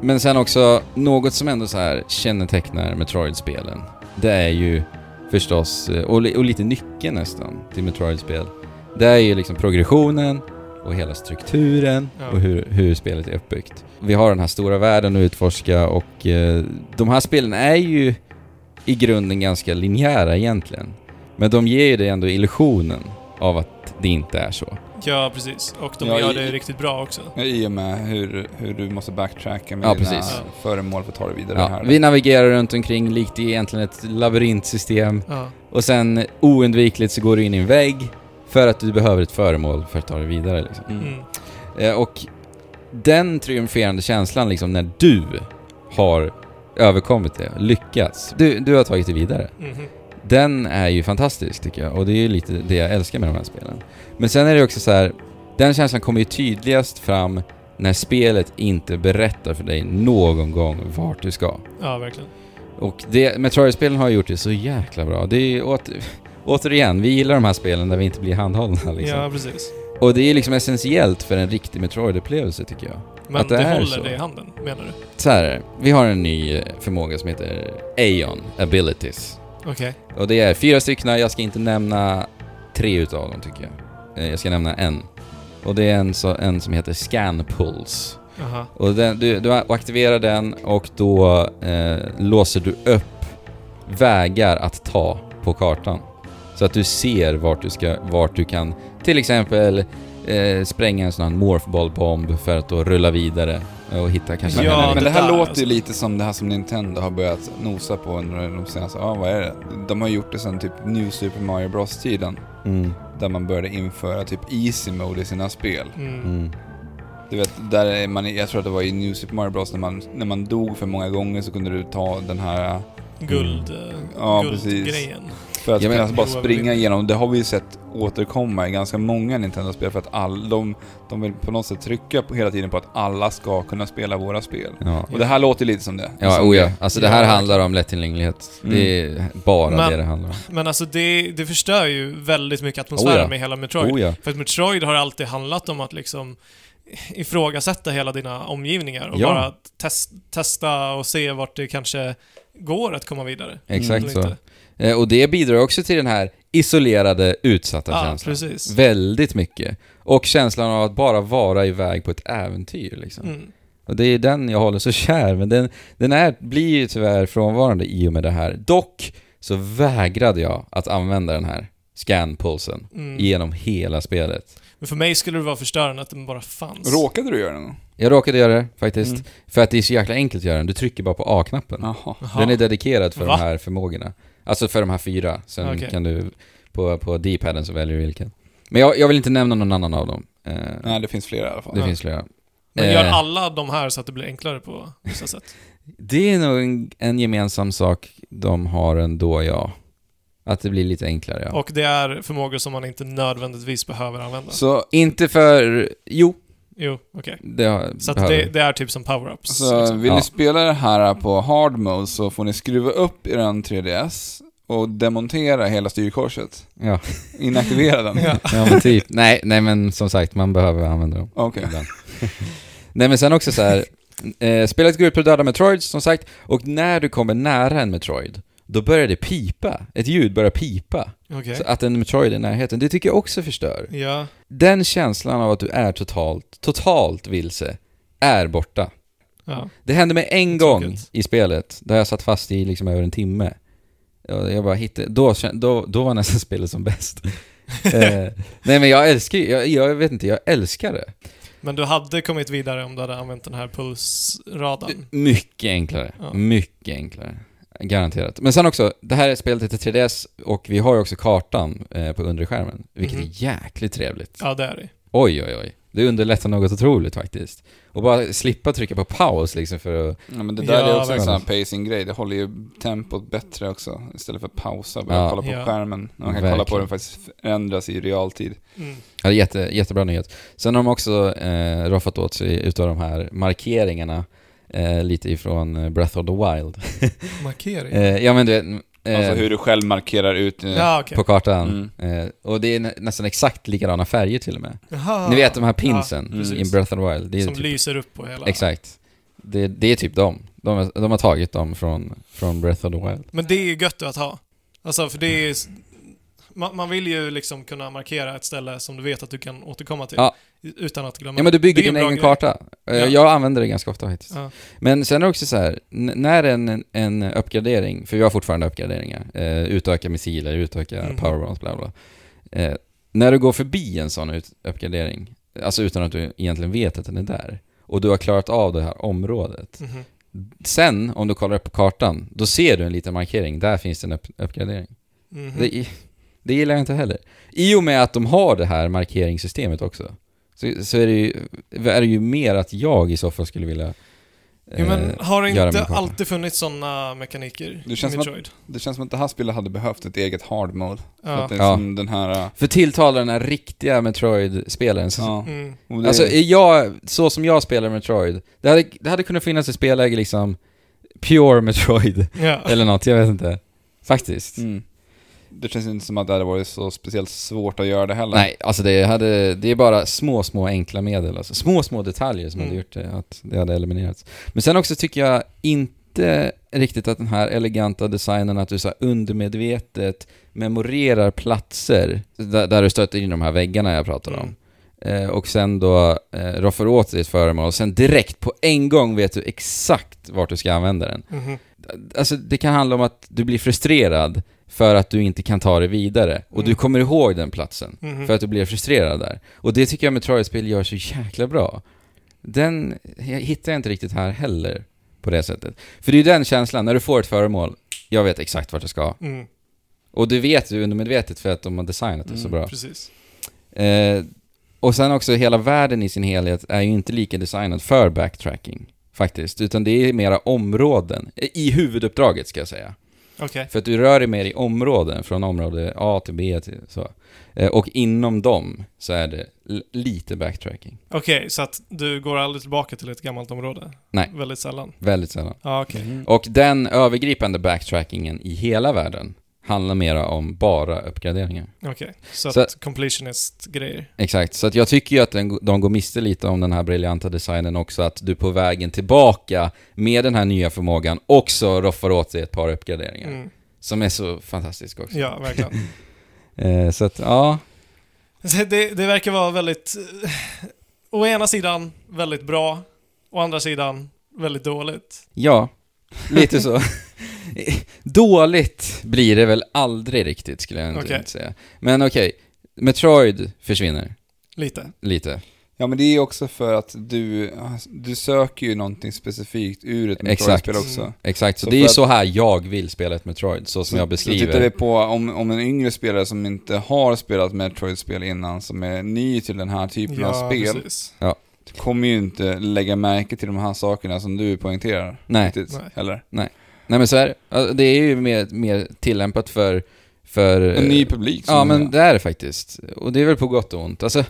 [SPEAKER 2] Men sen också, något som ändå så här kännetecknar Metroid-spelen. Det är ju förstås, eh, och, li- och lite nyckeln nästan till Metroid-spel. Det är ju liksom progressionen och hela strukturen
[SPEAKER 1] Ja.
[SPEAKER 2] och hur, hur spelet är uppbyggt. Vi har den här stora världen att utforska och eh, de här spelen är ju i grunden ganska linjära egentligen. Men de ger ju dig ändå illusionen av att det inte är så.
[SPEAKER 1] Ja, precis. Och de
[SPEAKER 3] Ja,
[SPEAKER 1] gör
[SPEAKER 3] i-
[SPEAKER 1] det riktigt bra också.
[SPEAKER 3] I och med hur, hur du måste backtracka med
[SPEAKER 2] Ja,
[SPEAKER 3] dina
[SPEAKER 2] precis.
[SPEAKER 3] föremål för att ta dig vidare
[SPEAKER 2] Ja,
[SPEAKER 3] här.
[SPEAKER 2] vi navigerar runt omkring likt i egentligen ett labyrintsystem
[SPEAKER 1] Ja.
[SPEAKER 2] och sen oundvikligt så går du in i en vägg för att du behöver ett föremål för att ta dig vidare. Liksom.
[SPEAKER 1] Mm.
[SPEAKER 2] Eh, Och den triumferande känslan liksom när du har överkommit det, lyckats. Du, du har tagit dig vidare.
[SPEAKER 1] Mhm.
[SPEAKER 2] Den är ju fantastisk tycker jag och det är ju lite det jag älskar med de här spelen. Men sen är det också så här, den känslan kommer ju tydligast fram när spelet inte berättar för dig någon gång vart du ska.
[SPEAKER 1] Ja, verkligen.
[SPEAKER 2] Och det, Metroid-spelen har gjort det så jäkla bra. Det är ju åter, återigen, vi gillar de här spelen där vi inte blir handhållna liksom.
[SPEAKER 1] Ja, precis.
[SPEAKER 2] Och det är liksom essentiellt för en riktig Metroid-upplevelse tycker jag.
[SPEAKER 1] Men
[SPEAKER 2] Att det
[SPEAKER 1] det,
[SPEAKER 2] är
[SPEAKER 1] håller
[SPEAKER 2] så.
[SPEAKER 1] det i handen, menar du?
[SPEAKER 2] Så här, är det. vi har en ny eh, förmåga som heter Aeon Abilities.
[SPEAKER 1] Okej.
[SPEAKER 2] Och det är fyra stycken, jag ska inte nämna tre utav dem tycker jag. Eh, Jag ska nämna en. Och det är en, så, en som heter Scan Pulse.
[SPEAKER 1] Aha.
[SPEAKER 2] Och den, du, du aktiverar den och då eh, låser du upp vägar att ta på kartan. Så att du ser vart du, ska, vart du kan till exempel eh, spränga en sån här morphballbomb för att då rulla vidare och hitta kanske...
[SPEAKER 3] Men,
[SPEAKER 1] Ja,
[SPEAKER 3] men
[SPEAKER 1] det
[SPEAKER 3] det här
[SPEAKER 1] där,
[SPEAKER 3] låter
[SPEAKER 1] alltså.
[SPEAKER 3] ju lite som det här som Nintendo har börjat nosa på under de senaste, ja vad är det? De har gjort det sedan typ New Super Mario Bros-tiden.
[SPEAKER 2] Mm,
[SPEAKER 3] Där man började införa typ easy mode i sina spel.
[SPEAKER 1] Mm.
[SPEAKER 2] mm.
[SPEAKER 3] Du vet, där är man, jag tror att det var i New Super Mario Bros när man, när man dog för många gånger så kunde du ta den här
[SPEAKER 1] Guld...
[SPEAKER 2] Mm.
[SPEAKER 1] eh,
[SPEAKER 3] Ja,
[SPEAKER 1] guldgrejen.
[SPEAKER 3] För att
[SPEAKER 2] Jag
[SPEAKER 3] kunna
[SPEAKER 2] menar-
[SPEAKER 3] bara
[SPEAKER 1] Jo,
[SPEAKER 3] springa
[SPEAKER 1] jag
[SPEAKER 3] igenom. Det har vi ju sett återkomma i ganska många Nintendo-spel för att all, de, de vill på något sätt trycka på, hela tiden på att alla ska kunna spela våra spel.
[SPEAKER 2] Ja,
[SPEAKER 3] Och det här låter lite som det.
[SPEAKER 2] ja
[SPEAKER 3] som
[SPEAKER 2] oh ja.
[SPEAKER 3] det.
[SPEAKER 2] Alltså det
[SPEAKER 1] Ja,
[SPEAKER 2] här
[SPEAKER 1] verkligen.
[SPEAKER 2] handlar om lättillgänglighet.
[SPEAKER 3] Mm.
[SPEAKER 2] Det är bara
[SPEAKER 1] Men-
[SPEAKER 2] det det handlar om.
[SPEAKER 1] Men alltså det, det förstör ju väldigt mycket atmosfären
[SPEAKER 2] Oh ja.
[SPEAKER 1] med hela Metroid.
[SPEAKER 2] Oh ja.
[SPEAKER 1] För att Metroid har alltid handlat om att liksom ifrågasätta hela dina omgivningar och
[SPEAKER 2] Ja.
[SPEAKER 1] bara tes- testa och se vart det kanske går att komma vidare. Mm.
[SPEAKER 2] Exakt
[SPEAKER 1] Eller
[SPEAKER 2] så.
[SPEAKER 1] inte.
[SPEAKER 2] Eh, Och det bidrar också till den här isolerade, utsatta
[SPEAKER 1] Ja,
[SPEAKER 2] känslan.
[SPEAKER 1] precis.
[SPEAKER 2] Väldigt mycket. Och känslan av att bara vara iväg på ett äventyr liksom.
[SPEAKER 1] Mm.
[SPEAKER 2] Och det är den jag håller så kär, men den, den är, blir ju tyvärr frånvarande i och med det här. Dock så vägrade jag att använda den här scan-pulsen
[SPEAKER 1] Mm.
[SPEAKER 2] genom hela spelet.
[SPEAKER 1] Men för mig skulle det vara förstörande att den bara fanns.
[SPEAKER 3] Mm. Råkade du göra det någon
[SPEAKER 2] Jag råkade göra det faktiskt,
[SPEAKER 3] Mm.
[SPEAKER 2] för att det är så jäkla enkelt att göra den. Du trycker bara på A-knappen.
[SPEAKER 3] Jaha.
[SPEAKER 1] Jaha.
[SPEAKER 2] Den är dedikerad för
[SPEAKER 1] Va?
[SPEAKER 2] de här förmågorna. Alltså för de här fyra. Sen
[SPEAKER 1] Okej.
[SPEAKER 2] kan du, på, på D-paden så väljer du vilken. Men jag, jag vill inte nämna någon annan av dem. Eh,
[SPEAKER 3] Nej, det finns flera i alla fall.
[SPEAKER 2] det
[SPEAKER 1] Ja.
[SPEAKER 2] finns flera.
[SPEAKER 1] Men gör
[SPEAKER 2] eh.
[SPEAKER 1] alla de här så att det blir enklare på vissa sätt.
[SPEAKER 2] Det är nog en, en gemensam sak de har ändå, ja. Att det blir lite enklare, ja.
[SPEAKER 1] Och det är förmågor som man inte nödvändigtvis behöver använda.
[SPEAKER 3] Så,
[SPEAKER 2] Inte för... Jo,
[SPEAKER 1] Jo, okej.
[SPEAKER 2] det har,
[SPEAKER 1] Så att
[SPEAKER 2] behöver
[SPEAKER 1] det, det är typ som power-ups.
[SPEAKER 2] Alltså,
[SPEAKER 3] så
[SPEAKER 1] liksom.
[SPEAKER 3] vill
[SPEAKER 2] Ja.
[SPEAKER 3] ni spela det här på hard mode så får ni skruva upp er 3DS och demontera hela styrkorset.
[SPEAKER 2] Ja,
[SPEAKER 3] Inaktivera den.
[SPEAKER 2] ja men typ. nej, nej, men som sagt, man behöver använda dem.
[SPEAKER 3] Okej.
[SPEAKER 2] ibland. Nej men sen också så här. Eh, spelet går ut på att döda Metroids som sagt, och när du kommer nära en Metroid, då börjar det pipa. Ett ljud börjar pipa.
[SPEAKER 1] Okej.
[SPEAKER 2] Så att en Metroid är i närheten, det tycker jag också förstör.
[SPEAKER 1] Ja.
[SPEAKER 2] Den känslan av att du är totalt, totalt vilse, är borta.
[SPEAKER 1] ja.
[SPEAKER 2] Det hände mig en gång
[SPEAKER 1] Tråkigt.
[SPEAKER 2] i spelet, där jag satt fast i liksom över en timme. Och Jag bara hittade, då, kän- då, då var nästan spelet som bäst. eh, nej men jag älskar ju- jag, jag vet inte, jag älskar det.
[SPEAKER 1] Men du hade kommit vidare om du hade använt den här pulsradan.
[SPEAKER 2] Mycket enklare.
[SPEAKER 1] Ja.
[SPEAKER 2] Mycket enklare. Garanterat. Men sen också, det här är spelet heter 3DS och vi har ju också kartan eh, på undre skärmen, vilket
[SPEAKER 1] Mhm.
[SPEAKER 2] är jäkligt trevligt.
[SPEAKER 1] Ja, det är det.
[SPEAKER 2] Oj, oj, oj. Det underlättar något otroligt faktiskt. Och bara slippa trycka på paus liksom för att...
[SPEAKER 3] Ja, men det
[SPEAKER 1] Ja,
[SPEAKER 3] där är också en
[SPEAKER 1] verkligen.
[SPEAKER 3] sån här pacing-grej. Det håller ju tempot bättre också. Istället för att pausa och börja
[SPEAKER 2] Ja.
[SPEAKER 3] kolla på
[SPEAKER 1] Ja.
[SPEAKER 3] skärmen. Man kan kolla på
[SPEAKER 2] Verkligen.
[SPEAKER 3] den faktiskt förändras i realtid.
[SPEAKER 1] Mm.
[SPEAKER 2] Ja, det är jätte, jättebra nyhet. Sen har de också eh, roffat åt sig utav de här markeringarna eh, lite ifrån eh, Breath of the Wild.
[SPEAKER 1] Markering?
[SPEAKER 2] Eh, ja men du vet,
[SPEAKER 3] Alltså
[SPEAKER 2] eh,
[SPEAKER 3] hur du själv markerar ut... eh,
[SPEAKER 1] Ja, okej.
[SPEAKER 2] på kartan.
[SPEAKER 1] Mm.
[SPEAKER 2] Eh, och det är nä- nästan exakt likadana färger till och med.
[SPEAKER 1] Jaha.
[SPEAKER 2] Ni vet de här pinsen
[SPEAKER 1] Ja, precis.
[SPEAKER 2] i Breath of the Wild. Det är
[SPEAKER 1] Som
[SPEAKER 2] typ,
[SPEAKER 1] lyser upp på hela...
[SPEAKER 2] Exakt. Det, det är typ dem. De, är- de har tagit dem från, från Breath of the Wild.
[SPEAKER 1] Men det är ju gött att ha. Alltså, för det är... Man, man vill ju liksom kunna markera ett ställe som du vet att du kan återkomma till.
[SPEAKER 2] Ja.
[SPEAKER 1] Utan att glömma.
[SPEAKER 2] Ja men du bygger
[SPEAKER 1] Det är en
[SPEAKER 2] din
[SPEAKER 1] bra
[SPEAKER 2] egen
[SPEAKER 1] grej.
[SPEAKER 2] karta. Eh,
[SPEAKER 1] Ja.
[SPEAKER 2] Jag använder det ganska ofta hittills.
[SPEAKER 1] Ja.
[SPEAKER 2] Men sen är det också så här, n- när en, en uppgradering, för vi har fortfarande uppgraderingar, eh, utöka missiler, utöka
[SPEAKER 1] Mm.
[SPEAKER 2] powerbombs, bla bla. Eh, när du går förbi en sån ut- uppgradering, alltså utan att du egentligen vet att den är där, och du har klarat av det här området.
[SPEAKER 1] Mhm.
[SPEAKER 2] Sen, om du kollar upp på kartan, då ser du en liten markering, där finns det en upp- uppgradering.
[SPEAKER 1] Mhm.
[SPEAKER 2] Det, det gillar jag inte heller. I och med att de har det här markeringssystemet också, så, så är, det ju, är det ju mer att jag i så fall skulle vilja...
[SPEAKER 1] Jo, men
[SPEAKER 2] eh,
[SPEAKER 1] har det
[SPEAKER 2] göra
[SPEAKER 1] inte
[SPEAKER 2] med kartan.
[SPEAKER 1] alltid funnits sådana mekaniker
[SPEAKER 3] Det känns
[SPEAKER 1] i
[SPEAKER 3] som att-
[SPEAKER 1] Metroid?
[SPEAKER 3] Det känns som att det här spelet hade behövt ett eget hard mode. För
[SPEAKER 1] Ja.
[SPEAKER 3] att det är
[SPEAKER 2] Ja.
[SPEAKER 3] som den här... eh,
[SPEAKER 2] För tilltalar den här riktiga Metroid-spelaren. Så,
[SPEAKER 3] Ja.
[SPEAKER 1] Mm.
[SPEAKER 3] Och det-
[SPEAKER 2] Alltså, är jag, så som jag spelar Metroid, det hade, det hade kunnat finnas ett spelläge liksom Pure Metroid,
[SPEAKER 1] Ja.
[SPEAKER 2] eller något, jag vet inte. Faktiskt.
[SPEAKER 3] Mm. Det känns inte som att det hade varit så speciellt svårt att göra det heller.
[SPEAKER 2] Nej, alltså det, hade, det är bara små, små enkla medel. Alltså. Små, små detaljer som
[SPEAKER 1] Mm.
[SPEAKER 2] hade gjort det, att det hade eliminerats. Men sen också tycker jag inte riktigt att den här eleganta designen, att du så här undermedvetet memorerar platser där, där du stöter in de här väggarna jag pratar om.
[SPEAKER 1] Mm.
[SPEAKER 2] Eh, och sen då eh, roffar du åt dig ett föremål och sen direkt på en gång vet du exakt vart du ska använda den.
[SPEAKER 1] Mhm.
[SPEAKER 2] Alltså det kan handla om att du blir frustrerad för att du inte kan ta dig vidare och
[SPEAKER 1] Mm.
[SPEAKER 2] du kommer ihåg den platsen.
[SPEAKER 1] Mhm.
[SPEAKER 2] För att du blir frustrerad där. Och det tycker jag Metroid-spel gör så jäkla bra. Den hittar jag inte riktigt här heller, på det sättet. För det är ju den känslan, när du får ett föremål, jag vet exakt vart jag ska.
[SPEAKER 1] Mm.
[SPEAKER 2] Och det vet du undermedvetet för att de har designat det så
[SPEAKER 3] Mm,
[SPEAKER 2] bra.
[SPEAKER 1] Precis.
[SPEAKER 2] Eh, och sen också, hela världen i sin helhet är ju inte lika designad för backtracking, faktiskt. Utan det är mera områden, eh, i huvuduppdraget ska jag säga.
[SPEAKER 1] Okej.
[SPEAKER 2] För att du rör dig mer i områden, från område A till B till så. Eh, Och inom dem så är det l- lite backtracking.
[SPEAKER 1] Okej, så att du går aldrig tillbaka till ett gammalt område?
[SPEAKER 2] Nej.
[SPEAKER 1] Väldigt sällan?
[SPEAKER 2] Väldigt sällan.
[SPEAKER 1] Ja, okej.
[SPEAKER 3] Mm.
[SPEAKER 2] Och den övergripande backtrackingen i hela världen handlar mera om bara uppgraderingar.
[SPEAKER 1] Okej. Så,
[SPEAKER 2] Så-
[SPEAKER 1] att completionist-grejer?
[SPEAKER 2] Exakt, så att jag tycker ju att den, de går miste lite om den här briljanta designen också, att du på vägen tillbaka med den här nya förmågan också roffar åt dig ett par uppgraderingar.
[SPEAKER 1] Mm.
[SPEAKER 2] Som är så fantastiska också.
[SPEAKER 1] Ja, verkligen.
[SPEAKER 2] Eh, så att, ja.
[SPEAKER 1] Så Det, det verkar vara väldigt... eh, Å ena sidan väldigt bra, å andra sidan väldigt dåligt.
[SPEAKER 2] Ja, lite så. Dåligt blir det väl aldrig riktigt skulle jag inte
[SPEAKER 1] Okej.
[SPEAKER 2] säga. Men okej, Metroid försvinner
[SPEAKER 1] Lite.
[SPEAKER 2] lite.
[SPEAKER 3] Ja men det är också för att du, du söker ju någonting specifikt ur ett
[SPEAKER 2] Exakt.
[SPEAKER 3] Metroid-spel också.
[SPEAKER 1] Mm.
[SPEAKER 2] Exakt, så,
[SPEAKER 3] Så
[SPEAKER 2] det är
[SPEAKER 3] för
[SPEAKER 2] ju
[SPEAKER 3] att-
[SPEAKER 2] så här jag vill spela ett Metroid, så som jag
[SPEAKER 3] Så tittar
[SPEAKER 2] beskriver.
[SPEAKER 3] vi på om, om en yngre spelare som inte har spelat Metroid-spel innan, som är ny till den här
[SPEAKER 2] Typ
[SPEAKER 3] typen av
[SPEAKER 1] Ja,
[SPEAKER 3] spel,
[SPEAKER 1] precis.
[SPEAKER 3] kommer ju inte lägga märke till de här sakerna som du poängterar.
[SPEAKER 2] Nej,
[SPEAKER 3] Riktigt,
[SPEAKER 1] Nej.
[SPEAKER 3] heller.
[SPEAKER 2] nej men så här, alltså, det är ju mer, mer tillämpat för... för
[SPEAKER 3] En ny publik. som
[SPEAKER 2] Eh, Ja
[SPEAKER 3] är-
[SPEAKER 2] men det är det faktiskt. Och det är väl på gott och ont. Alltså,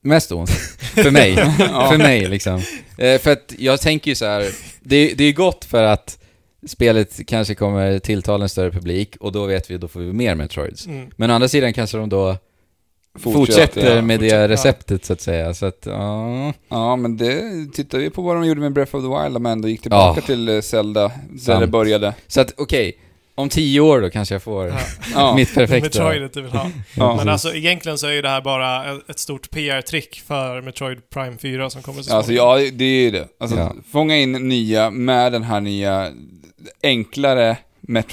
[SPEAKER 2] mest ont. för mig. För mig liksom. Eh, för att jag tänker ju så här, det, det är gott för att spelet kanske kommer tilltala en större publik och då vet vi, då får vi mer Metroids.
[SPEAKER 1] Mm.
[SPEAKER 2] Men å andra sidan kanske de då fortsätter,
[SPEAKER 3] ja.
[SPEAKER 2] med
[SPEAKER 1] Fortsätter, ja.
[SPEAKER 2] det receptet så att säga. Så att, ja.
[SPEAKER 3] Ja, men det tittar vi på vad de gjorde med Breath of the Wild, men ändå gick tillbaka
[SPEAKER 2] Ja.
[SPEAKER 3] till eh, Zelda, där
[SPEAKER 2] Sant.
[SPEAKER 3] det började.
[SPEAKER 2] Så att okej, om tio år då kanske jag får
[SPEAKER 1] Ja.
[SPEAKER 3] Ja.
[SPEAKER 2] mitt perfekta.
[SPEAKER 1] Metroidet du vill ha.
[SPEAKER 3] Ja.
[SPEAKER 1] Men alltså egentligen så är ju det här bara ett- ett stort PR-trick för Metroid Prime 4 som kommer så småningom.
[SPEAKER 3] Alltså ja, det är ju det. Alltså,
[SPEAKER 2] Ja.
[SPEAKER 3] fånga in nya med den här nya, enklare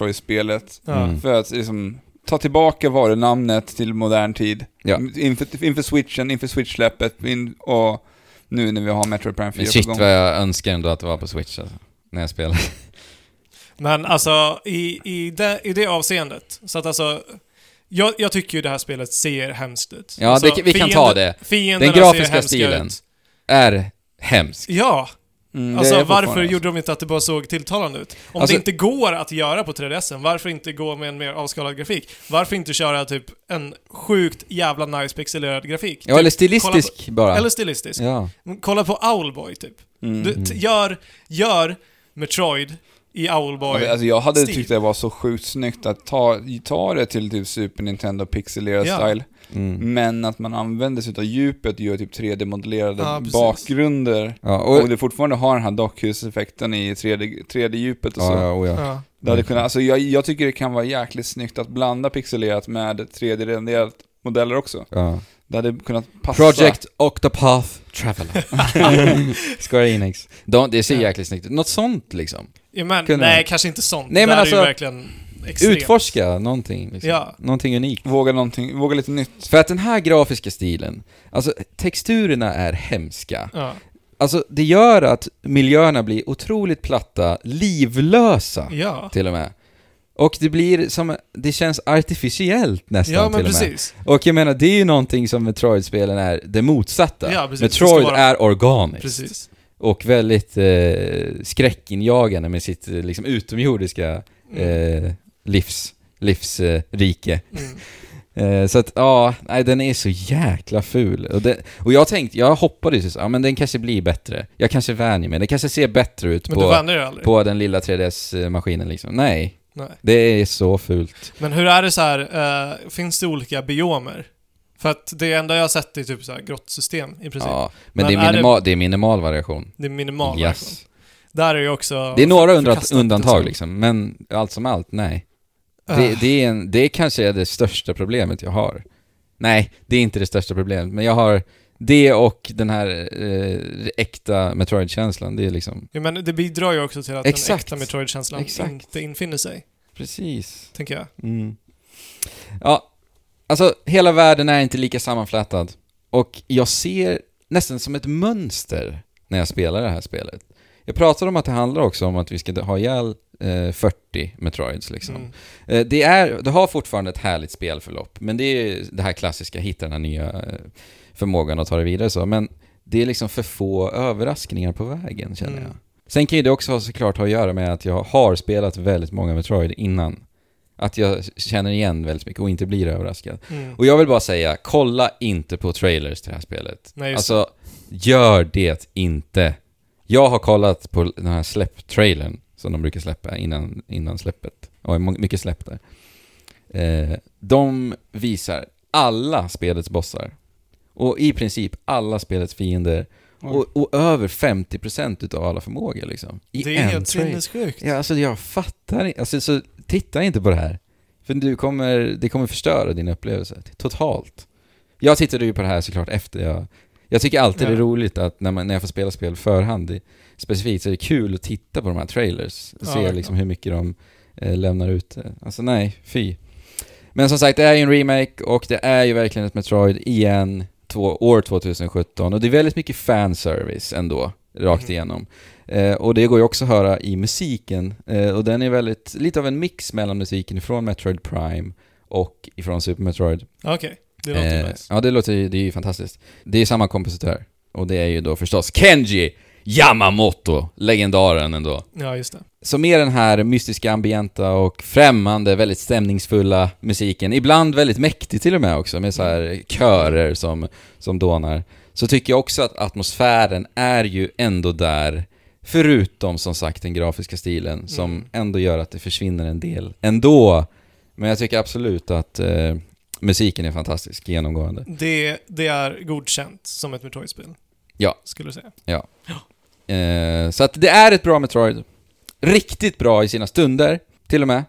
[SPEAKER 3] Metroid-spelet.
[SPEAKER 1] Ja.
[SPEAKER 2] Mm.
[SPEAKER 3] För att liksom, ta tillbaka varunamnet till modern tid.
[SPEAKER 2] Ja.
[SPEAKER 3] Inför, inför switchen, inför switch-släppet, in, och nu när vi har Metroid Prime 4
[SPEAKER 2] Men shit
[SPEAKER 3] på gång.
[SPEAKER 2] vad jag önskar ändå att det var på Switch alltså, när jag spelar.
[SPEAKER 1] Men alltså, i, i, det, i det avseendet, så att alltså... Jag, jag tycker ju det här spelet ser hemskt ut.
[SPEAKER 2] Ja,
[SPEAKER 1] alltså,
[SPEAKER 2] det kan- vi kan ta det.
[SPEAKER 1] fienderna
[SPEAKER 2] Den grafiska
[SPEAKER 1] ser hemska
[SPEAKER 2] stilen.
[SPEAKER 1] Ut.
[SPEAKER 2] Är hemskt.
[SPEAKER 1] Ja,
[SPEAKER 3] Mm, det är
[SPEAKER 1] alltså
[SPEAKER 3] fortfarande
[SPEAKER 1] varför
[SPEAKER 3] så.
[SPEAKER 1] gjorde de inte att det bara såg tilltalande ut? Om
[SPEAKER 2] Alltså-
[SPEAKER 1] det inte går att göra på 3DSen, varför inte gå med en mer avskalad grafik? Varför inte köra typ en sjukt jävla nice pixelerad grafik?
[SPEAKER 2] Ja, eller
[SPEAKER 1] typ,
[SPEAKER 2] stilistisk bara.
[SPEAKER 1] eller stilistisk.
[SPEAKER 2] ja.
[SPEAKER 1] Kolla på Owlboy typ.
[SPEAKER 3] Mm.
[SPEAKER 1] Du, t- gör, gör Metroid i Owlboy.
[SPEAKER 3] Alltså jag hade
[SPEAKER 1] Stil.
[SPEAKER 3] tyckt det var så sjukt snyggt att ta, ta det till typ Super Nintendo pixelerad
[SPEAKER 1] Ja.
[SPEAKER 3] style.
[SPEAKER 2] Mm.
[SPEAKER 3] Men att man använder sig av djupet och gör typ 3D-modellerade
[SPEAKER 1] Ja, precis.
[SPEAKER 3] bakgrunder.
[SPEAKER 2] Ja, och,
[SPEAKER 3] Och, det fortfarande har den här dockhuseffekten i 3D, 3D-djupet och så.
[SPEAKER 2] ja, ja, och ja.
[SPEAKER 1] ja.
[SPEAKER 3] Det hade kunnat, alltså jag, jag tycker det kan vara jäkligt snyggt att blanda pixelerat med 3D-renderat modeller också.
[SPEAKER 2] Ja.
[SPEAKER 3] Det hade kunnat passa.
[SPEAKER 2] Project Octopath Traveler. Square Enix. De, det ser jäkligt snyggt ut. Något sånt liksom.
[SPEAKER 1] Ja, men,
[SPEAKER 2] Kunde-
[SPEAKER 1] nej, kanske inte sånt.
[SPEAKER 2] Nej,
[SPEAKER 1] Nej,
[SPEAKER 2] men
[SPEAKER 1] men Där är
[SPEAKER 2] alltså-
[SPEAKER 1] ju verkligen extremt.
[SPEAKER 2] Utforska någonting. Liksom.
[SPEAKER 1] Ja.
[SPEAKER 2] Någonting unikt.
[SPEAKER 3] Våga någonting, våga lite nytt.
[SPEAKER 2] För att den här grafiska stilen, alltså texturerna är hemska.
[SPEAKER 1] Ja,
[SPEAKER 2] Alltså det gör att miljöerna blir otroligt platta, livlösa
[SPEAKER 1] ja.
[SPEAKER 2] till och med. Och det blir som, det känns artificiellt nästan
[SPEAKER 1] ja men
[SPEAKER 2] till och med.
[SPEAKER 1] precis.
[SPEAKER 2] Och jag menar, det är ju någonting som Metroid-spelen är det motsatta.
[SPEAKER 1] Ja, precis. Det
[SPEAKER 2] Metroid
[SPEAKER 1] ska vara-
[SPEAKER 2] är organiskt.
[SPEAKER 1] Precis.
[SPEAKER 2] Och väldigt eh, skräckinjagande med sitt eh, liksom, utomjordiska
[SPEAKER 1] Mm.
[SPEAKER 2] eh, livs, livsrike. Eh, rike.
[SPEAKER 1] Mm.
[SPEAKER 2] eh, så att, ja, nej den är så jäkla ful. Och, det, och jag tänkte, jag hoppades ju så, ja men den kanske blir bättre. Jag kanske vänjer mig, det kanske ser bättre ut
[SPEAKER 1] Men du
[SPEAKER 2] på,
[SPEAKER 1] vänjer dig aldrig.
[SPEAKER 2] på den lilla 3DS-maskinen liksom. Nej,
[SPEAKER 1] Nej.
[SPEAKER 2] det är så fult.
[SPEAKER 1] Men hur är det så här, eh, finns det olika biomer? För att det enda jag har sett är typ så här grottsystem i princip.
[SPEAKER 2] Ja, men,
[SPEAKER 1] Men
[SPEAKER 2] det, är
[SPEAKER 1] är det-
[SPEAKER 2] minimal, det är minimal variation.
[SPEAKER 1] Det är minimal version.
[SPEAKER 2] Yes.
[SPEAKER 1] Där är ju också...
[SPEAKER 2] Det är några undant-
[SPEAKER 1] förkastat,
[SPEAKER 2] undantag
[SPEAKER 1] liksom.
[SPEAKER 2] liksom, men allt som allt, nej.
[SPEAKER 1] Ah.
[SPEAKER 2] Det, det, är en, det kanske är det största problemet jag har. Nej, det är inte det största problemet, men jag har det och den här eh, äkta Metroid-känslan, det är liksom...
[SPEAKER 1] Ja, men det bidrar ju också till att den
[SPEAKER 2] Exakt.
[SPEAKER 1] äkta Metroid-känslan
[SPEAKER 2] Exakt.
[SPEAKER 1] inte infinner sig,
[SPEAKER 2] Precis.
[SPEAKER 1] tänker jag.
[SPEAKER 2] Mm. Ja, alltså hela världen är inte lika sammanflätad. Och jag ser nästan som ett mönster när jag spelar det här spelet. Jag pratar om att det handlar också om att vi ska ha ihjäl eh, 40 Metroids liksom.
[SPEAKER 1] Mm.
[SPEAKER 2] Eh, Det, är, det har fortfarande ett härligt spelförlopp, men det är ju det här klassiska, hitta den här nya eh, förmågan att ta det vidare så. Men det är liksom för få överraskningar på vägen, känner
[SPEAKER 1] Mm.
[SPEAKER 2] jag. Sen kan ju det också ha- såklart ha att göra med att jag har spelat väldigt många Metroid innan. Att jag känner igen väldigt mycket och inte blir överraskad.
[SPEAKER 1] Mm.
[SPEAKER 2] Och jag vill bara säga, kolla inte på trailers till det här spelet.
[SPEAKER 1] Nej, just
[SPEAKER 2] Alltså, gör det inte. Jag har kollat på den här släpptrailern som de brukar släppa innan, innan släppet. Och det är må- mycket släpp där. Eh, de visar alla spelets bossar. Och i princip alla spelets fiender. Och, och över 50% utav alla förmågor liksom. I
[SPEAKER 1] det är
[SPEAKER 2] en
[SPEAKER 1] helt
[SPEAKER 2] trailer.
[SPEAKER 1] sinnessjukt.
[SPEAKER 2] Ja, alltså jag fattar inte. Alltså, så titta inte på det här. För du kommer, det kommer förstöra din upplevelse totalt. Jag tittade ju på det här såklart efter jag... Jag tycker alltid det är
[SPEAKER 1] Ja.
[SPEAKER 2] roligt att när, man, när jag får spela spel förhand i, specifikt så är det kul att titta på de här trailers.
[SPEAKER 1] Ja,
[SPEAKER 2] se
[SPEAKER 1] verkligen.
[SPEAKER 2] liksom hur mycket de eh, lämnar ut. Alltså nej, fy. Men som sagt, det är ju en remake och det är ju verkligen ett Metroid igen, två, år 2017. Och det är väldigt mycket fanservice ändå, rakt
[SPEAKER 1] Mm.
[SPEAKER 2] igenom. Eh, och det går ju också att höra i musiken. Eh, och den är väldigt, lite av en mix mellan musiken ifrån Metroid Prime och ifrån Super Metroid. Eh,
[SPEAKER 1] Okej, det låter nice.
[SPEAKER 2] ja, det låter ju, det är ju fantastiskt. Det är samma kompositör. Och det är ju då förstås Kenji Yamamoto, legendaren ändå.
[SPEAKER 1] Ja, just det.
[SPEAKER 2] Så med den här mystiska, ambienta och främmande, väldigt stämningsfulla musiken, ibland väldigt mäktig till och med också, med så här körer som, som dånar, så tycker jag också att atmosfären är ju ändå där, förutom som sagt den grafiska stilen, som
[SPEAKER 1] Mm.
[SPEAKER 2] ändå gör att det försvinner en del ändå. Men jag tycker absolut att eh, musiken är fantastisk genomgående.
[SPEAKER 1] det. Det är godkänt som ett Metroid-spel.
[SPEAKER 2] Ja.
[SPEAKER 1] Skulle du säga.
[SPEAKER 2] Eh, så att det är ett bra Metroid. Riktigt bra i sina stunder, till och med.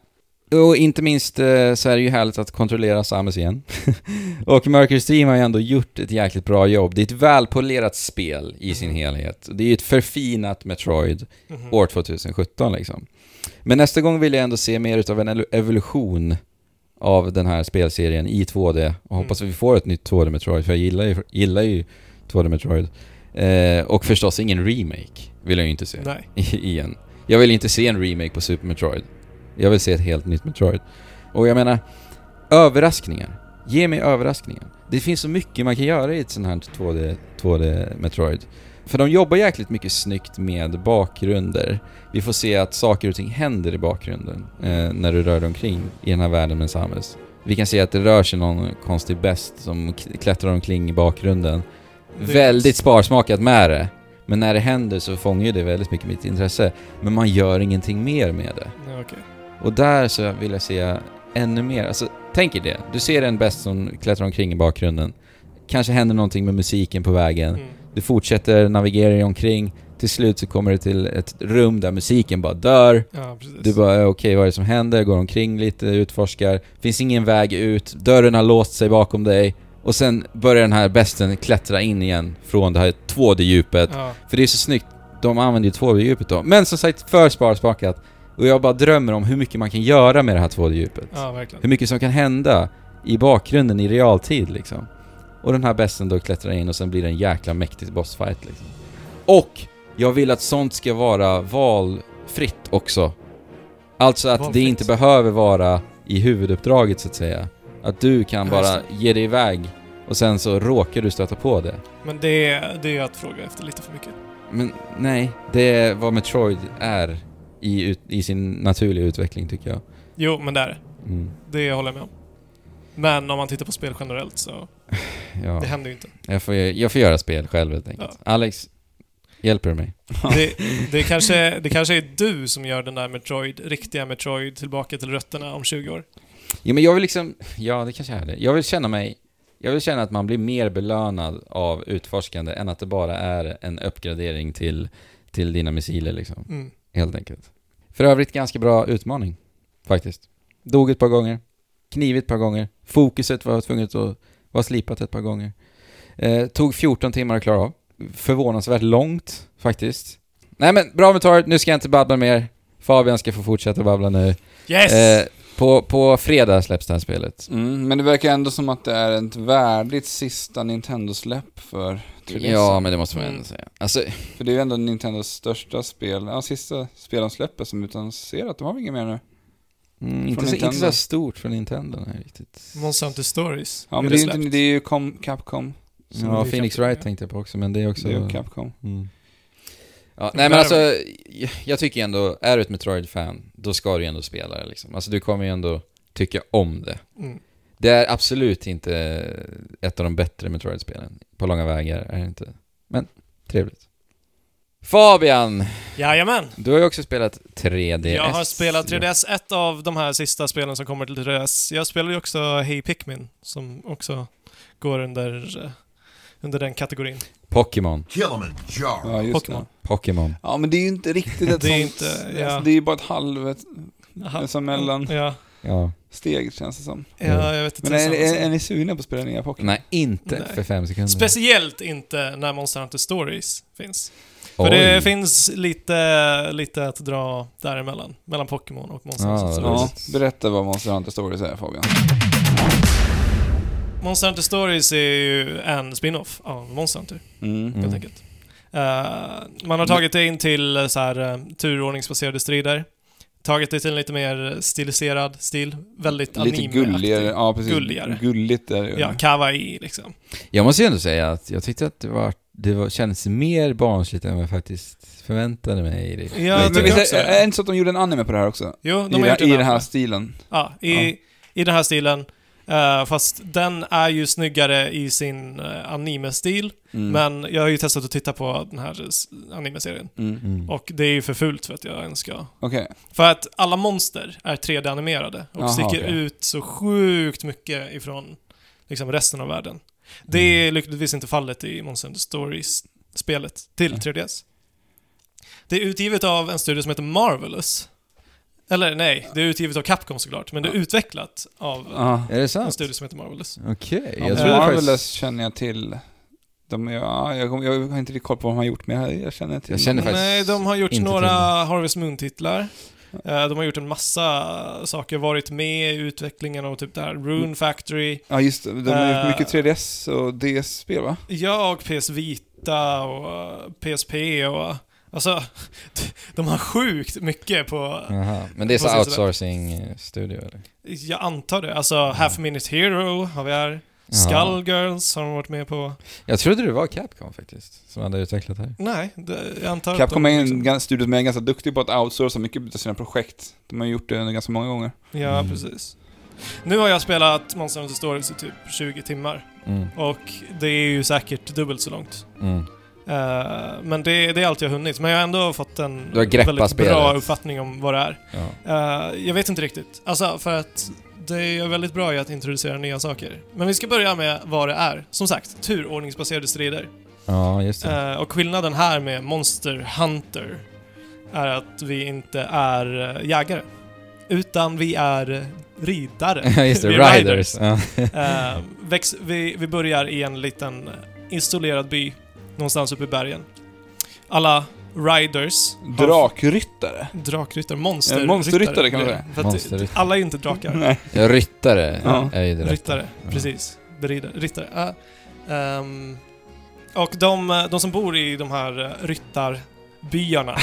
[SPEAKER 2] Och inte minst eh, så är det ju härligt att kontrollera Samus igen. och Mercury Steam har ju ändå gjort ett jäkligt bra jobb. Det är ett välpolerat spel i sin
[SPEAKER 1] Mhm.
[SPEAKER 2] helhet. Det är ju ett förfinat Metroid
[SPEAKER 1] Mhm.
[SPEAKER 2] år 2017 liksom. Men nästa gång vill jag ändå se mer utav en el- evolution av den här spelserien i 2D och hoppas
[SPEAKER 1] Mm.
[SPEAKER 2] att vi får ett nytt 2D Metroid för jag gillar ju, gillar ju 2D Metroid. Eh, och förstås ingen remake vill jag ju inte se
[SPEAKER 1] Mm-hmm. Nej.
[SPEAKER 2] igen. Jag vill inte se en remake på Super Metroid. Jag vill se ett helt nytt Metroid. Och jag menar, överraskningar. Ge mig överraskningar. Det finns så mycket man kan göra i ett sånt här 2D, 2D Metroid. För de jobbar jäkligt mycket snyggt med bakgrunder. Vi får se att saker och ting händer i bakgrunden eh, när du rör dig omkring i den här världen med Samus. Vi kan se att det rör sig någon konstig best som k- klättrar omkring i bakgrunden.
[SPEAKER 1] Det-
[SPEAKER 2] Väldigt sparsmakat med det. Men när det händer så fångar ju det väldigt mycket mitt intresse. Men man gör ingenting mer med det.
[SPEAKER 1] Nej, okej.
[SPEAKER 2] Och där så vill jag se ännu mer. Alltså, tänk er det. Du ser en bäst som klättrar omkring i bakgrunden. Kanske händer någonting med musiken på vägen.
[SPEAKER 1] Mm.
[SPEAKER 2] Du fortsätter navigera dig omkring. Till slut så kommer du till ett rum där musiken bara dör.
[SPEAKER 1] Ja, precis.
[SPEAKER 2] Du bara, eh, okej vad är det som händer? Går omkring lite, utforskar. Finns ingen väg ut. Dörren har låst sig bakom dig. Och sen börjar den här besten klättra in igen från det här 2D-djupet.
[SPEAKER 1] ja.
[SPEAKER 2] För det är så snyggt. De använder ju 2D-djupet då. Men som sagt, för sparspakat. Och jag bara drömmer om hur mycket man kan göra med det här 2D-djupet.
[SPEAKER 1] ja, verkligen.
[SPEAKER 2] Hur mycket som kan hända i bakgrunden i realtid liksom. Och den här besten då klättrar in och sen blir det en jäkla mäktig bossfight liksom. Och jag vill att sånt ska vara valfritt också. Alltså att det
[SPEAKER 1] Valfritt.
[SPEAKER 2] inte behöver vara i huvuduppdraget så att säga. Att du kan
[SPEAKER 1] Ja,
[SPEAKER 2] bara
[SPEAKER 1] just
[SPEAKER 2] ge dig iväg och sen så råkar du stöta på det.
[SPEAKER 1] Men det, är- det är ju att fråga efter lite för mycket.
[SPEAKER 2] Men nej, det är vad Metroid är i, ut, i sin naturliga utveckling tycker jag.
[SPEAKER 1] Jo, men det är det.
[SPEAKER 2] Mm.
[SPEAKER 1] Det håller jag med om. Men om man tittar på spel generellt så,
[SPEAKER 2] Ja.
[SPEAKER 1] det händer ju inte.
[SPEAKER 2] Jag, får, jag får göra spel själv helt enkelt. Alex, hjälper du mig?
[SPEAKER 1] Det, det, kanske, det kanske är du som gör den där Metroid, riktiga Metroid, tillbaka till rötterna om 20 år.
[SPEAKER 2] Ja, men jag vill liksom... Ja, det kanske är det. Jag vill känna mig... Jag vill känna att man blir mer belönad av utforskande än att det bara är en uppgradering till, till dina missiler liksom.
[SPEAKER 1] Mm.
[SPEAKER 2] Helt enkelt. För övrigt ganska bra utmaning, faktiskt. Dog ett par gånger, knivit ett par gånger, fokuset var tvunget att vara slipat ett par gånger. Eh, tog 14 timmar att klara av. Förvånansvärt långt, faktiskt. Nej men, bra med torget. nu ska jag inte babbla mer. Fabian ska få fortsätta babbla nu.
[SPEAKER 1] Yes!
[SPEAKER 2] Eh, på, på fredag släpps det här spelet.
[SPEAKER 3] Mm, men det verkar ändå som att det är ett värdigt sista Nintendo-släpp för 3DS.
[SPEAKER 2] Ja, men det måste man
[SPEAKER 1] Mm.
[SPEAKER 2] ändå säga. Alltså,
[SPEAKER 3] För det är ju ändå Nintendos största spel, ja sista spel de släpper som utannonserat, de har väl inget mer nu?
[SPEAKER 2] mm, inte,
[SPEAKER 3] Från
[SPEAKER 2] så, inte
[SPEAKER 3] Nintendo.
[SPEAKER 2] så stort från Nintendo, nej riktigt.
[SPEAKER 1] Monsanto Stories.
[SPEAKER 3] Ja men det är, ju
[SPEAKER 1] släppt.
[SPEAKER 3] inte, det är ju Com, Capcom.
[SPEAKER 1] Så
[SPEAKER 2] Ja,
[SPEAKER 1] det är
[SPEAKER 2] Phoenix
[SPEAKER 1] Capcom,
[SPEAKER 2] Wright
[SPEAKER 1] ja.
[SPEAKER 2] tänkte jag på också, men det är också...
[SPEAKER 3] Det är ju Capcom.
[SPEAKER 2] Mm. Ja,
[SPEAKER 1] Men
[SPEAKER 2] nej
[SPEAKER 1] där-
[SPEAKER 2] men alltså, jag- jag tycker ändå, är du ett Metroid-fan, då ska du ju ändå spela det liksom. Alltså du kommer ju ändå tycka om det.
[SPEAKER 1] Mm.
[SPEAKER 2] Det är absolut inte ett av de bättre Metroid-spelen. På långa vägar är det inte. Men, trevligt. Fabian,
[SPEAKER 1] Jajamän!
[SPEAKER 2] du har ju också spelat 3DS.
[SPEAKER 1] Jag har spelat 3DS, ett av de här sista spelen som kommer till 3DS. Jag spelar ju också Hey Pikmin, som också går under, eh, under den kategorin.
[SPEAKER 2] Pokémon.
[SPEAKER 4] Kilimanjaro.
[SPEAKER 3] Ja just
[SPEAKER 1] Pokémon.
[SPEAKER 3] det.
[SPEAKER 2] Pokémon.
[SPEAKER 3] Ja men det är ju inte riktigt ett
[SPEAKER 1] Det är
[SPEAKER 3] sånt,
[SPEAKER 1] inte- ja.
[SPEAKER 3] alltså, det är ju bara ett halvt
[SPEAKER 1] Aha.
[SPEAKER 3] alltså, mellansteg
[SPEAKER 1] Ja,
[SPEAKER 2] Ja.
[SPEAKER 3] känns det som.
[SPEAKER 2] Mm.
[SPEAKER 1] ja jag vet inte.
[SPEAKER 3] Men är, är, är
[SPEAKER 1] Alltså.
[SPEAKER 3] ni sugna på att spela nya Pokémon?
[SPEAKER 2] Nej, inte
[SPEAKER 1] Nej.
[SPEAKER 2] för fem sekunder.
[SPEAKER 1] Speciellt inte när Monster Hunter Stories finns. För
[SPEAKER 2] Oj.
[SPEAKER 1] det finns lite, lite att dra däremellan, mellan Pokémon och Monster
[SPEAKER 2] Ja,
[SPEAKER 1] Hunter
[SPEAKER 2] det är
[SPEAKER 1] Stories.
[SPEAKER 3] Ja, berätta vad Monster Hunter Stories är Fabian.
[SPEAKER 1] Monster Hunter Stories är ju en spin-off av Monster Hunter.
[SPEAKER 3] Mm.
[SPEAKER 2] Mm.
[SPEAKER 1] helt enkelt. Eh, man har tagit det in till eh, så här, eh, turordningsbaserade strider. Tagit det till en lite mer stiliserad stil. Väldigt
[SPEAKER 3] Lite
[SPEAKER 1] anime
[SPEAKER 3] gulligare, ja precis.
[SPEAKER 1] Gulligare.
[SPEAKER 3] Gulligt är det ju.
[SPEAKER 1] Ja, kawaii liksom.
[SPEAKER 2] Jag måste ju ändå säga att jag tyckte att det var det var, kändes mer barnsligt än vad jag faktiskt förväntade mig. Det-
[SPEAKER 1] Ja, jag
[SPEAKER 3] Men
[SPEAKER 1] tycker
[SPEAKER 3] visst
[SPEAKER 1] också
[SPEAKER 3] är
[SPEAKER 1] det.
[SPEAKER 3] är det inte så att de gjorde en anime på det här också?
[SPEAKER 1] Jo, de har
[SPEAKER 3] I, det,
[SPEAKER 1] gjort
[SPEAKER 3] I
[SPEAKER 1] en
[SPEAKER 3] den
[SPEAKER 1] anime.
[SPEAKER 3] här stilen.
[SPEAKER 1] Ja, i, i den här stilen. Eh, fast den är ju snyggare i sin eh, anime-stil.
[SPEAKER 3] Mm.
[SPEAKER 1] Men jag har ju testat att titta på den här eh, s- anime-serien.
[SPEAKER 3] Mm.
[SPEAKER 2] Mm.
[SPEAKER 1] Och det är ju för fult för att jag ens ska
[SPEAKER 3] Okej.
[SPEAKER 1] För att alla monster är 3D-animerade och
[SPEAKER 3] Jaha,
[SPEAKER 1] sticker
[SPEAKER 3] okej.
[SPEAKER 1] ut så sjukt mycket ifrån liksom, resten av världen. Det
[SPEAKER 2] Mm.
[SPEAKER 1] är lyckligtvis inte fallet i Monster Hunter Stories-spelet till
[SPEAKER 2] Nej.
[SPEAKER 1] 3DS. Det är utgivet av en studio som heter Marvelous. Eller nej, det är utgivet av Capcom såklart, men det är utvecklat av
[SPEAKER 3] Ja.
[SPEAKER 2] Är det
[SPEAKER 1] en
[SPEAKER 2] Ah, sant?
[SPEAKER 1] liksom- studio som heter Marvelous.
[SPEAKER 2] Okej,
[SPEAKER 3] Ja,
[SPEAKER 2] jag
[SPEAKER 3] jag
[SPEAKER 2] trodde
[SPEAKER 3] Ah. Marvelous
[SPEAKER 2] faktiskt...
[SPEAKER 3] känner jag till. De, ja, jag, kom- jag har inte riktigt koll på vad de har gjort, men jag, jag känner till
[SPEAKER 2] Jag känner
[SPEAKER 3] dem.
[SPEAKER 2] faktiskt
[SPEAKER 1] Nej, eh, de har gjort
[SPEAKER 2] inte
[SPEAKER 1] några
[SPEAKER 2] till det.
[SPEAKER 1] Harvest Moon-titlar. Eh, De har gjort en massa saker, varit med i utvecklingen av typ det här
[SPEAKER 2] Mm.
[SPEAKER 1] Rune Factory.
[SPEAKER 3] Ja, just det. De har
[SPEAKER 1] Eh.
[SPEAKER 3] gjort mycket 3DS och DS-spel, va?
[SPEAKER 1] Ja, och PS Vita och eh, PSP och... Alltså, de har sjukt mycket på...
[SPEAKER 2] Aha. Men det är så
[SPEAKER 1] Precis,
[SPEAKER 2] outsourcing-studio eller?
[SPEAKER 1] Jag antar det. Alltså, Half a Minute Hero har vi här.
[SPEAKER 2] Mm. Ja.
[SPEAKER 1] Skullgirls har de varit med på.
[SPEAKER 2] Jag trodde det var Capcom faktiskt, som hade utvecklat det här.
[SPEAKER 1] Nej, det, jag antar att
[SPEAKER 3] Capcom
[SPEAKER 1] de
[SPEAKER 3] är en
[SPEAKER 1] liksom-
[SPEAKER 3] gan- studio som är ganska duktig på att outsourca mycket av sina projekt. De har gjort det under ganska många gånger.
[SPEAKER 1] Ja,
[SPEAKER 2] Mm.
[SPEAKER 1] precis. Nu har jag spelat Monster Hunter Stories i typ 20 timmar.
[SPEAKER 2] Mm.
[SPEAKER 1] Och det är ju säkert dubbelt så långt.
[SPEAKER 2] Mm.
[SPEAKER 1] Eh, men det, det är allt jag hunnit. Men jag har ändå fått en
[SPEAKER 2] Du har greppat
[SPEAKER 1] väldigt bra
[SPEAKER 2] spelet.
[SPEAKER 1] uppfattning om vad det är.
[SPEAKER 2] Ja.
[SPEAKER 1] Eh, jag vet inte riktigt. Alltså, för att det är väldigt bra i att introducera nya saker. Men vi ska börja med vad det är. Som sagt, turordningsbaserade strider.
[SPEAKER 2] ja, just det.
[SPEAKER 1] Eh, och skillnaden här med Monster Hunter är att vi inte är eh, jägare. Utan vi är eh, riddare.
[SPEAKER 2] Ja, just det.
[SPEAKER 1] Äh, Vi är
[SPEAKER 2] Riders. Ja.
[SPEAKER 1] Eh, väx, vi, vi börjar i en liten eh, isolerad by någonstans uppe i bergen. Alla riders... har-
[SPEAKER 3] Drakryttare.
[SPEAKER 1] Drakryttare. Monster,
[SPEAKER 3] Eh, monsterryttare kan man
[SPEAKER 1] blir
[SPEAKER 3] säga.
[SPEAKER 1] det. För att
[SPEAKER 2] Monsterryttare.
[SPEAKER 1] alla är ju inte drakar.
[SPEAKER 3] Nej.
[SPEAKER 2] Ja, Ryttare
[SPEAKER 3] Ja.
[SPEAKER 2] är ju det rätta.
[SPEAKER 1] Ryttare,
[SPEAKER 2] Ja.
[SPEAKER 1] precis. Beridare. Ryttare. ja. Ehm, och de, eh, de som bor i de här eh, ryttarbyarna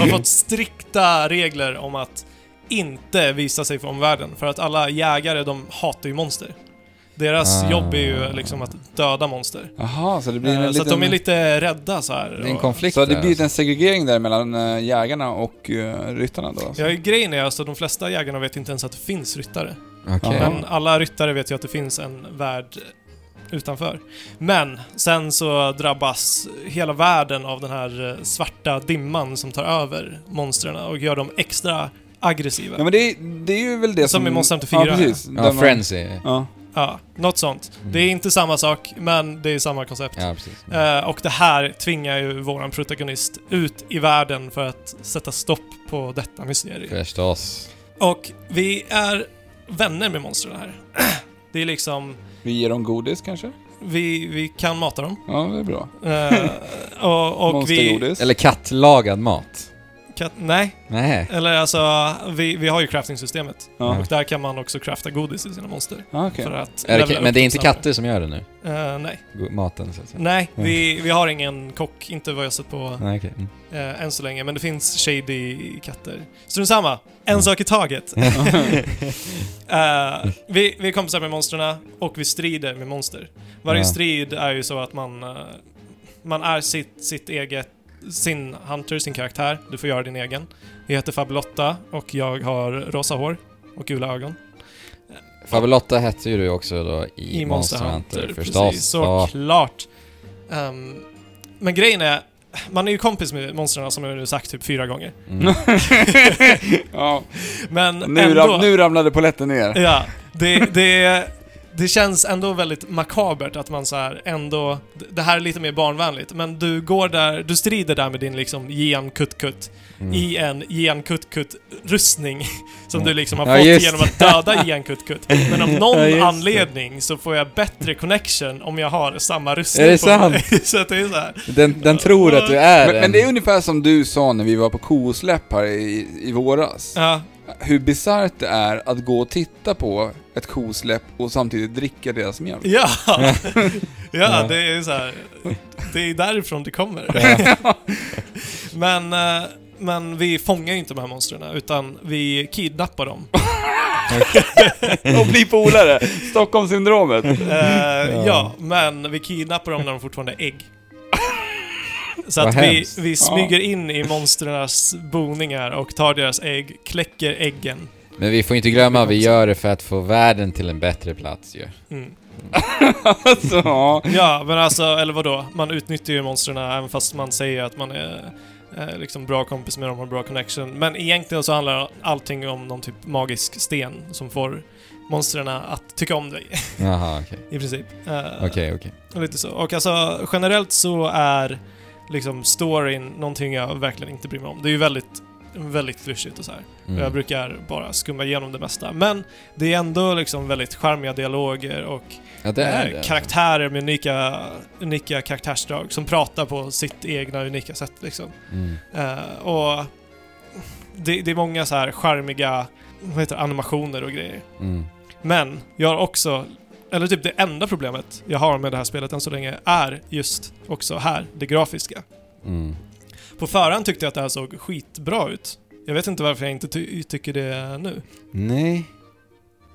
[SPEAKER 1] har fått strikta regler om att inte visa sig för omvärlden. För att alla jägare, de hatar ju monster. Deras
[SPEAKER 2] Ah.
[SPEAKER 1] jobb är ju liksom att döda monster.
[SPEAKER 3] Jaha, så det blir en
[SPEAKER 1] Eh,
[SPEAKER 3] liten... alltså.
[SPEAKER 1] Så att de är lite rädda så här.
[SPEAKER 2] Det är en
[SPEAKER 1] Och-
[SPEAKER 2] konflikt
[SPEAKER 3] Så det
[SPEAKER 2] där, alltså.
[SPEAKER 3] blir en segregering där mellan eh, jägarna och eh, ryttarna då? alltså?
[SPEAKER 1] Ja, grejen är alltså att de flesta jägarna vet inte ens att det finns ryttare.
[SPEAKER 2] alltså. Okej.
[SPEAKER 3] Ja.
[SPEAKER 1] Men alla ryttare vet ju att det finns en värld utanför. Men sen så drabbas hela världen av den här eh, svarta dimman som tar över monstren och gör dem extra aggressiva.
[SPEAKER 3] Ja men det är, det är ju väl det som...
[SPEAKER 1] Som i Monster Hunter 4.
[SPEAKER 3] Ja, precis. Där
[SPEAKER 2] Ja,
[SPEAKER 3] man-
[SPEAKER 2] Frenzy.
[SPEAKER 3] Ja.
[SPEAKER 1] Ja, något sånt.
[SPEAKER 2] Mm.
[SPEAKER 1] Det är inte samma sak, men det är samma koncept.
[SPEAKER 2] Ja, precis.
[SPEAKER 1] Eh, och det här tvingar ju våran protagonist ut i världen för att sätta stopp på detta mysterium.
[SPEAKER 2] Förstås.
[SPEAKER 1] Och vi är vänner med monstren här. Det är liksom,
[SPEAKER 3] Vi ger dem godis kanske?
[SPEAKER 1] vi, vi kan mata dem.
[SPEAKER 3] Ja, det är bra.
[SPEAKER 1] Eh, och, och vi...
[SPEAKER 3] Monstergodis.
[SPEAKER 2] Eller kattlagad mat.
[SPEAKER 1] Kat, nej,
[SPEAKER 2] Nej.
[SPEAKER 1] eller alltså vi, vi har ju crafting-systemet.
[SPEAKER 3] Ja,
[SPEAKER 1] Och där kan man också crafta godis i sina monster.
[SPEAKER 3] ja okej.
[SPEAKER 1] För att
[SPEAKER 2] Är det,
[SPEAKER 1] levela
[SPEAKER 2] ka- men
[SPEAKER 1] upp
[SPEAKER 2] det är
[SPEAKER 1] dem
[SPEAKER 2] inte
[SPEAKER 1] snabbare.
[SPEAKER 2] katter som gör det nu?
[SPEAKER 1] Eh, nej,
[SPEAKER 2] Go- Maten, så att säga.
[SPEAKER 1] nej vi, vi har ingen kock, inte vad jag sett på
[SPEAKER 2] Nej, okej. Mm.
[SPEAKER 1] eh, än så länge. Men det finns shady katter. Strunt samma, en
[SPEAKER 2] Mm.
[SPEAKER 1] sak i taget. Eh, vi, vi är kompisar med monstren och vi strider med monster. Varje
[SPEAKER 2] Ja.
[SPEAKER 1] strid är ju så att man, eh, man är sitt, sitt eget, sin hunter, sin karaktär. Du får göra din egen. Jag heter Fabulotta och jag har rosa hår och gula ögon.
[SPEAKER 2] Fabulotta hette ju du också då i,
[SPEAKER 1] I Monster Hunter,
[SPEAKER 2] förstås.
[SPEAKER 1] precis.
[SPEAKER 2] Ja.
[SPEAKER 1] Såklart. Ehm, men grejen är, man är ju kompis med monstren som jag nu sagt typ fyra gånger.
[SPEAKER 2] Mm.
[SPEAKER 3] ja.
[SPEAKER 1] Men
[SPEAKER 3] Nu,
[SPEAKER 1] ändå...
[SPEAKER 3] ram, nu ramlade poletten ner.
[SPEAKER 1] Ja, det, det, det känns ändå väldigt makabert att man så här ändå... Det här är lite mer barnvänligt, men du går där, du strider där med din liksom gen kutt
[SPEAKER 2] Mm.
[SPEAKER 1] i en gen kutt rustning som du liksom har
[SPEAKER 2] Ja,
[SPEAKER 1] fått
[SPEAKER 2] just
[SPEAKER 1] genom att döda gen kutt Men av
[SPEAKER 2] Ja,
[SPEAKER 1] någon
[SPEAKER 2] just det.
[SPEAKER 1] anledning så får jag bättre connection om jag har samma rustning
[SPEAKER 2] Är det
[SPEAKER 1] på
[SPEAKER 2] sant?
[SPEAKER 1] mig. Så att det är så här.
[SPEAKER 2] Den, den tror att du är
[SPEAKER 3] Men,
[SPEAKER 2] en...
[SPEAKER 3] men det är ungefär som du sa när vi var på kosläpp här i, i våras.
[SPEAKER 1] Ja,
[SPEAKER 3] Hur bisarrt det är att gå och titta på ett kosläpp och samtidigt dricka deras mjölk.
[SPEAKER 1] ja, ja
[SPEAKER 2] Ja.
[SPEAKER 1] det är så här. Det är därifrån det kommer.
[SPEAKER 2] Ja.
[SPEAKER 1] Men, eh, men vi fångar ju inte de här monstren, utan vi kidnappar dem.
[SPEAKER 3] Och bli polare! Stockholmssyndromet.
[SPEAKER 1] Eh, ja, men vi kidnappar dem när de fortfarande är ägg. Så
[SPEAKER 2] Vad
[SPEAKER 1] att vi,
[SPEAKER 2] hemskt.
[SPEAKER 1] vi smyger in i monstrens boningar och tar deras ägg, kläcker äggen.
[SPEAKER 2] Men vi får inte glömma, vi gör det för att få världen till en bättre plats ju.
[SPEAKER 1] Mm.
[SPEAKER 3] Alltså, ja.
[SPEAKER 1] Ja, men alltså, eller vadå? Man utnyttjar ju monstren även fast man säger att man är eh, liksom bra kompis med dem och har bra connection. Men egentligen så handlar allting om någon typ magisk sten som får monstren att tycka om dig,
[SPEAKER 2] Jaha, okej.
[SPEAKER 1] i princip. Eh,
[SPEAKER 2] Okej, okej.
[SPEAKER 1] Och lite så. Och alltså generellt så är liksom storyn någonting jag verkligen inte bryr mig om. Det är ju väldigt, väldigt klyschigt och så här.
[SPEAKER 2] Mm.
[SPEAKER 1] Jag brukar bara skumma igenom det mesta. Men det är ändå liksom väldigt charmiga dialoger och
[SPEAKER 2] Ja, det är
[SPEAKER 1] eh,
[SPEAKER 2] det. alltså.
[SPEAKER 1] karaktärer med unika, unika karaktärsdrag som pratar på sitt egna unika sätt liksom.
[SPEAKER 2] Mm.
[SPEAKER 1] Eh, och det, det är många så här charmiga, vad heter det, animationer och grejer.
[SPEAKER 2] Mm.
[SPEAKER 1] Men jag har också, eller typ det enda problemet jag har med det här spelet än så länge är just också här, det grafiska.
[SPEAKER 2] Mm.
[SPEAKER 1] På förhand tyckte jag att det här såg skitbra ut. Jag vet inte varför jag inte ty tycker det nu.
[SPEAKER 2] Nej.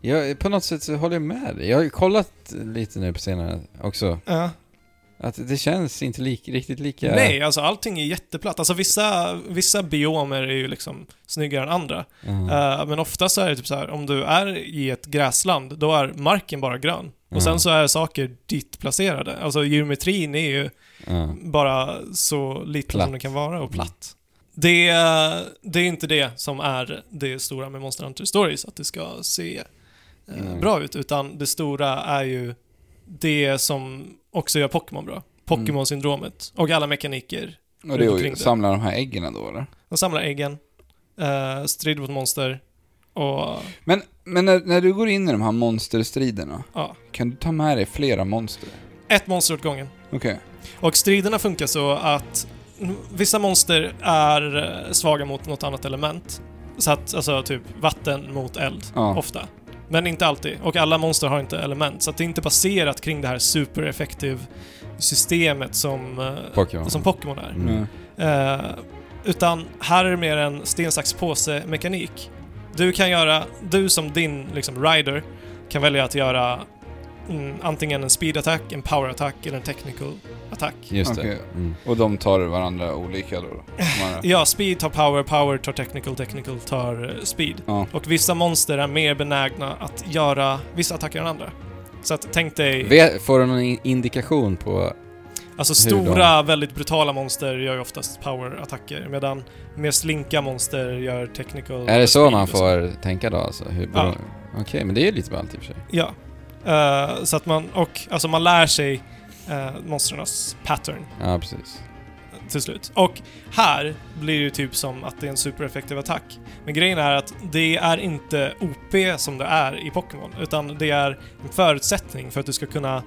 [SPEAKER 2] Jag, på något sätt så håller jag med dig. Jag har ju kollat lite nu på senare också.
[SPEAKER 1] Ja,
[SPEAKER 2] Att det känns inte lik, riktigt lika...
[SPEAKER 1] Nej, alltså allting är jätteplatt. Alltså vissa, vissa biomer är ju liksom snyggare än andra.
[SPEAKER 2] Mm.
[SPEAKER 1] Eh, men ofta så är det typ så här, om du är i ett gräsland, då är marken bara grön.
[SPEAKER 2] Mm.
[SPEAKER 1] Eh, Och sen så är saker ditt placerade. Alltså geometrin är ju
[SPEAKER 2] Ja.
[SPEAKER 1] bara så liten
[SPEAKER 2] Platt.
[SPEAKER 1] som den kan vara och
[SPEAKER 2] Mm.
[SPEAKER 1] platt. Det, det är inte det som är det stora med Monster Hunter Stories, att det ska se eh,
[SPEAKER 2] Nej.
[SPEAKER 1] bra ut, utan det stora är ju det som också gör Pokémon
[SPEAKER 2] Mm.
[SPEAKER 1] bra. Pokémon-syndromet och alla mekaniker.
[SPEAKER 3] Och det är
[SPEAKER 1] Omkring
[SPEAKER 3] ju
[SPEAKER 1] det.
[SPEAKER 3] samla de här äggen då eller?
[SPEAKER 1] De samlar äggen, eh, strider mot monster och
[SPEAKER 3] Men, men när, när du går in i de här monsterstriderna,
[SPEAKER 1] ja,
[SPEAKER 3] kan du ta med dig flera monster?
[SPEAKER 1] ett monster åt gången.
[SPEAKER 3] Okej.
[SPEAKER 1] Och striderna funkar så att vissa monster är eh, svaga mot något annat element. Så att, alltså typ vatten mot eld,
[SPEAKER 3] Ja.
[SPEAKER 1] ofta. Men inte alltid. Och alla monster har inte element. Så att det är inte baserat kring det här supereffektiv systemet som, eh,
[SPEAKER 2] Pokémon.
[SPEAKER 1] som Pokémon är.
[SPEAKER 2] Mm.
[SPEAKER 3] Mm.
[SPEAKER 1] Eh, utan här är det mer en sten, sax, påse mekanik. Du kan göra, du som din liksom rider kan välja att göra mm, antingen en speed attack, en power attack eller en technical attack.
[SPEAKER 2] Just det.
[SPEAKER 3] Okej.
[SPEAKER 2] Mm.
[SPEAKER 3] Och de tar varandra olika då? då. De här-
[SPEAKER 1] Ja, speed tar power, power tar technical, technical tar eh, speed.
[SPEAKER 3] Ja.
[SPEAKER 1] Och vissa monster är mer benägna att göra vissa attacker än andra. Så att tänk dig,
[SPEAKER 2] Vet- Får du någon in- indikation på...
[SPEAKER 1] alltså
[SPEAKER 2] hur de-
[SPEAKER 1] stora, väldigt brutala monster gör ju oftast power-attacker medan mer slinka monster gör technical...
[SPEAKER 2] Är det så
[SPEAKER 1] speed
[SPEAKER 2] man
[SPEAKER 1] och
[SPEAKER 2] får tänka då alltså? Hur...
[SPEAKER 1] Ja.
[SPEAKER 2] Okej, men det är lite ballt i och för sig.
[SPEAKER 1] Ja. Eh, så att man, och alltså man lär sig uh, monstrens pattern
[SPEAKER 2] Ja, precis.
[SPEAKER 1] till slut. Och här blir det ju typ som att det är en supereffektiv attack. Men grejen är att det är inte OP som det är i Pokémon, utan det är en förutsättning för att du ska kunna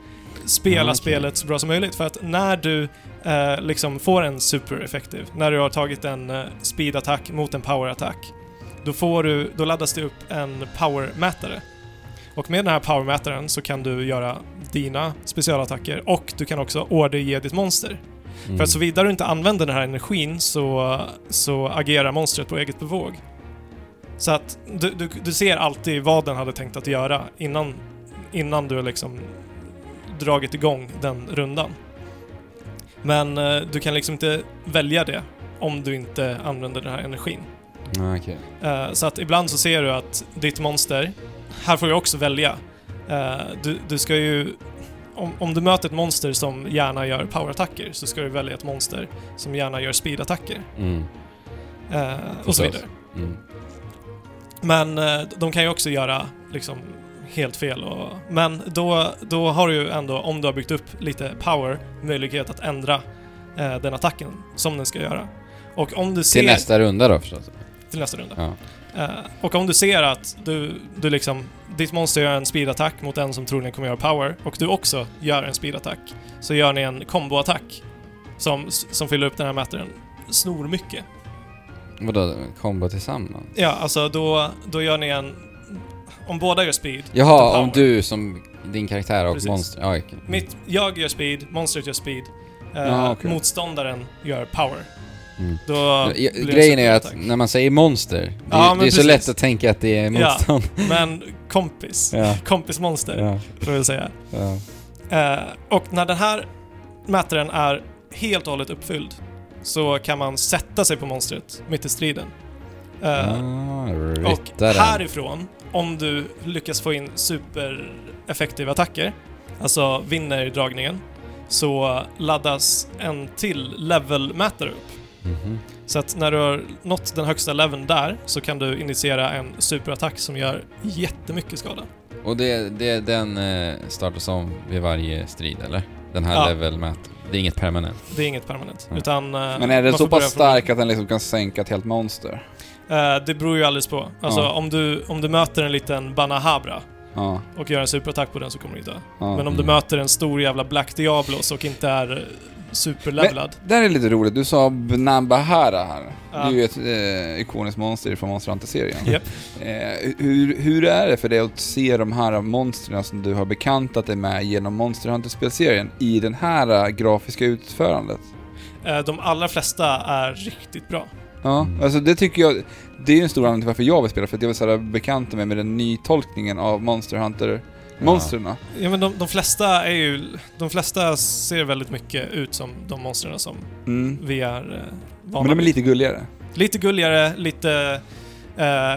[SPEAKER 1] spela
[SPEAKER 2] Ah, okej.
[SPEAKER 1] spelet så bra som möjligt. För att när du eh, liksom får en supereffektiv, när du har tagit en eh, speed-attack mot en power-attack, då, får du, då laddas det upp en power-mätare. Och med den här power-mätaren så kan du göra dina specialattacker och du kan också orderge ditt monster.
[SPEAKER 2] Mm.
[SPEAKER 1] För att såvida du inte använder den här energin så, så agerar monstret på eget bevåg. Så att du, du, du ser alltid vad den hade tänkt att göra innan, innan du har liksom dragit igång den rundan. Men eh, du kan liksom inte välja det om du inte använder den här energin.
[SPEAKER 2] Ja, okej.
[SPEAKER 1] Eh, Så att ibland så ser du att ditt monster, här får du också välja. Eh, Du, du ska ju, om, om du möter ett monster som gärna gör powerattacker så ska du välja ett monster som gärna gör speedattacker.
[SPEAKER 2] Mm.
[SPEAKER 1] eh, Och
[SPEAKER 2] Förstås.
[SPEAKER 1] så vidare.
[SPEAKER 2] Mm.
[SPEAKER 1] Men eh, de kan ju också göra liksom helt fel. Och, men då, då har du ju ändå, om du har byggt upp lite power, möjlighet att ändra eh, den attacken som den ska göra. Och om du ser...
[SPEAKER 2] Till nästa runda då förstås.
[SPEAKER 1] till nästa runda.
[SPEAKER 2] Ja.
[SPEAKER 1] Eh, och om du ser att du, du liksom, ditt monster gör en speedattack mot en som troligen kommer göra power och du också gör en speedattack så gör ni en komboattack som, som fyller upp den här mätaren snormycket.
[SPEAKER 2] Vadå, kombo tillsammans?
[SPEAKER 1] Ja, alltså då, då gör ni en... Om båda gör speed...
[SPEAKER 2] Jaha,
[SPEAKER 1] power.
[SPEAKER 2] om du som din karaktär och
[SPEAKER 1] Precis.
[SPEAKER 2] monster... Ja, okej. Mm.
[SPEAKER 1] Mitt, jag gör speed, monstret gör speed, eh,
[SPEAKER 3] Ja, okej.
[SPEAKER 1] motståndaren gör power.
[SPEAKER 2] Mm.
[SPEAKER 1] Då
[SPEAKER 2] Ja,
[SPEAKER 1] blir det en
[SPEAKER 2] Grejen är att
[SPEAKER 1] superattack.
[SPEAKER 2] när man säger monster, det,
[SPEAKER 1] Ja, men
[SPEAKER 2] det är så
[SPEAKER 1] precis.
[SPEAKER 2] lätt att tänka att det
[SPEAKER 1] Ja.
[SPEAKER 2] är motstånd.
[SPEAKER 1] Men kompis,
[SPEAKER 2] Ja.
[SPEAKER 1] kompismonster,
[SPEAKER 2] Ja.
[SPEAKER 1] får jag väl säga.
[SPEAKER 2] Ja.
[SPEAKER 1] Eh, och när den här mätaren är helt och hållet uppfylld så kan man sätta sig på monstret mitt i striden. Eh,
[SPEAKER 2] Ah,
[SPEAKER 1] och
[SPEAKER 2] ryttaren.
[SPEAKER 1] härifrån, om du lyckas få in supereffektiva attacker, alltså vinner dragningen, så laddas en till levelmätare upp.
[SPEAKER 2] Mhm.
[SPEAKER 1] Så att när du har nått den högsta leveln där så kan du initiera en superattack som gör jättemycket skada.
[SPEAKER 2] Och det, det, den eh, startas om vid varje strid, eller? Den här
[SPEAKER 1] Ja.
[SPEAKER 2] levelmätaren. Det är inget permanent.
[SPEAKER 1] Det är inget permanent.
[SPEAKER 2] Mm.
[SPEAKER 1] Utan, eh,
[SPEAKER 3] Men är den så pass stark att den liksom kan sänka ett helt monster?
[SPEAKER 1] Eh, det beror ju alldeles på. Alltså
[SPEAKER 3] Ja.
[SPEAKER 1] om, du, om du möter en liten Banahabra
[SPEAKER 3] Ja.
[SPEAKER 1] och gör en superattack på den så kommer du inte dö.
[SPEAKER 3] ja.
[SPEAKER 1] Men om du
[SPEAKER 2] Mm.
[SPEAKER 1] möter en stor jävla Black Diablos och inte är eh, superlevlad.
[SPEAKER 3] Det här är lite roligt, du sa Bnabahara här.
[SPEAKER 1] Ja.
[SPEAKER 3] Det är ju ett eh, ikoniskt monster från Monster Hunter-serien.
[SPEAKER 1] Japp.
[SPEAKER 3] Eh, hur, hur är det för dig att se de här monstren som du har bekantat dig med genom Monster Hunter-spelserien i den här eh, grafiska utförandet?
[SPEAKER 1] Eh, de allra flesta är riktigt bra.
[SPEAKER 3] Ja,
[SPEAKER 2] Mm.
[SPEAKER 3] alltså det tycker jag, det är ju en stor anledning till varför jag vill spela, för att jag vill så här, bekanta mig med den nytolkningen av Monster Hunter monstren.
[SPEAKER 1] Ja, men de, de flesta är ju... De flesta ser väldigt mycket ut som de monstren som
[SPEAKER 3] Mm.
[SPEAKER 1] vi är eh, vana
[SPEAKER 3] Men de är
[SPEAKER 1] vid.
[SPEAKER 3] lite gulligare.
[SPEAKER 1] Lite gulligare, lite... Eh,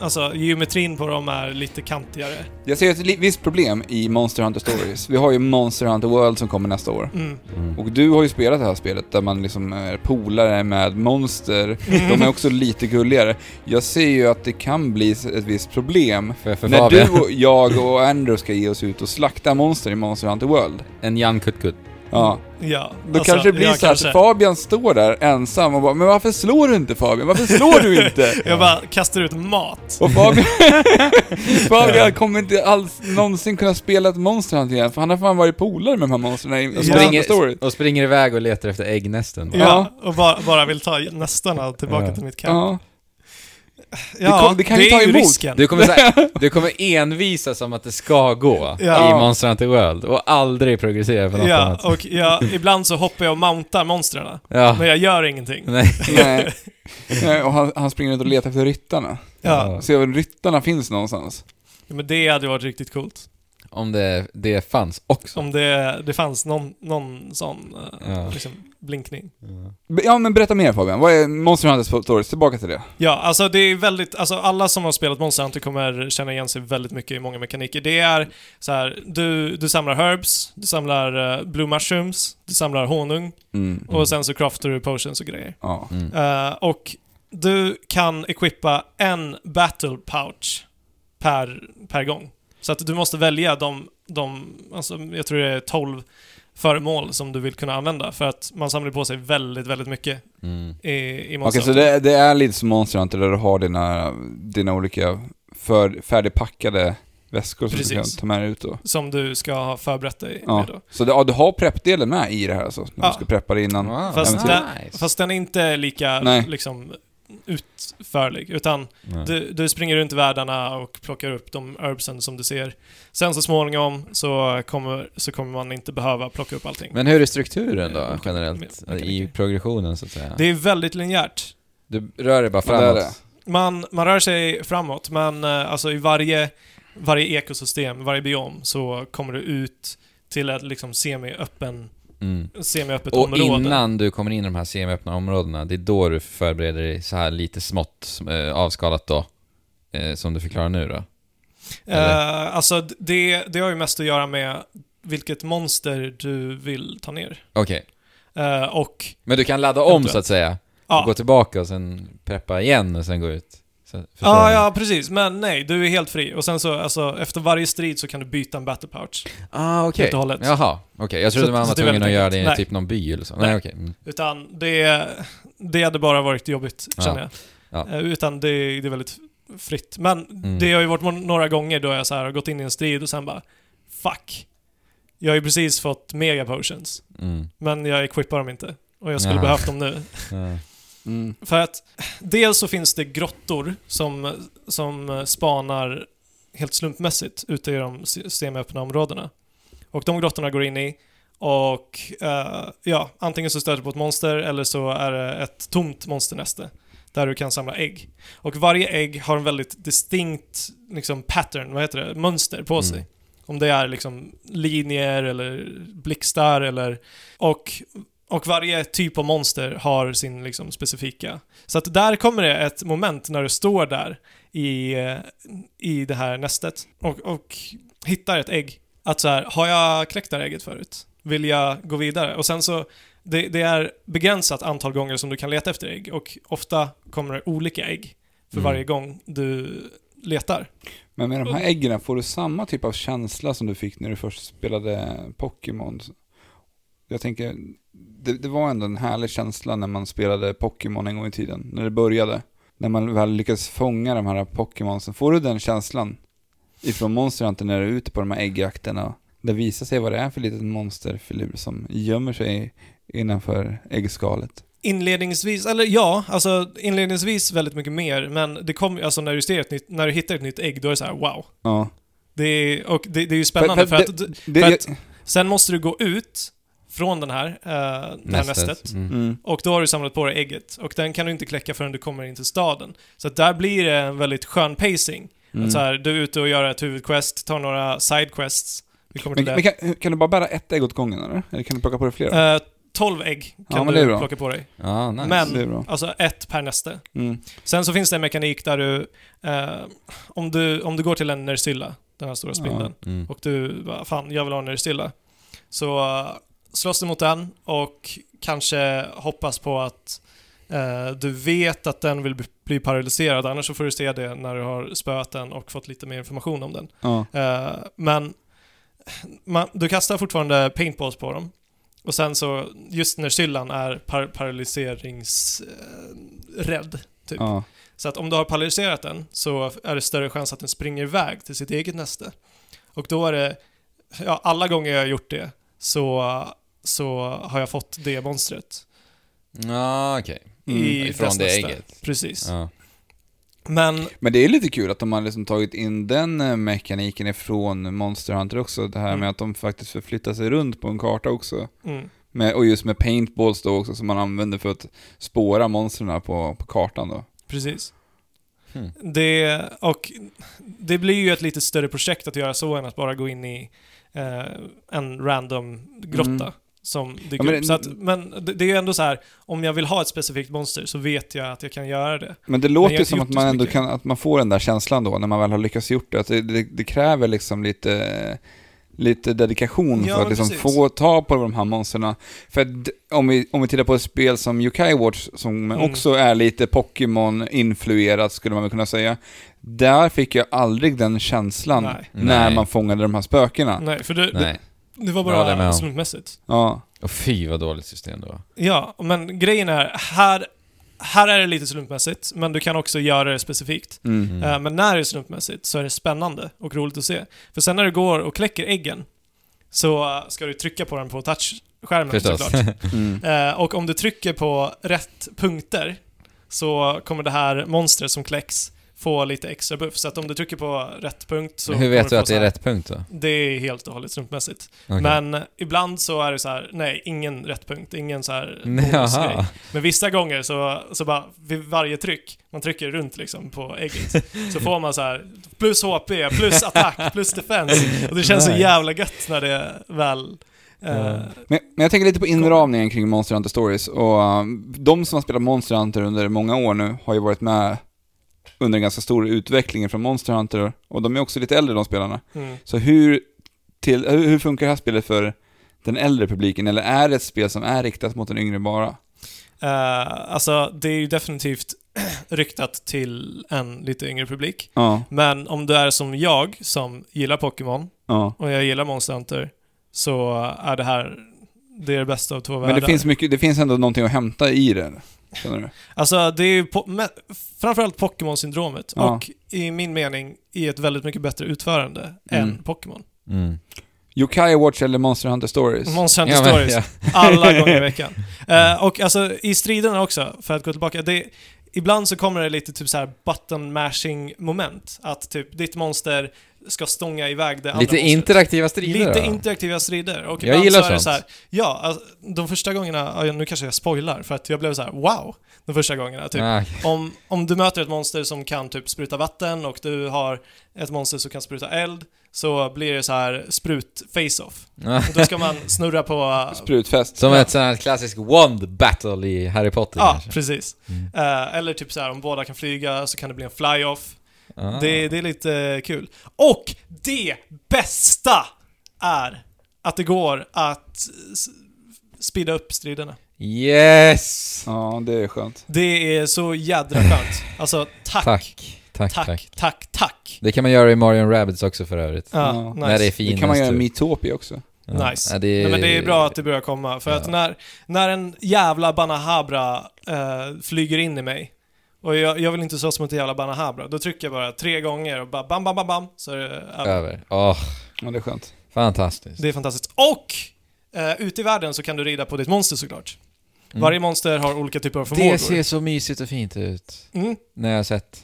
[SPEAKER 1] alltså, geometrin på dem är lite kantigare.
[SPEAKER 3] Jag ser ett li- visst problem i Monster Hunter Stories. Vi har ju Monster Hunter World som kommer nästa år.
[SPEAKER 1] Mm.
[SPEAKER 2] Mm.
[SPEAKER 3] Och du har ju spelat det här spelet där man liksom är polare med monster. De är också lite gulligare. Jag ser ju att det kan bli ett visst problem.
[SPEAKER 2] För, för
[SPEAKER 3] När
[SPEAKER 2] Fabian,
[SPEAKER 3] du och jag och Andrew ska ge oss ut och slakta monster i Monster Hunter World.
[SPEAKER 2] en Jan Kutkut.
[SPEAKER 3] Ja.
[SPEAKER 1] Ja. alltså,
[SPEAKER 3] Då kanske det blir
[SPEAKER 1] ja,
[SPEAKER 3] så här att
[SPEAKER 1] kanske.
[SPEAKER 3] Fabian står där ensam och bara Men varför slår du inte Fabian? Varför slår du inte?
[SPEAKER 1] Jag bara kastar ut mat.
[SPEAKER 3] Och Fabian, Fabian kommer inte alls någonsin kunna spela ett Monster Hunter igen för han har fan varit polare med de här monstren i
[SPEAKER 2] Och
[SPEAKER 3] Monster Hunter Stories.
[SPEAKER 2] springer, och springer iväg och letar efter äggnästen.
[SPEAKER 1] Ja, och bara, bara vill ta nästarna tillbaka
[SPEAKER 2] Ja.
[SPEAKER 1] till mitt camp.
[SPEAKER 3] Ja.
[SPEAKER 1] Ja,
[SPEAKER 3] Det kom- det kan ju ta
[SPEAKER 1] är ju
[SPEAKER 3] emot.
[SPEAKER 1] risken.
[SPEAKER 2] Du kommer, så här, du kommer envisas om att det ska gå
[SPEAKER 1] Ja.
[SPEAKER 2] i Monster Hunter World och aldrig progressera för något
[SPEAKER 1] Ja,
[SPEAKER 2] annat.
[SPEAKER 1] och jag, ibland så hoppar jag och mountar monstren.
[SPEAKER 2] Ja.
[SPEAKER 1] Men jag gör ingenting.
[SPEAKER 2] Nej.
[SPEAKER 3] Nej. Nej, och han, han springer ut och letar efter ryttarna.
[SPEAKER 1] Ja,
[SPEAKER 3] Se om ryttarna finns någonstans.
[SPEAKER 1] men det hade varit riktigt coolt.
[SPEAKER 2] Om det, det fanns också.
[SPEAKER 1] Om det, det fanns någon, någon sån eh,
[SPEAKER 2] Ja.
[SPEAKER 1] liksom, blinkning.
[SPEAKER 3] Be- Ja men berätta mer Fabian, vad är Monster Hunter Stories? Tillbaka till det.
[SPEAKER 1] Ja, alltså det är väldigt, alltså alla som har spelat Monster Hunter kommer känna igen sig väldigt mycket i många mekaniker. Det är så här, du, du samlar herbs, du samlar eh, blue mushrooms, du samlar honung
[SPEAKER 3] Mm.
[SPEAKER 2] Mm.
[SPEAKER 1] och sen så craftar du potions och grejer.
[SPEAKER 3] Ja.
[SPEAKER 2] Mm.
[SPEAKER 1] Eh, och du kan equippa en battle pouch per, per gång. Så att du måste välja de, de, alltså jag tror det är 12 föremål som du vill kunna använda för att man samlar på sig väldigt, väldigt mycket
[SPEAKER 2] Mm.
[SPEAKER 1] i, i
[SPEAKER 3] Okej
[SPEAKER 1] Monster
[SPEAKER 3] så
[SPEAKER 1] Hunter.
[SPEAKER 3] det, det är lite som Monster Hunter där du har dina, dina olika för, färdigpackade väskor som du kan
[SPEAKER 1] Precis.
[SPEAKER 3] ta med dig ut då.
[SPEAKER 1] Som du ska ha förberett dig
[SPEAKER 3] Ja.
[SPEAKER 1] med då.
[SPEAKER 3] Så det, ja, du har preppdelen med i det här alltså? När
[SPEAKER 1] Ja.
[SPEAKER 3] du ska preppa det innan?
[SPEAKER 2] Wow,
[SPEAKER 1] Fast
[SPEAKER 2] Ah, nice.
[SPEAKER 1] där- Fast den är inte lika
[SPEAKER 3] Nej.
[SPEAKER 1] liksom utförlig, utan
[SPEAKER 2] Nej.
[SPEAKER 1] du, du springer runt i världarna och plockar upp de herbsen som du ser. Sen så småningom så kommer, så kommer man inte behöva plocka upp allting.
[SPEAKER 2] Men hur är strukturen
[SPEAKER 1] Eh,
[SPEAKER 2] då, generellt?
[SPEAKER 1] mycket, mycket,
[SPEAKER 2] I
[SPEAKER 1] mycket.
[SPEAKER 2] progressionen så att säga?
[SPEAKER 1] Det är väldigt linjärt.
[SPEAKER 2] Du rör dig bara
[SPEAKER 3] Ja, det är det.
[SPEAKER 2] framåt?
[SPEAKER 1] Man, man rör sig framåt, men eh, alltså i varje, varje ekosystem, varje biom, så kommer du ut till ett liksom semi-öppen,
[SPEAKER 2] Mm.
[SPEAKER 1] semi-öppet
[SPEAKER 2] Och
[SPEAKER 1] område.
[SPEAKER 2] innan du kommer in i de här semiöppna områdena, det är då du förbereder dig så här lite smått, eh, avskalat då, eh, som du förklarar nu då? eller?
[SPEAKER 1] Eh, alltså d- det, det har ju mest att göra med vilket monster du vill ta ner.
[SPEAKER 2] Okej.
[SPEAKER 1] Eh, och
[SPEAKER 2] Men du kan ladda om så att säga? Och gå
[SPEAKER 1] Ja.
[SPEAKER 2] tillbaka och sen preppa igen och sen gå ut? Så, förstår
[SPEAKER 1] Ja,
[SPEAKER 2] du?
[SPEAKER 1] ja, precis. Men nej, du är helt fri. Och sen så, alltså, efter varje strid så kan du byta en battle pouch.
[SPEAKER 2] Ah, okej.
[SPEAKER 1] Helt och hållet.
[SPEAKER 2] Jaha, okej. Jag trodde
[SPEAKER 1] Så-
[SPEAKER 2] man
[SPEAKER 1] så
[SPEAKER 2] var
[SPEAKER 1] det är
[SPEAKER 2] tvungen att
[SPEAKER 1] väldigt
[SPEAKER 2] göra det
[SPEAKER 1] enkelt.
[SPEAKER 2] i
[SPEAKER 1] Nej.
[SPEAKER 2] typ någon by eller så. Nej,
[SPEAKER 1] Nej.
[SPEAKER 2] okej. Mm.
[SPEAKER 1] Utan det, det hade bara varit jobbigt,
[SPEAKER 2] Ja.
[SPEAKER 1] känner jag.
[SPEAKER 2] Ja.
[SPEAKER 1] Eh, Utan det, det är väldigt fritt. Men
[SPEAKER 2] Mm.
[SPEAKER 1] det har ju varit må- några gånger då jag så här har gått in i en strid och sen bara, fuck. Jag har ju precis fått mega potions,
[SPEAKER 2] Mm.
[SPEAKER 1] men jag equippar dem inte. Och jag skulle
[SPEAKER 2] Ja.
[SPEAKER 1] behövt dem nu.
[SPEAKER 2] Ja.
[SPEAKER 3] Mm.
[SPEAKER 1] För att dels så finns det grottor som, som spanar helt slumpmässigt ute i de se- semiöppna områdena. Och de grottorna går in i och eh, ja, antingen så stöter du på ett monster eller så är det ett tomt monsternäste där du kan samla ägg. Och varje ägg har en väldigt distinkt liksom, pattern, vad heter det, mönster på sig.
[SPEAKER 2] Mm.
[SPEAKER 1] Om det är liksom linjer eller blixtar eller... Och och varje typ av monster har sin liksom specifika. Så att där kommer det ett moment när du står där i, eh, i det här nästet och, och hittar ett ägg. Att så här, har jag kläckt det här ägget förut? Vill jag gå vidare? Och sen så, det, det är begränsat antal gånger som du kan leta efter ägg och ofta kommer det olika ägg för
[SPEAKER 2] Mm.
[SPEAKER 1] varje gång du letar.
[SPEAKER 3] Men med
[SPEAKER 1] Mm.
[SPEAKER 3] de här äggen, får du samma typ av känsla som du fick när du först spelade Pokémon? Jag tänker, det, det var ändå en härlig känsla när man spelade Pokémon en gång i tiden, när det började. När man väl lyckades fånga de här Pokémonsen, får du den känslan ifrån Monster Hunter när du är ute på de här äggjakterna? Det visar sig vad det är för litet monsterfilur som gömmer sig innanför äggskalet.
[SPEAKER 1] Inledningsvis, eller ja, alltså inledningsvis väldigt mycket mer, men det kommer alltså när du ser ett nytt, när du hittar ett nytt ägg, då är det så här wow.
[SPEAKER 3] Ja.
[SPEAKER 1] Det är, och det, det är ju spännande för, att, d-
[SPEAKER 3] det-
[SPEAKER 1] för sen måste du gå ut från den här, eh, det här nästet
[SPEAKER 2] Mm.
[SPEAKER 3] mm.
[SPEAKER 1] och då har du samlat på dig ägget och den kan du inte kläcka förrän du kommer in till staden. Så att där blir det en väldigt skön pacing
[SPEAKER 3] Mm.
[SPEAKER 1] Att så här, du är ute och gör ett huvudquest, tar några sidequests. Vi kommer
[SPEAKER 3] Men,
[SPEAKER 1] till
[SPEAKER 3] men
[SPEAKER 1] det.
[SPEAKER 3] kan, kan du bara bära ett ägg åt gången eller? Eller kan du plocka på dig flera?
[SPEAKER 1] Eh, 12 ägg
[SPEAKER 3] Ja,
[SPEAKER 1] kan
[SPEAKER 3] men det är
[SPEAKER 1] du
[SPEAKER 3] bra.
[SPEAKER 1] plocka på dig.
[SPEAKER 2] Ja, Ah, nice.
[SPEAKER 1] Men-
[SPEAKER 3] Det är bra.
[SPEAKER 1] Alltså ett per näste.
[SPEAKER 3] Mm.
[SPEAKER 1] Sen så finns det en mekanik där du, eh, om du, om du går till en Nersilla, den här stora
[SPEAKER 3] Ja.
[SPEAKER 1] spindeln,
[SPEAKER 2] Mm.
[SPEAKER 1] och du bara, fan jag vill ha en Nersilla. Så eh, slåss du mot den och kanske hoppas på att eh, du vet att den vill bli- bli paralyserad, annars så får du se det när du har spöat den och fått lite mer information om den.
[SPEAKER 3] Ja.
[SPEAKER 1] Eh, men man, du kastar fortfarande paintballs på dem. Och sen så, just när syllan är par paralyseringsrädd. Typ.
[SPEAKER 3] Ja.
[SPEAKER 1] Så att om du har paralyserat den så är det större chans att den springer iväg till sitt eget näste. Och då är det, ja alla gånger jag har gjort det så, så har jag fått det monstret.
[SPEAKER 2] Ja, Ah, okej.
[SPEAKER 1] I
[SPEAKER 2] Mm, Ifrån
[SPEAKER 1] dess
[SPEAKER 2] det
[SPEAKER 1] näste.
[SPEAKER 2] ägget.
[SPEAKER 1] Precis.
[SPEAKER 2] Ja.
[SPEAKER 1] Men
[SPEAKER 3] Men det är lite kul att de har liksom tagit in den eh, mekaniken ifrån Monster Hunter också. Det här
[SPEAKER 1] Mm.
[SPEAKER 3] med att de faktiskt förflyttar sig runt på en karta också.
[SPEAKER 1] mm,
[SPEAKER 3] Med, och just med paintballs då också som man använder för att spåra monstren på, på kartan då.
[SPEAKER 1] precis.
[SPEAKER 2] Hmm.
[SPEAKER 1] Det, och det blir ju ett lite större projekt att göra så än att bara gå in i eh, en random grotta
[SPEAKER 3] Mm.
[SPEAKER 1] som dyker
[SPEAKER 3] Ja, men
[SPEAKER 1] upp.
[SPEAKER 3] det-
[SPEAKER 1] Så att, men det, det är ju ändå så här, om jag vill ha ett specifikt monster så vet jag att jag kan göra det.
[SPEAKER 3] Men det
[SPEAKER 1] jag
[SPEAKER 3] låter
[SPEAKER 1] har
[SPEAKER 3] ju
[SPEAKER 1] inte
[SPEAKER 3] som
[SPEAKER 1] gjort
[SPEAKER 3] att
[SPEAKER 1] det
[SPEAKER 3] man
[SPEAKER 1] så
[SPEAKER 3] ändå
[SPEAKER 1] mycket.
[SPEAKER 3] kan, att man får den där känslan då när man väl har lyckats gjort det. Att det, det, det kräver liksom lite, eh, lite dedikation
[SPEAKER 1] Ja,
[SPEAKER 3] för
[SPEAKER 1] men
[SPEAKER 3] att liksom
[SPEAKER 1] precis.
[SPEAKER 3] få ta på de här monstren. För att, d- om, vi, om vi tittar på ett spel som Yokai Watch som
[SPEAKER 1] Mm.
[SPEAKER 3] också är lite Pokémon-influerat skulle man väl kunna säga. Där fick jag aldrig den känslan
[SPEAKER 1] Nej.
[SPEAKER 3] när
[SPEAKER 2] Nej.
[SPEAKER 3] man fångade de här spökena.
[SPEAKER 1] Nej, för det, det,
[SPEAKER 2] Nej.
[SPEAKER 1] det var
[SPEAKER 2] Ja, det är med
[SPEAKER 1] bara
[SPEAKER 2] om.
[SPEAKER 1] slumpmässigt.
[SPEAKER 3] Ja.
[SPEAKER 2] Och fy vad dåligt system det var.
[SPEAKER 1] Ja, men grejen är, här, här är det lite slumpmässigt, men du kan också göra det specifikt.
[SPEAKER 3] Mm.
[SPEAKER 2] Mm.
[SPEAKER 1] Eh, Men när det är slumpmässigt så är det spännande och roligt att se. För sen när du går och kläcker äggen så eh, ska du trycka på den på touchskärmen
[SPEAKER 2] Förstås.
[SPEAKER 1] såklart.
[SPEAKER 3] Mm.
[SPEAKER 1] Eh, Och om du trycker på rätt punkter så kommer det här monstret som kläcks få lite extra buff. Så att om du trycker på rätt punkt så...
[SPEAKER 2] Men Hur
[SPEAKER 1] kommer
[SPEAKER 2] vet du
[SPEAKER 1] få
[SPEAKER 2] att det
[SPEAKER 1] så
[SPEAKER 2] är
[SPEAKER 1] här-
[SPEAKER 2] rätt punkt då?
[SPEAKER 1] Det är helt och hållet slumpmässigt.
[SPEAKER 2] Okej.
[SPEAKER 1] Men ibland så är det så här, nej, ingen rätt punkt, ingen så här
[SPEAKER 2] Nej,
[SPEAKER 1] bonusgrej.
[SPEAKER 2] Jaha.
[SPEAKER 1] Men vissa gånger så, så bara, vid varje tryck, man trycker runt liksom på ägget, så får man så här plus HP, plus attack, plus defense. Och det känns så
[SPEAKER 2] Nice.
[SPEAKER 1] jävla gött när det väl... eh,
[SPEAKER 2] Ja.
[SPEAKER 3] Men, men jag tänker lite på inramningen kring Monster Hunter Stories och um, de som har spelat Monster Hunter under många år nu har ju varit med under en ganska stor utveckling från Monster Hunter och de är också lite äldre de spelarna.
[SPEAKER 1] mm.
[SPEAKER 3] Så hur, till, hur hur funkar det här spelet för den äldre publiken eller är det ett spel som är riktat mot den yngre bara?
[SPEAKER 1] Eh, alltså, det är ju definitivt ryktat till en lite yngre publik.
[SPEAKER 3] Ja,
[SPEAKER 1] Men om du är som jag, som gillar Pokémon,
[SPEAKER 3] ja.
[SPEAKER 1] och jag gillar Monster Hunter, så är det här det, är det bästa av två
[SPEAKER 3] Men
[SPEAKER 1] världar.
[SPEAKER 3] det finns, mycket, det finns ändå någonting att hämta i det, känner du?
[SPEAKER 1] Alltså det är ju po- me- framförallt Pokémon-syndromet
[SPEAKER 3] Ja.
[SPEAKER 1] och i min mening i ett väldigt mycket bättre utförande
[SPEAKER 3] Mm.
[SPEAKER 1] än Pokémon.
[SPEAKER 2] Mm.
[SPEAKER 3] Yokai Watch eller Monster Hunter Stories?
[SPEAKER 1] Monster Hunter
[SPEAKER 2] Ja, men-
[SPEAKER 1] Stories,
[SPEAKER 2] ja.
[SPEAKER 1] alla gånger i veckan. Eh, och alltså i striderna också, för att gå tillbaka, det, ibland så kommer det lite typ så här button mashing moment. Att typ ditt monster ska stånga iväg det andra
[SPEAKER 2] Lite
[SPEAKER 1] monstret.
[SPEAKER 2] interaktiva strider
[SPEAKER 1] Lite
[SPEAKER 2] då?
[SPEAKER 1] interaktiva strider. Och
[SPEAKER 2] Jag
[SPEAKER 1] ibland
[SPEAKER 2] gillar
[SPEAKER 1] så är det
[SPEAKER 2] sånt.
[SPEAKER 1] så här, ja, alltså, de första gångerna, ja, nu kanske jag spoilar, för att jag blev så här: wow, de första gångerna. Typ,
[SPEAKER 2] Ah,
[SPEAKER 1] om, om du möter ett monster som kan typ spruta vatten och du har ett monster som kan spruta eld, så blir det så här sprut face-off.
[SPEAKER 2] Ja.
[SPEAKER 1] Och då ska man snurra på...
[SPEAKER 3] Sprutfest?
[SPEAKER 2] Som ett sånt här klassiskt wand battle i Harry Potter
[SPEAKER 1] Ja,
[SPEAKER 2] kanske.
[SPEAKER 1] precis.
[SPEAKER 2] Mm.
[SPEAKER 1] Eh, eller typ så här, om båda kan flyga så kan det bli en fly-off.
[SPEAKER 2] Ah.
[SPEAKER 1] Det, det är lite kul. Och det bästa är att det går att s- speeda upp striderna.
[SPEAKER 2] Yes!
[SPEAKER 3] Ja, det är skönt.
[SPEAKER 1] Det är så jädra skönt. Alltså, tack, tack,
[SPEAKER 2] Tack. Tack, tack,
[SPEAKER 1] tack, tack.
[SPEAKER 2] Det kan man göra i Mario Rabbids också för övrigt.
[SPEAKER 1] Ja,
[SPEAKER 3] Ja.
[SPEAKER 1] nice.
[SPEAKER 2] När det är
[SPEAKER 3] Det
[SPEAKER 2] finast.
[SPEAKER 3] kan man göra i
[SPEAKER 2] typ.
[SPEAKER 3] Miitopi också.
[SPEAKER 2] Ja.
[SPEAKER 1] Nice.
[SPEAKER 2] Ja, det är...
[SPEAKER 1] Nej, men det är bra att det börjar komma, för att
[SPEAKER 2] Ja.
[SPEAKER 1] när, när en jävla Banahabra eh, flyger in i mig, och jag, jag vill inte slåss mot en jävla Banahabra, då trycker jag bara tre gånger och bara bam, bam, bam, bam, så är det över.
[SPEAKER 2] Över. Åh,
[SPEAKER 3] Ja, det är skönt.
[SPEAKER 2] fantastiskt.
[SPEAKER 1] Det är fantastiskt. Och eh, ute i världen så kan du rida på ditt monster såklart. Varje monster har olika typer av förmågor.
[SPEAKER 2] Mm. Det ser så mysigt och fint ut.
[SPEAKER 1] Mm.
[SPEAKER 2] När jag har sett.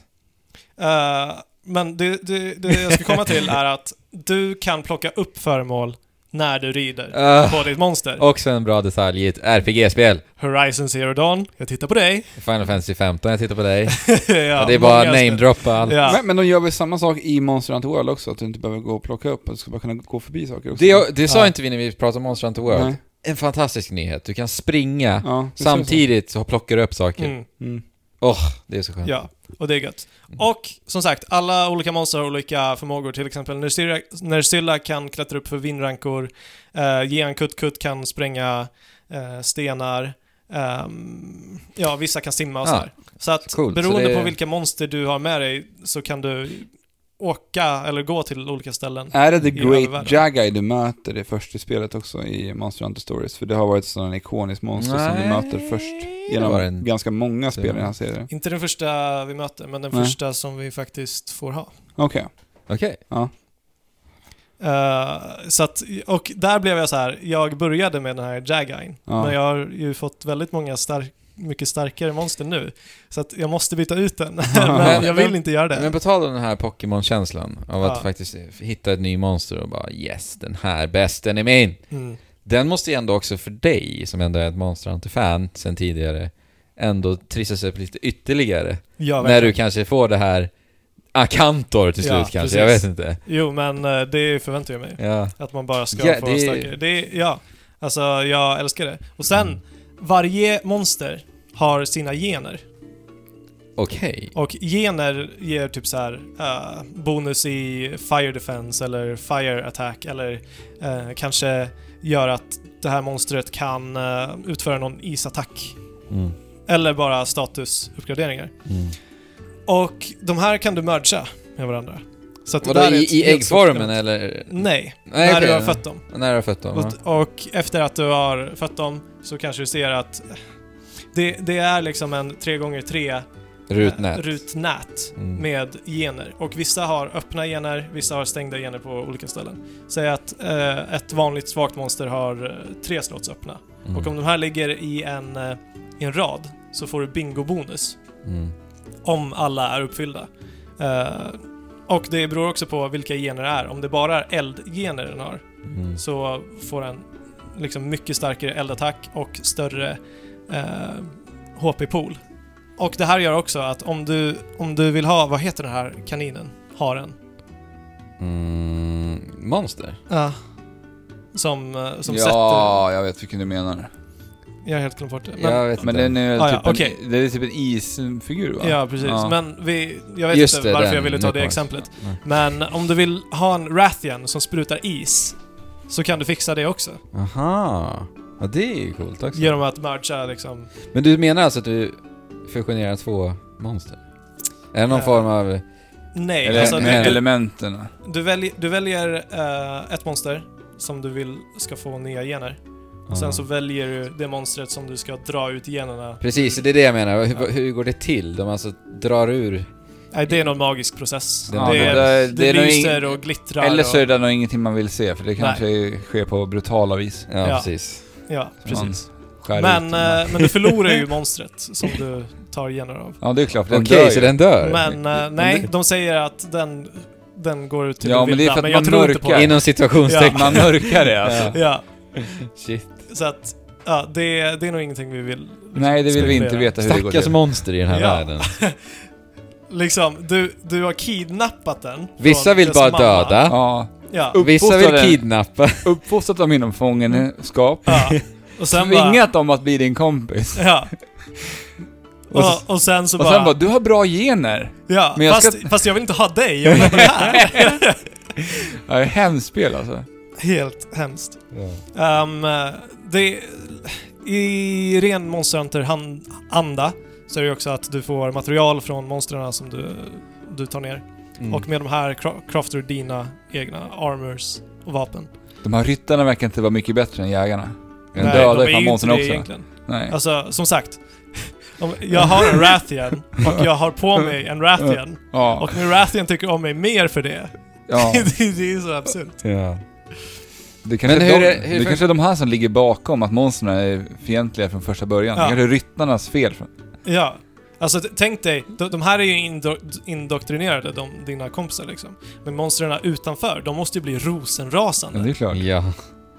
[SPEAKER 1] Eh, men det, det, det jag ska komma till är att du kan plocka upp föremål när du rider
[SPEAKER 2] Ah.
[SPEAKER 1] på ditt monster.
[SPEAKER 2] Också en bra detalj i ett RPG-spel.
[SPEAKER 1] Horizon Zero Dawn, jag tittar på dig.
[SPEAKER 2] Final Fantasy 15, jag tittar på dig.
[SPEAKER 1] ja,
[SPEAKER 2] Ja, det är bara
[SPEAKER 1] många spel.
[SPEAKER 2] namedroppa allt.
[SPEAKER 1] Ja.
[SPEAKER 3] Men, men de gör väl samma sak i Monster Hunter World också? Att du inte behöver gå och plocka upp, att du ska bara kunna gå förbi saker också?
[SPEAKER 2] Det, det sa
[SPEAKER 1] Ja.
[SPEAKER 2] inte vi när vi pratade om Monster Hunter World.
[SPEAKER 3] Nej.
[SPEAKER 2] En fantastisk nyhet. Du kan springa
[SPEAKER 3] Ja, det ser
[SPEAKER 2] samtidigt så plockar du upp saker.
[SPEAKER 1] Mm,
[SPEAKER 3] ut så. Mm.
[SPEAKER 2] Det är så skönt.
[SPEAKER 1] ja, och det är gött. Och som sagt, alla olika monster har olika förmågor. Till exempel Nersilla, Nersilla kan klättra upp för vindrankor, uh, Gian Kutkut kan spränga eh, stenar, ehm, ja, vissa kan simma och
[SPEAKER 2] Ja.
[SPEAKER 1] sådär. Så att
[SPEAKER 2] Ah, Coolt, så
[SPEAKER 1] beroende
[SPEAKER 2] det-
[SPEAKER 1] på vilka monster du har med dig så kan du åka eller gå till olika ställen.
[SPEAKER 3] Är det The
[SPEAKER 1] I övervärlden.
[SPEAKER 3] Great Jagai du möter i första spelet också i Monster Hunter Stories? För det har varit sådana ikonisk monster som du
[SPEAKER 2] Nej,
[SPEAKER 3] möter först
[SPEAKER 2] det var
[SPEAKER 3] genom
[SPEAKER 2] en-
[SPEAKER 3] ganska många spel i
[SPEAKER 2] det-
[SPEAKER 3] den här serien.
[SPEAKER 1] Inte den första vi möter, men den
[SPEAKER 3] Nej.
[SPEAKER 1] första som vi faktiskt får ha.
[SPEAKER 3] Okej.
[SPEAKER 2] Okej.
[SPEAKER 1] Eh, så att, och där blev jag så här. jag började med den här Jagain,
[SPEAKER 3] Ja.
[SPEAKER 1] men jag har ju fått väldigt många stark, mycket starkare monster nu. Så att jag måste byta ut den, men
[SPEAKER 2] Men-
[SPEAKER 1] jag vill
[SPEAKER 2] men-
[SPEAKER 1] inte göra det.
[SPEAKER 2] Men på tal om den här Pokémon-känslan av att
[SPEAKER 1] Ja.
[SPEAKER 2] faktiskt hitta ett ny monster och bara yes, den här bäst, den är min.
[SPEAKER 1] mm.
[SPEAKER 2] Den måste ju ändå också för dig, som ändå är ett Monster Hunter-fan sen tidigare, ändå trissas upp lite ytterligare.
[SPEAKER 1] ja,
[SPEAKER 2] när
[SPEAKER 1] verkligen.
[SPEAKER 2] du kanske får det här Akantor till
[SPEAKER 1] Ja,
[SPEAKER 2] slut kanske, jag vet
[SPEAKER 1] precis.
[SPEAKER 2] inte.
[SPEAKER 1] Jo, men eh, det förväntar jag mig.
[SPEAKER 2] Ja.
[SPEAKER 1] Att man bara ska
[SPEAKER 2] Ja,
[SPEAKER 1] få
[SPEAKER 2] det-
[SPEAKER 1] starkare. Det, ja, alltså jag älskar det. Och sen, varje monster har sina gener.
[SPEAKER 2] Okej.
[SPEAKER 1] Och gener ger typ så här eh, bonus i fire defense eller fire attack eller eh, kanske gör att det här monstret kan eh, utföra någon isattack.
[SPEAKER 2] Mm.
[SPEAKER 1] Eller bara statusuppgraderingar.
[SPEAKER 2] Mm.
[SPEAKER 1] Och de här kan du merga med varandra. Så att det
[SPEAKER 2] Vadå,
[SPEAKER 1] där är
[SPEAKER 2] i,
[SPEAKER 1] ett
[SPEAKER 2] i
[SPEAKER 1] helt
[SPEAKER 2] äggformen
[SPEAKER 1] supplement.
[SPEAKER 2] eller?
[SPEAKER 1] Nej,
[SPEAKER 2] Nej,
[SPEAKER 1] när
[SPEAKER 2] okej.
[SPEAKER 1] du har fött dem.
[SPEAKER 2] När du har fött dem, ja.
[SPEAKER 1] Och, och efter att du har fött dem så kanske du ser att det, det är liksom en 3x3
[SPEAKER 2] Rutnät.
[SPEAKER 1] eh, rutnät
[SPEAKER 2] Mm.
[SPEAKER 1] med gener. Och vissa har öppna gener, vissa har stängda gener på olika ställen. Säg att eh, ett vanligt svagt monster har eh, tre slots öppna.
[SPEAKER 2] Mm.
[SPEAKER 1] Och om de här ligger i en, eh, i en rad så får du bingo-bonus
[SPEAKER 2] Mm.
[SPEAKER 1] om alla är uppfyllda. Eh, och det beror också på vilka gener det är. Om det bara är eldgener den har
[SPEAKER 2] Mm.
[SPEAKER 1] så får den liksom mycket starkare eldattack och större eh, HP-pool. Och det här gör också att om du, om du vill ha, vad heter den här kaninen? Haren.
[SPEAKER 2] Mm. Monster?
[SPEAKER 1] Ja. Som, eh, som
[SPEAKER 3] ja,
[SPEAKER 1] sätter...
[SPEAKER 3] jag vet vilken du menar.
[SPEAKER 1] Jag har helt glömt bort det.
[SPEAKER 2] jag
[SPEAKER 1] Men,
[SPEAKER 2] vet
[SPEAKER 3] Men
[SPEAKER 2] inte.
[SPEAKER 3] den är,
[SPEAKER 1] Ah,
[SPEAKER 3] typ
[SPEAKER 1] ja, okej.
[SPEAKER 3] en, det är typ en isfigur va?
[SPEAKER 1] ja, precis.
[SPEAKER 3] Ja.
[SPEAKER 1] Men vi, jag vet
[SPEAKER 2] Just
[SPEAKER 1] inte
[SPEAKER 2] det,
[SPEAKER 1] varför
[SPEAKER 2] den.
[SPEAKER 1] jag ville ta
[SPEAKER 2] Nu
[SPEAKER 1] det
[SPEAKER 2] kommer-
[SPEAKER 1] exemplet.
[SPEAKER 3] Mm.
[SPEAKER 2] Nej.
[SPEAKER 1] Men om du vill ha en Rathian som sprutar is så kan du fixa det också.
[SPEAKER 2] Aha. Ja, det är ju coolt också.
[SPEAKER 1] Genom att mergea liksom...
[SPEAKER 2] Men du menar alltså att du fusionerar två monster? Är det någon
[SPEAKER 1] Eh,
[SPEAKER 2] form av...
[SPEAKER 1] Nej,
[SPEAKER 3] Eller,
[SPEAKER 1] alltså...
[SPEAKER 3] med
[SPEAKER 1] du,
[SPEAKER 3] elementen.
[SPEAKER 1] Du väljer, du väljer eh, ett monster som du vill ska få nya gener. Och
[SPEAKER 2] Ja.
[SPEAKER 1] Sen så väljer du det monstret som du ska dra ut generna.
[SPEAKER 2] Precis, det är det jag menar. Hur, hur går det till? De alltså drar ur...
[SPEAKER 1] Nej, det är någon magisk process.
[SPEAKER 2] Det
[SPEAKER 1] Det,
[SPEAKER 2] är någon
[SPEAKER 1] är,
[SPEAKER 2] magisk-
[SPEAKER 1] det,
[SPEAKER 3] det är nog
[SPEAKER 1] lyser
[SPEAKER 3] ing-
[SPEAKER 1] och glittrar
[SPEAKER 3] Eller så är
[SPEAKER 1] och,
[SPEAKER 3] det nog ingenting man vill se, för det kanske sker på brutala vis.
[SPEAKER 2] Ja,
[SPEAKER 1] Ja.
[SPEAKER 2] precis.
[SPEAKER 1] Ja,
[SPEAKER 3] Man
[SPEAKER 1] precis.
[SPEAKER 3] skär
[SPEAKER 1] Men,
[SPEAKER 3] ut den här.
[SPEAKER 1] eh, men du förlorar ju monstret som du tar gener av.
[SPEAKER 3] Ja, det är klart.
[SPEAKER 2] Okej,
[SPEAKER 3] Den dör
[SPEAKER 2] så
[SPEAKER 3] ju.
[SPEAKER 2] den dör?
[SPEAKER 1] Men eh, nej,
[SPEAKER 2] det-
[SPEAKER 1] de säger att den, den går ut till
[SPEAKER 3] Ja,
[SPEAKER 1] det
[SPEAKER 3] men
[SPEAKER 1] vilda.
[SPEAKER 3] det är för att
[SPEAKER 1] men jag
[SPEAKER 3] man
[SPEAKER 1] tror inte på
[SPEAKER 3] mörkar.
[SPEAKER 1] det.
[SPEAKER 2] Inom situationstecken.
[SPEAKER 3] Man mörkar det alltså.
[SPEAKER 1] Ja,
[SPEAKER 2] Shit.
[SPEAKER 1] så att ja, det, det är nog ingenting vi vill
[SPEAKER 3] Nej, det vill vi inte
[SPEAKER 1] Spekulera.
[SPEAKER 3] veta hur det går
[SPEAKER 2] Stackars
[SPEAKER 3] till.
[SPEAKER 2] monster i den här
[SPEAKER 1] Ja.
[SPEAKER 2] världen.
[SPEAKER 1] Liksom, du, du har kidnappat den. från
[SPEAKER 2] Vissa vill
[SPEAKER 1] dess
[SPEAKER 2] bara
[SPEAKER 1] mamma.
[SPEAKER 2] döda.
[SPEAKER 3] Ja,
[SPEAKER 1] Ja.
[SPEAKER 3] Upp-
[SPEAKER 2] Vissa vill
[SPEAKER 3] Uppfostrade.
[SPEAKER 2] kidnappa.
[SPEAKER 3] uppfostrat dem inom fångenskap.
[SPEAKER 1] ja. Och sen bara...
[SPEAKER 3] Tvingat dem att bli din kompis.
[SPEAKER 1] Ja.
[SPEAKER 3] Och så-
[SPEAKER 1] Och, och sen så
[SPEAKER 3] Och
[SPEAKER 1] bara...
[SPEAKER 3] sen bara, du har bra gener.
[SPEAKER 1] ja,
[SPEAKER 3] men jag
[SPEAKER 1] fast,
[SPEAKER 3] ska-
[SPEAKER 1] fast jag vill inte ha dig, jag vill ha den här.
[SPEAKER 3] Ja, det är hemskt spel alltså.
[SPEAKER 1] Helt hemskt. Ehm, det, I ren Monster Hunter han- anda så är det ju också att du får material från monstren som du, du tar ner.
[SPEAKER 2] Mm.
[SPEAKER 1] Och med de här kra- craftar du dina egna armors och vapen.
[SPEAKER 3] De här ryttarna verkar inte vara mycket bättre än jägarna. De
[SPEAKER 1] Nej,
[SPEAKER 3] dödar
[SPEAKER 1] de är
[SPEAKER 3] ju fan
[SPEAKER 1] ju inte
[SPEAKER 3] monstren
[SPEAKER 1] det
[SPEAKER 3] också.
[SPEAKER 1] egentligen.
[SPEAKER 3] Nej.
[SPEAKER 1] Alltså, som sagt. Om jag har en Rathian och jag har på mig en Rathian.
[SPEAKER 3] ja.
[SPEAKER 1] Och min Rathian tycker om mig mer för det.
[SPEAKER 3] ja.
[SPEAKER 1] det, det är så absurt.
[SPEAKER 2] Ja.
[SPEAKER 3] Det kanske,
[SPEAKER 2] Men
[SPEAKER 3] är
[SPEAKER 2] hur
[SPEAKER 3] de,
[SPEAKER 2] är- hur-
[SPEAKER 3] det kanske är de här som ligger bakom att monstren är fientliga från första början.
[SPEAKER 1] Ja.
[SPEAKER 3] Det kanske är ryttarnas fel. Från.
[SPEAKER 1] Ja. Alltså t- tänk dig, de, de här är ju indo- indoktrinerade, de, dina kompisar liksom. Men monstren utanför, de måste ju bli
[SPEAKER 3] Ja, det
[SPEAKER 1] rosenrasande.
[SPEAKER 3] är klart.
[SPEAKER 2] Ja.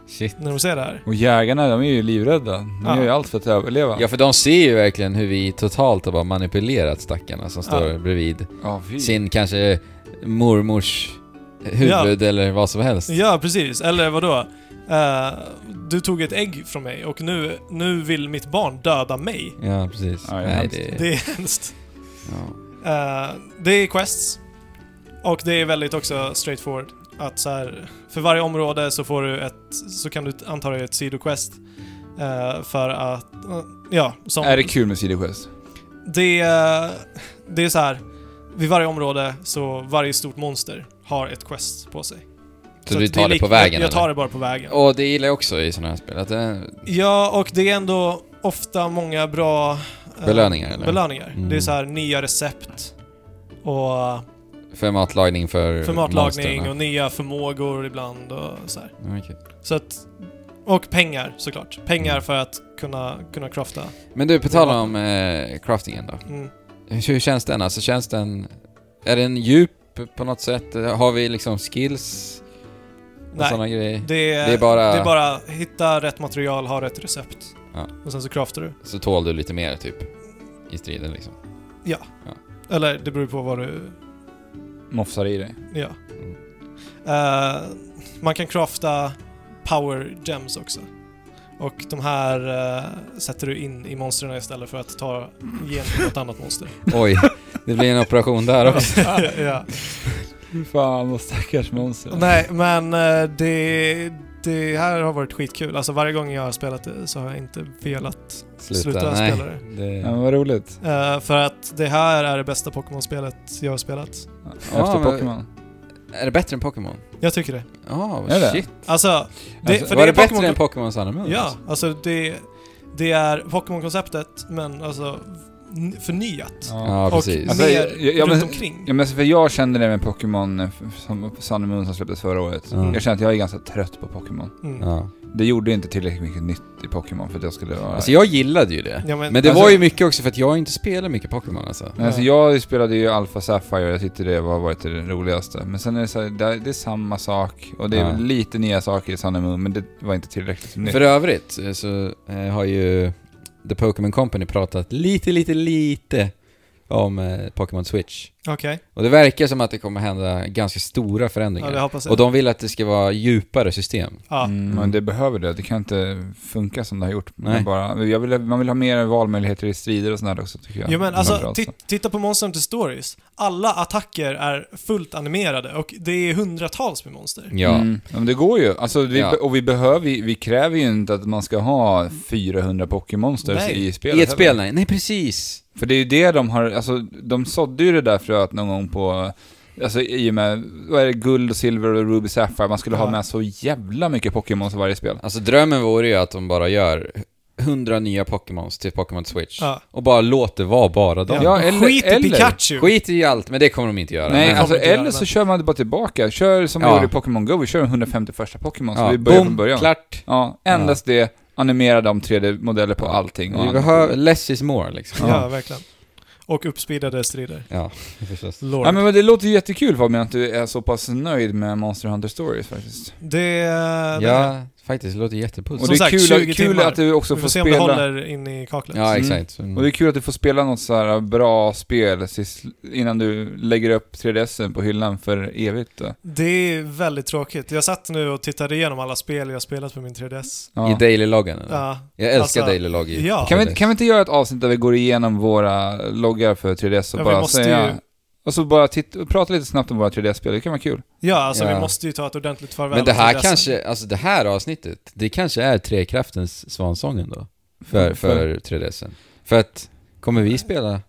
[SPEAKER 2] Shit.
[SPEAKER 1] när de ser det här.
[SPEAKER 3] Och jägarna, de är ju livrädda. De
[SPEAKER 1] Ja.
[SPEAKER 3] gör ju allt för att överleva.
[SPEAKER 2] Ja, för de ser ju verkligen hur vi totalt har bara manipulerat stackarna som står
[SPEAKER 1] Ja.
[SPEAKER 2] bredvid
[SPEAKER 3] Ja, fy.
[SPEAKER 2] sin kanske mormors huvud eller vad som helst.
[SPEAKER 1] Ja, precis. Eller vadå? Eh, du tog ett ägg från mig och nu, nu vill mitt barn döda mig.
[SPEAKER 2] Ja, precis.
[SPEAKER 3] Ja, det är
[SPEAKER 2] Nej,
[SPEAKER 3] hemskt.
[SPEAKER 2] det...
[SPEAKER 1] Det är hemskt.
[SPEAKER 2] Ja.
[SPEAKER 1] Eh, det är quests. Och det är väldigt också straightforward. Att så här, för varje område så får du ett, så kan du anta dig ett sidoquest. eh, för att, eh, ja, som...
[SPEAKER 3] Är det kul med sidoquest?
[SPEAKER 1] Det, eh, det är så här. Vid varje område, så varje stort monster har ett quest på sig.
[SPEAKER 2] Så, du
[SPEAKER 1] att
[SPEAKER 2] tar
[SPEAKER 1] är
[SPEAKER 2] det, på
[SPEAKER 1] lik- jag-
[SPEAKER 2] vägen
[SPEAKER 1] Jag tar
[SPEAKER 2] eller?
[SPEAKER 1] det bara på vägen.
[SPEAKER 2] Och det gillar jag också i sådana här spel, att eh, det...
[SPEAKER 1] Ja, och det är ändå ofta många bra... eh,
[SPEAKER 2] Belöningar, eller?
[SPEAKER 1] Belöningar.
[SPEAKER 2] Mm.
[SPEAKER 1] Det är så här nya recept och
[SPEAKER 2] För matlagning för
[SPEAKER 1] för matlagning
[SPEAKER 2] monsterna.
[SPEAKER 1] och nya förmågor ibland och så här.
[SPEAKER 2] Ja, okej.
[SPEAKER 1] Så att... Och pengar såklart. Pengar
[SPEAKER 2] Mm.
[SPEAKER 1] för att kunna, kunna crafta.
[SPEAKER 2] Men du, på tal om eh, craftingen då.
[SPEAKER 1] Mm.
[SPEAKER 2] Hur känns den alltså? Känns den... Är den djup på något sätt? Har vi liksom skills och
[SPEAKER 1] Nej.
[SPEAKER 2] sådana grejer?
[SPEAKER 1] Det är,
[SPEAKER 2] det är bara-
[SPEAKER 1] det är bara hitta rätt material, ha rätt recept.
[SPEAKER 2] Ja.
[SPEAKER 1] Och sen så craftar du.
[SPEAKER 2] Så tål du lite mer typ i striden liksom.
[SPEAKER 1] Eller det beror ju på vad du...
[SPEAKER 3] Mofsar i dig.
[SPEAKER 1] Ja.
[SPEAKER 2] Mm.
[SPEAKER 1] Eh, man kan crafta power gems också. Och de här eh, sätter du in i monstren istället för att ta gen till något annat monster.
[SPEAKER 2] Oj, det blir en operation där också.
[SPEAKER 1] ja.
[SPEAKER 3] Fan vad stackars monster.
[SPEAKER 1] Nej, men eh, det, det här har varit skitkul. Alltså varje gång jag har spelat det så har jag inte velat
[SPEAKER 2] Sluta,
[SPEAKER 1] Sluta
[SPEAKER 2] nej.
[SPEAKER 1] spela det.
[SPEAKER 3] Ja, men vad roligt.
[SPEAKER 1] Eh, för att det här är det bästa Pokémon-spelet jag har spelat.
[SPEAKER 3] Efter
[SPEAKER 2] men-
[SPEAKER 3] Pokémon.
[SPEAKER 2] Är det bättre än Pokémon?
[SPEAKER 1] Jag tycker det.
[SPEAKER 2] Ja,
[SPEAKER 3] Är det?
[SPEAKER 2] shit.
[SPEAKER 1] Alltså, det,
[SPEAKER 3] Alltså,
[SPEAKER 1] för
[SPEAKER 2] Var
[SPEAKER 1] det
[SPEAKER 2] det,
[SPEAKER 1] är
[SPEAKER 2] bättre
[SPEAKER 1] Pokémon-
[SPEAKER 2] än Pokémon Sun and Moon?
[SPEAKER 1] Ja,
[SPEAKER 2] alltså?
[SPEAKER 1] alltså det, det är Pokémon-konceptet, men alltså n- förnyat.
[SPEAKER 2] Ja,
[SPEAKER 1] och
[SPEAKER 2] precis.
[SPEAKER 1] mer
[SPEAKER 3] Alltså, jag- jag-
[SPEAKER 1] runt
[SPEAKER 3] men-
[SPEAKER 1] omkring.
[SPEAKER 3] Ja, men för jag kände det med Pokémon eh, som Sun and Moon som släpptes förra året.
[SPEAKER 2] Mm.
[SPEAKER 3] Jag känner att jag är ganska trött på Pokémon.
[SPEAKER 1] Mm. Ja.
[SPEAKER 2] Ja.
[SPEAKER 3] Det gjorde inte tillräckligt mycket nytt i Pokémon för att jag skulle vara...
[SPEAKER 2] Alltså jag gillade ju det.
[SPEAKER 1] men,
[SPEAKER 2] Men det
[SPEAKER 3] Alltså-
[SPEAKER 2] var ju mycket också för att jag inte spelar mycket Pokémon alltså.
[SPEAKER 3] Men alltså jag spelade ju Alpha Sapphire och jag tyckte det var varit det roligaste. Men sen är det så här, det, det är samma sak och det är
[SPEAKER 2] Ja.
[SPEAKER 3] lite nya saker i Sun and Moon, men det var inte tillräckligt nytt.
[SPEAKER 2] För övrigt eh, så eh, har ju The Pokémon Company pratat lite, lite, lite om eh, Pokémon Switch.
[SPEAKER 1] Okej,
[SPEAKER 2] Och det verkar som att det kommer hända ganska stora
[SPEAKER 1] ja,
[SPEAKER 2] förändringar.
[SPEAKER 1] det hoppas jag.
[SPEAKER 2] och de vill att det ska vara djupare system.
[SPEAKER 1] ja.
[SPEAKER 3] Mm, men det behöver det. Det kan inte funka som det har gjort.
[SPEAKER 2] Nej.
[SPEAKER 3] Men Bara, jag vill, man vill ha mer valmöjligheter i strider och sånt där också tycker jag.
[SPEAKER 1] Jo men
[SPEAKER 3] Det
[SPEAKER 1] alltså,
[SPEAKER 3] var bra,
[SPEAKER 1] ti- titta på Monster Hunter Stories. Alla attacker är fullt animerade och det är hundratals med monster.
[SPEAKER 2] Ja.
[SPEAKER 3] Mm. Ja, Men det går ju. Alltså, vi,
[SPEAKER 2] Ja.
[SPEAKER 3] Och vi, behöver, ju- vi kräver ju inte att man ska ha 400 Pokémonsters
[SPEAKER 1] Nej.
[SPEAKER 3] i spelet
[SPEAKER 2] I ett spel,
[SPEAKER 3] heller.
[SPEAKER 2] nej. Nej, precis.
[SPEAKER 3] För det är ju det de har, alltså de sådde ju det där fröet någon gång på, alltså i och med, vad är det, guld och silver och ruby sapphire, man skulle
[SPEAKER 1] Ja.
[SPEAKER 3] ha med så jävla mycket Pokémons i varje spel.
[SPEAKER 2] Alltså drömmen vore ju att de bara gör 100 nya Pokémons till Pokémon Switch.
[SPEAKER 1] Ja.
[SPEAKER 2] Och bara låt det vara bara dem.
[SPEAKER 3] Ja, eller-
[SPEAKER 1] Skit i
[SPEAKER 3] eller-
[SPEAKER 1] Pikachu!
[SPEAKER 2] Skit i allt, men det kommer de inte göra.
[SPEAKER 3] Nej,
[SPEAKER 2] men,
[SPEAKER 1] kommer
[SPEAKER 3] alltså
[SPEAKER 1] inte göra
[SPEAKER 3] eller
[SPEAKER 1] det.
[SPEAKER 3] så kör man bara tillbaka, kör som
[SPEAKER 2] Ja.
[SPEAKER 3] vi gjorde i Pokémon Go, vi kör 151 Pokémon, så
[SPEAKER 2] ja,
[SPEAKER 3] vi börjar
[SPEAKER 2] boom,
[SPEAKER 3] från början.
[SPEAKER 2] klart.
[SPEAKER 3] Ja, endast det, animera de 3D-modeller på
[SPEAKER 2] Ja.
[SPEAKER 3] allting. och
[SPEAKER 2] Vi
[SPEAKER 3] annat.
[SPEAKER 2] behöver, less is more liksom.
[SPEAKER 1] Ja,
[SPEAKER 3] Ja.
[SPEAKER 1] verkligen. Och uppspeedade strider.
[SPEAKER 2] Ja, förstås.
[SPEAKER 1] Lord.
[SPEAKER 3] Ja, men men det låter ju jättekul Fabian att du är så pass nöjd med Monster Hunter Stories faktiskt.
[SPEAKER 1] Det... det
[SPEAKER 2] Ja, faktiskt. Det låter jättepuls.
[SPEAKER 3] Och
[SPEAKER 1] Som
[SPEAKER 3] det är
[SPEAKER 1] sagt,
[SPEAKER 3] kul,
[SPEAKER 1] 20
[SPEAKER 3] kul
[SPEAKER 1] timmar.
[SPEAKER 3] att du också
[SPEAKER 1] vi
[SPEAKER 3] får
[SPEAKER 1] får se om det
[SPEAKER 3] spela...
[SPEAKER 1] håller in i kaklet.
[SPEAKER 2] Ja,
[SPEAKER 3] Mm.
[SPEAKER 2] exakt. Mm.
[SPEAKER 3] Och det är kul att du får spela något så här bra spel sist, innan du lägger upp 3DSen på hyllan för evigt. då.
[SPEAKER 1] Det är väldigt tråkigt. Jag satt nu och tittade igenom alla spel jag spelat på min 3DS.
[SPEAKER 3] Ja.
[SPEAKER 2] I daily-loggen eller?
[SPEAKER 1] Ja.
[SPEAKER 2] Jag älskar
[SPEAKER 1] Alltså,
[SPEAKER 2] daily-logg i
[SPEAKER 1] ja.
[SPEAKER 3] Kan, vi, kan vi inte göra ett avsnitt där vi går igenom våra loggar för 3DS och
[SPEAKER 1] Ja, vi
[SPEAKER 3] bara
[SPEAKER 1] måste
[SPEAKER 3] säga...
[SPEAKER 1] ju-
[SPEAKER 3] Och så bara titta, och prata lite snabbt om våra 3DS-spel, det kan vara kul.
[SPEAKER 1] Ja, alltså
[SPEAKER 2] Ja.
[SPEAKER 1] vi måste ju ta ett ordentligt farväl
[SPEAKER 2] Men det
[SPEAKER 1] av
[SPEAKER 2] här
[SPEAKER 1] 3DS.
[SPEAKER 2] kanske, alltså det här avsnittet, det kanske är Trekraftens svansången då?
[SPEAKER 1] Mm,
[SPEAKER 2] För, Mm, för 3DSen. För att, kommer vi spela?
[SPEAKER 3] Nej,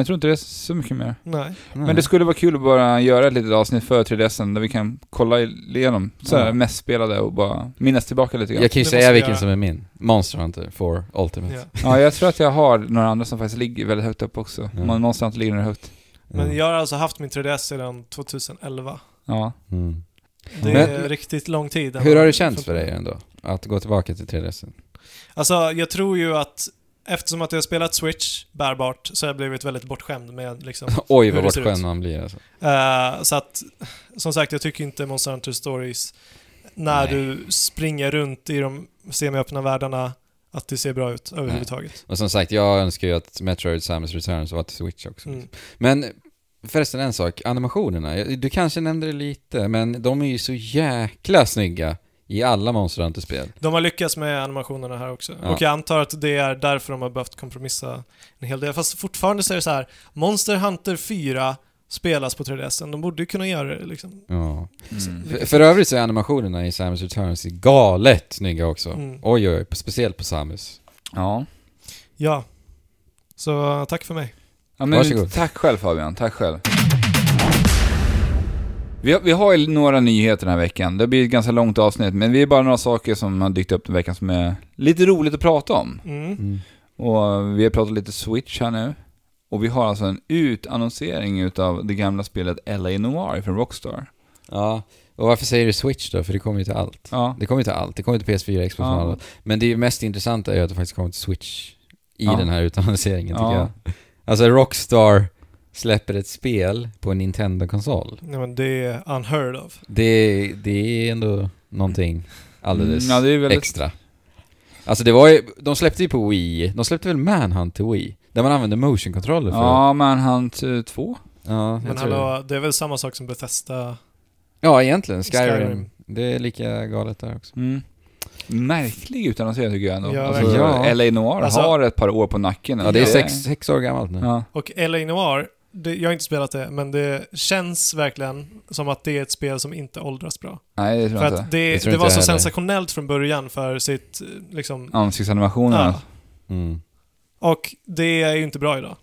[SPEAKER 3] jag tror inte det är så mycket mer.
[SPEAKER 1] Nej.
[SPEAKER 2] Mm.
[SPEAKER 3] Men det skulle vara kul att bara göra ett litet avsnitt för 3DSen där vi kan kolla igenom så här,
[SPEAKER 2] Ja.
[SPEAKER 3] mest spelade och bara minnas tillbaka lite grann.
[SPEAKER 2] Mm. Jag kan ju
[SPEAKER 1] Det
[SPEAKER 2] säga
[SPEAKER 1] måste vi
[SPEAKER 2] vilken
[SPEAKER 1] göra.
[SPEAKER 2] som är min. Monster Hunter 4 Ultimate.
[SPEAKER 1] Ja.
[SPEAKER 3] Ja, jag tror att jag har några andra som faktiskt ligger väldigt högt upp också.
[SPEAKER 2] Ja.
[SPEAKER 3] Man någonstans ligger den högt.
[SPEAKER 2] Mm.
[SPEAKER 1] Men jag har alltså haft min 3DS sedan 2011.
[SPEAKER 3] Ja.
[SPEAKER 2] Mm.
[SPEAKER 1] Det
[SPEAKER 2] Men-
[SPEAKER 1] är riktigt lång tid.
[SPEAKER 2] Hur har det känts för dig ändå? Att gå tillbaka till 3DSen?
[SPEAKER 1] Alltså, jag tror ju att eftersom att jag har spelat Switch bärbart så har jag blivit väldigt bortskämd med liksom...
[SPEAKER 2] Oj
[SPEAKER 1] Hur
[SPEAKER 2] vad
[SPEAKER 1] det ser ut.
[SPEAKER 2] bortskämd man blir alltså.
[SPEAKER 1] Eh, så att, som sagt, jag tycker inte Monster Hunter Stories när
[SPEAKER 2] Nej.
[SPEAKER 1] du springer runt i de semiöppna världarna att det ser bra ut överhuvudtaget.
[SPEAKER 2] Och som sagt, jag önskar ju att Metroid Samus Returns var till Switch också. liksom.
[SPEAKER 1] Mm.
[SPEAKER 2] Men förresten en sak, animationerna. Jag- Du kanske nämnde det lite, men de är ju så jäkla snygga i alla Monster Hunter-spel.
[SPEAKER 1] De har lyckats med animationerna här också.
[SPEAKER 2] Ja.
[SPEAKER 1] Och jag antar att det är därför de har behövt kompromissa en hel del. Fast fortfarande så är det så här, Monster Hunter 4 spelas på 3DSen. De borde ju kunna göra det liksom.
[SPEAKER 2] Ja.
[SPEAKER 3] Mm.
[SPEAKER 2] För, för övrigt så är animationerna i Samus Returns galet snygga också.
[SPEAKER 1] Mm.
[SPEAKER 2] Oj, oj, oj, speciellt på Samus.
[SPEAKER 3] Ja.
[SPEAKER 1] Ja. Så tack för mig.
[SPEAKER 3] Ja, men
[SPEAKER 2] Varsågod.
[SPEAKER 3] Tack själv Fabian, tack själv. Vi har, vi har ju några nyheter den här veckan. Det blir ett ganska långt avsnitt, men vi är bara några saker som har dykt upp den här veckan som är lite roligt att prata om.
[SPEAKER 1] Mm.
[SPEAKER 3] Och vi har pratat lite Switch här nu. Och vi har alltså en utannonsering utav det gamla spelet LA Noir från Rockstar.
[SPEAKER 2] Ja, och varför säger du Switch då? För det kommer ju till allt.
[SPEAKER 3] Ja,
[SPEAKER 2] Det kommer ju till allt. Det kommer till PS4, Xbox
[SPEAKER 3] Ja.
[SPEAKER 2] och allt. Men det är ju mest intressanta är ju att det faktiskt kommer till Switch i
[SPEAKER 3] Ja.
[SPEAKER 2] den här utannonseringen tycker
[SPEAKER 3] Ja.
[SPEAKER 2] jag. Alltså Rockstar släpper ett spel på en Nintendo-konsol.
[SPEAKER 1] Nej, men det är unheard of.
[SPEAKER 2] Det, det är ändå någonting alldeles
[SPEAKER 3] Mm, ja, det är väldigt-
[SPEAKER 2] extra. Alltså det var ju, de släppte ju på Wii, de släppte väl Manhunt till Wii? Där man använde motion-controller för
[SPEAKER 3] ja Manhunt eh, 2.
[SPEAKER 2] ja, jag
[SPEAKER 1] Men
[SPEAKER 2] tror det.
[SPEAKER 1] hallå, det är väl samma sak som Bethesda.
[SPEAKER 2] ja egentligen, Skyrim.
[SPEAKER 1] Skyrim.
[SPEAKER 2] Det är lika galet där också.
[SPEAKER 3] Mm. Märklig utannonsering tycker jag ändå.
[SPEAKER 1] Ja,
[SPEAKER 3] alltså,
[SPEAKER 2] verkligen.
[SPEAKER 3] LA Noir
[SPEAKER 1] Alltså-
[SPEAKER 3] har ett par år på nacken.
[SPEAKER 2] Ja, det är sex, sex år gammalt nu.
[SPEAKER 3] Ja.
[SPEAKER 1] Och LA Noir, det, jag har inte spelat det, men det känns verkligen som att det är ett spel som inte åldras bra.
[SPEAKER 3] Nej, det tror
[SPEAKER 1] För
[SPEAKER 3] jag inte.
[SPEAKER 1] att det,
[SPEAKER 2] Det
[SPEAKER 1] det,
[SPEAKER 2] tror
[SPEAKER 1] var
[SPEAKER 2] inte
[SPEAKER 1] så
[SPEAKER 2] jag heller.
[SPEAKER 1] sensationellt från början för sitt, eh, liksom...
[SPEAKER 3] Ansiktsanimationerna.
[SPEAKER 1] Ja.
[SPEAKER 2] Mm.
[SPEAKER 1] Och det är ju inte bra idag.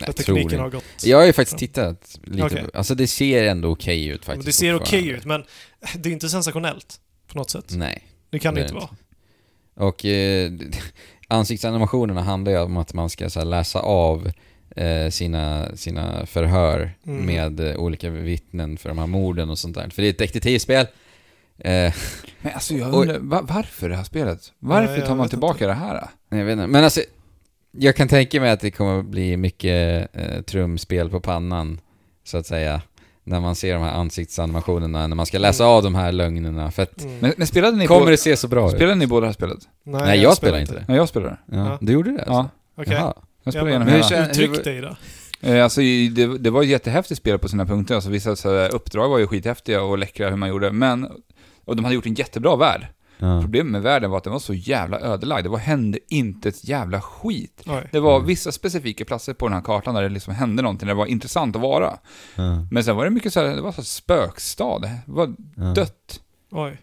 [SPEAKER 1] För
[SPEAKER 2] Jag tror
[SPEAKER 1] tekniken
[SPEAKER 2] det.
[SPEAKER 1] har gått...
[SPEAKER 2] Jag har ju faktiskt tittat lite
[SPEAKER 1] Okej.
[SPEAKER 2] på, alltså det ser ändå okej ut
[SPEAKER 1] Men
[SPEAKER 2] faktiskt.
[SPEAKER 1] det ser okej
[SPEAKER 2] fortfarande.
[SPEAKER 1] ut, men det är inte sensationellt på något sätt.
[SPEAKER 2] Nej.
[SPEAKER 1] Det kan det
[SPEAKER 2] det är
[SPEAKER 1] inte
[SPEAKER 2] det
[SPEAKER 1] vara.
[SPEAKER 2] Och eh, ansiktsanimationerna handlar ju om att man ska så här, läsa av eh, sina, sina förhör
[SPEAKER 1] Mm.
[SPEAKER 2] med eh, olika vittnen för de här morden och sånt där. För det är ett detektivspel. Eh,
[SPEAKER 3] Men alltså jag
[SPEAKER 2] Och-
[SPEAKER 3] undrar, va, varför det här spelet? Varför
[SPEAKER 1] Ja, jag
[SPEAKER 3] tar man
[SPEAKER 1] vet
[SPEAKER 3] tillbaka det här? då?
[SPEAKER 2] jag vet inte, men alltså, jag kan tänka mig att det kommer bli mycket eh, trumspel på pannan, så att säga. När man ser de här ansiktsanimationerna, när man ska läsa av de här lögnerna. För att,
[SPEAKER 1] Mm.
[SPEAKER 3] Men, men spelade ni
[SPEAKER 2] kommer
[SPEAKER 3] båda,
[SPEAKER 2] det se så bra ut?
[SPEAKER 3] spelade ni båda det här spelet?
[SPEAKER 2] Nej, jag spelar inte det.
[SPEAKER 3] Ja, jag spelade det.
[SPEAKER 2] Ja.
[SPEAKER 1] Ja.
[SPEAKER 2] Du gjorde det alltså?
[SPEAKER 3] Ja,
[SPEAKER 1] Okej.
[SPEAKER 2] Jaha.
[SPEAKER 3] jag
[SPEAKER 1] Ja,
[SPEAKER 3] spelade
[SPEAKER 1] men
[SPEAKER 3] igenom
[SPEAKER 2] hur
[SPEAKER 3] hela.
[SPEAKER 2] känner-
[SPEAKER 1] Uttryck dig då.
[SPEAKER 3] Eh, Alltså, i- det, det var ett jättehäftigt spel på sina punkter, alltså vissa så här, uppdrag var ju skithäftiga och läckra hur man gjorde, men och de hade gjort en jättebra värld.
[SPEAKER 2] Ja.
[SPEAKER 3] Problemet med världen var att den var så jävla ödelagd. Det var, hände inte ett jävla skit.
[SPEAKER 1] Oj.
[SPEAKER 3] Det var
[SPEAKER 2] Mm.
[SPEAKER 3] vissa specifika platser på den här kartan där det liksom hände någonting, där det var intressant att vara.
[SPEAKER 2] Ja.
[SPEAKER 3] Men sen var det mycket så här, det var så här spökstad. Det var
[SPEAKER 2] Ja.
[SPEAKER 3] dött.
[SPEAKER 1] Oj.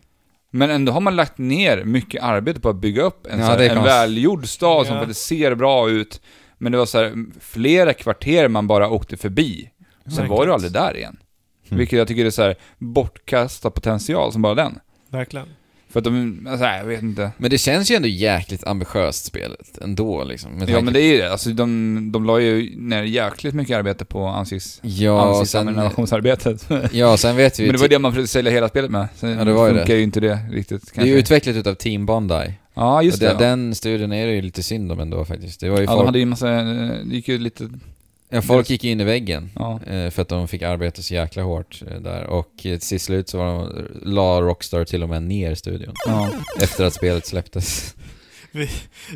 [SPEAKER 3] Men ändå har man lagt ner mycket arbete på att bygga upp en,
[SPEAKER 2] Ja,
[SPEAKER 3] så här,
[SPEAKER 2] det kan
[SPEAKER 3] en
[SPEAKER 2] man-
[SPEAKER 3] välgjord stad som
[SPEAKER 1] Ja.
[SPEAKER 3] faktiskt ser bra ut. Men det var så här, flera kvarter man bara åkte förbi. Sen var du
[SPEAKER 1] Verkligen.
[SPEAKER 3] aldrig där igen.
[SPEAKER 2] Mm.
[SPEAKER 3] Vilket jag tycker är så här, bortkastad potential som bara den.
[SPEAKER 1] Verkligen.
[SPEAKER 3] För att de, alltså, jag vet inte.
[SPEAKER 2] Men det känns ju ändå jäkligt ambitiöst spelet ändå liksom. med
[SPEAKER 3] Ja
[SPEAKER 2] tanke
[SPEAKER 3] men det är ju det, alltså de, de la ju ner jäkligt mycket arbete på ansikts...
[SPEAKER 2] Ja, och sen,
[SPEAKER 3] ansiktsanimationeringsarbetet.
[SPEAKER 2] ja, sen vet vi
[SPEAKER 3] Men
[SPEAKER 2] ju... typ-
[SPEAKER 3] det var det man försökte sälja hela spelet med. Sen
[SPEAKER 2] Ja, det var ju
[SPEAKER 3] funkar ju inte det riktigt
[SPEAKER 2] det är
[SPEAKER 3] kanske.
[SPEAKER 2] ju utvecklat utav Team Bondi.
[SPEAKER 3] ja, just
[SPEAKER 2] och den,
[SPEAKER 3] det. ja.
[SPEAKER 2] den studien är det ju lite synd om ändå faktiskt. Det var ju
[SPEAKER 3] Ja, de
[SPEAKER 2] folk,
[SPEAKER 3] hade ju en massa, eh, det gick ju lite,
[SPEAKER 2] ja, folk gick ju in i väggen.
[SPEAKER 3] ja.
[SPEAKER 2] eh, För att de fick arbeta så jäkla hårt eh, där. Och eh, till slut så var de, la Rockstar till och med ner studion.
[SPEAKER 3] ja.
[SPEAKER 2] Efter att spelet släpptes.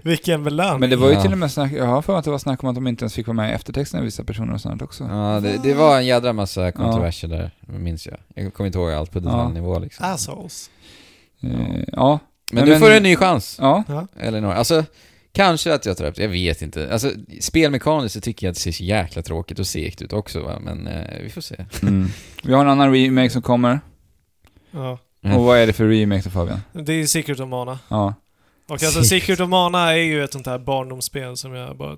[SPEAKER 1] Vilken belöning.
[SPEAKER 3] Men det var ju
[SPEAKER 2] Ja.
[SPEAKER 3] till och med snack, jag har för mig att det var snack om att de inte ens fick vara med i eftertexterna vissa personer och sånt också.
[SPEAKER 2] Ja, det, det var en jädra massa kontroverser där, minns jag. Jag kommer inte ihåg allt på
[SPEAKER 3] Ja.
[SPEAKER 2] detaljnivå liksom.
[SPEAKER 1] Assholes.
[SPEAKER 3] Eh, Ja.
[SPEAKER 2] Men
[SPEAKER 3] Nej,
[SPEAKER 2] du får en ny chans.
[SPEAKER 3] Ja.
[SPEAKER 1] Ja.
[SPEAKER 2] Eller några. Alltså, kanske att jag tar upp det. Jag vet inte. Alltså, spelmekaniskt så tycker jag att det ser så jäkla tråkigt och segt ut också va? Men eh, vi får se.
[SPEAKER 3] Vi har en annan remake som kommer.
[SPEAKER 1] Ja.
[SPEAKER 2] Mm.
[SPEAKER 3] Och vad är det för remake då Fabian?
[SPEAKER 1] Det är Secret of Mana.
[SPEAKER 3] Ja.
[SPEAKER 1] Och alltså Secret of Mana är ju ett sånt här barndomsspel som jag bara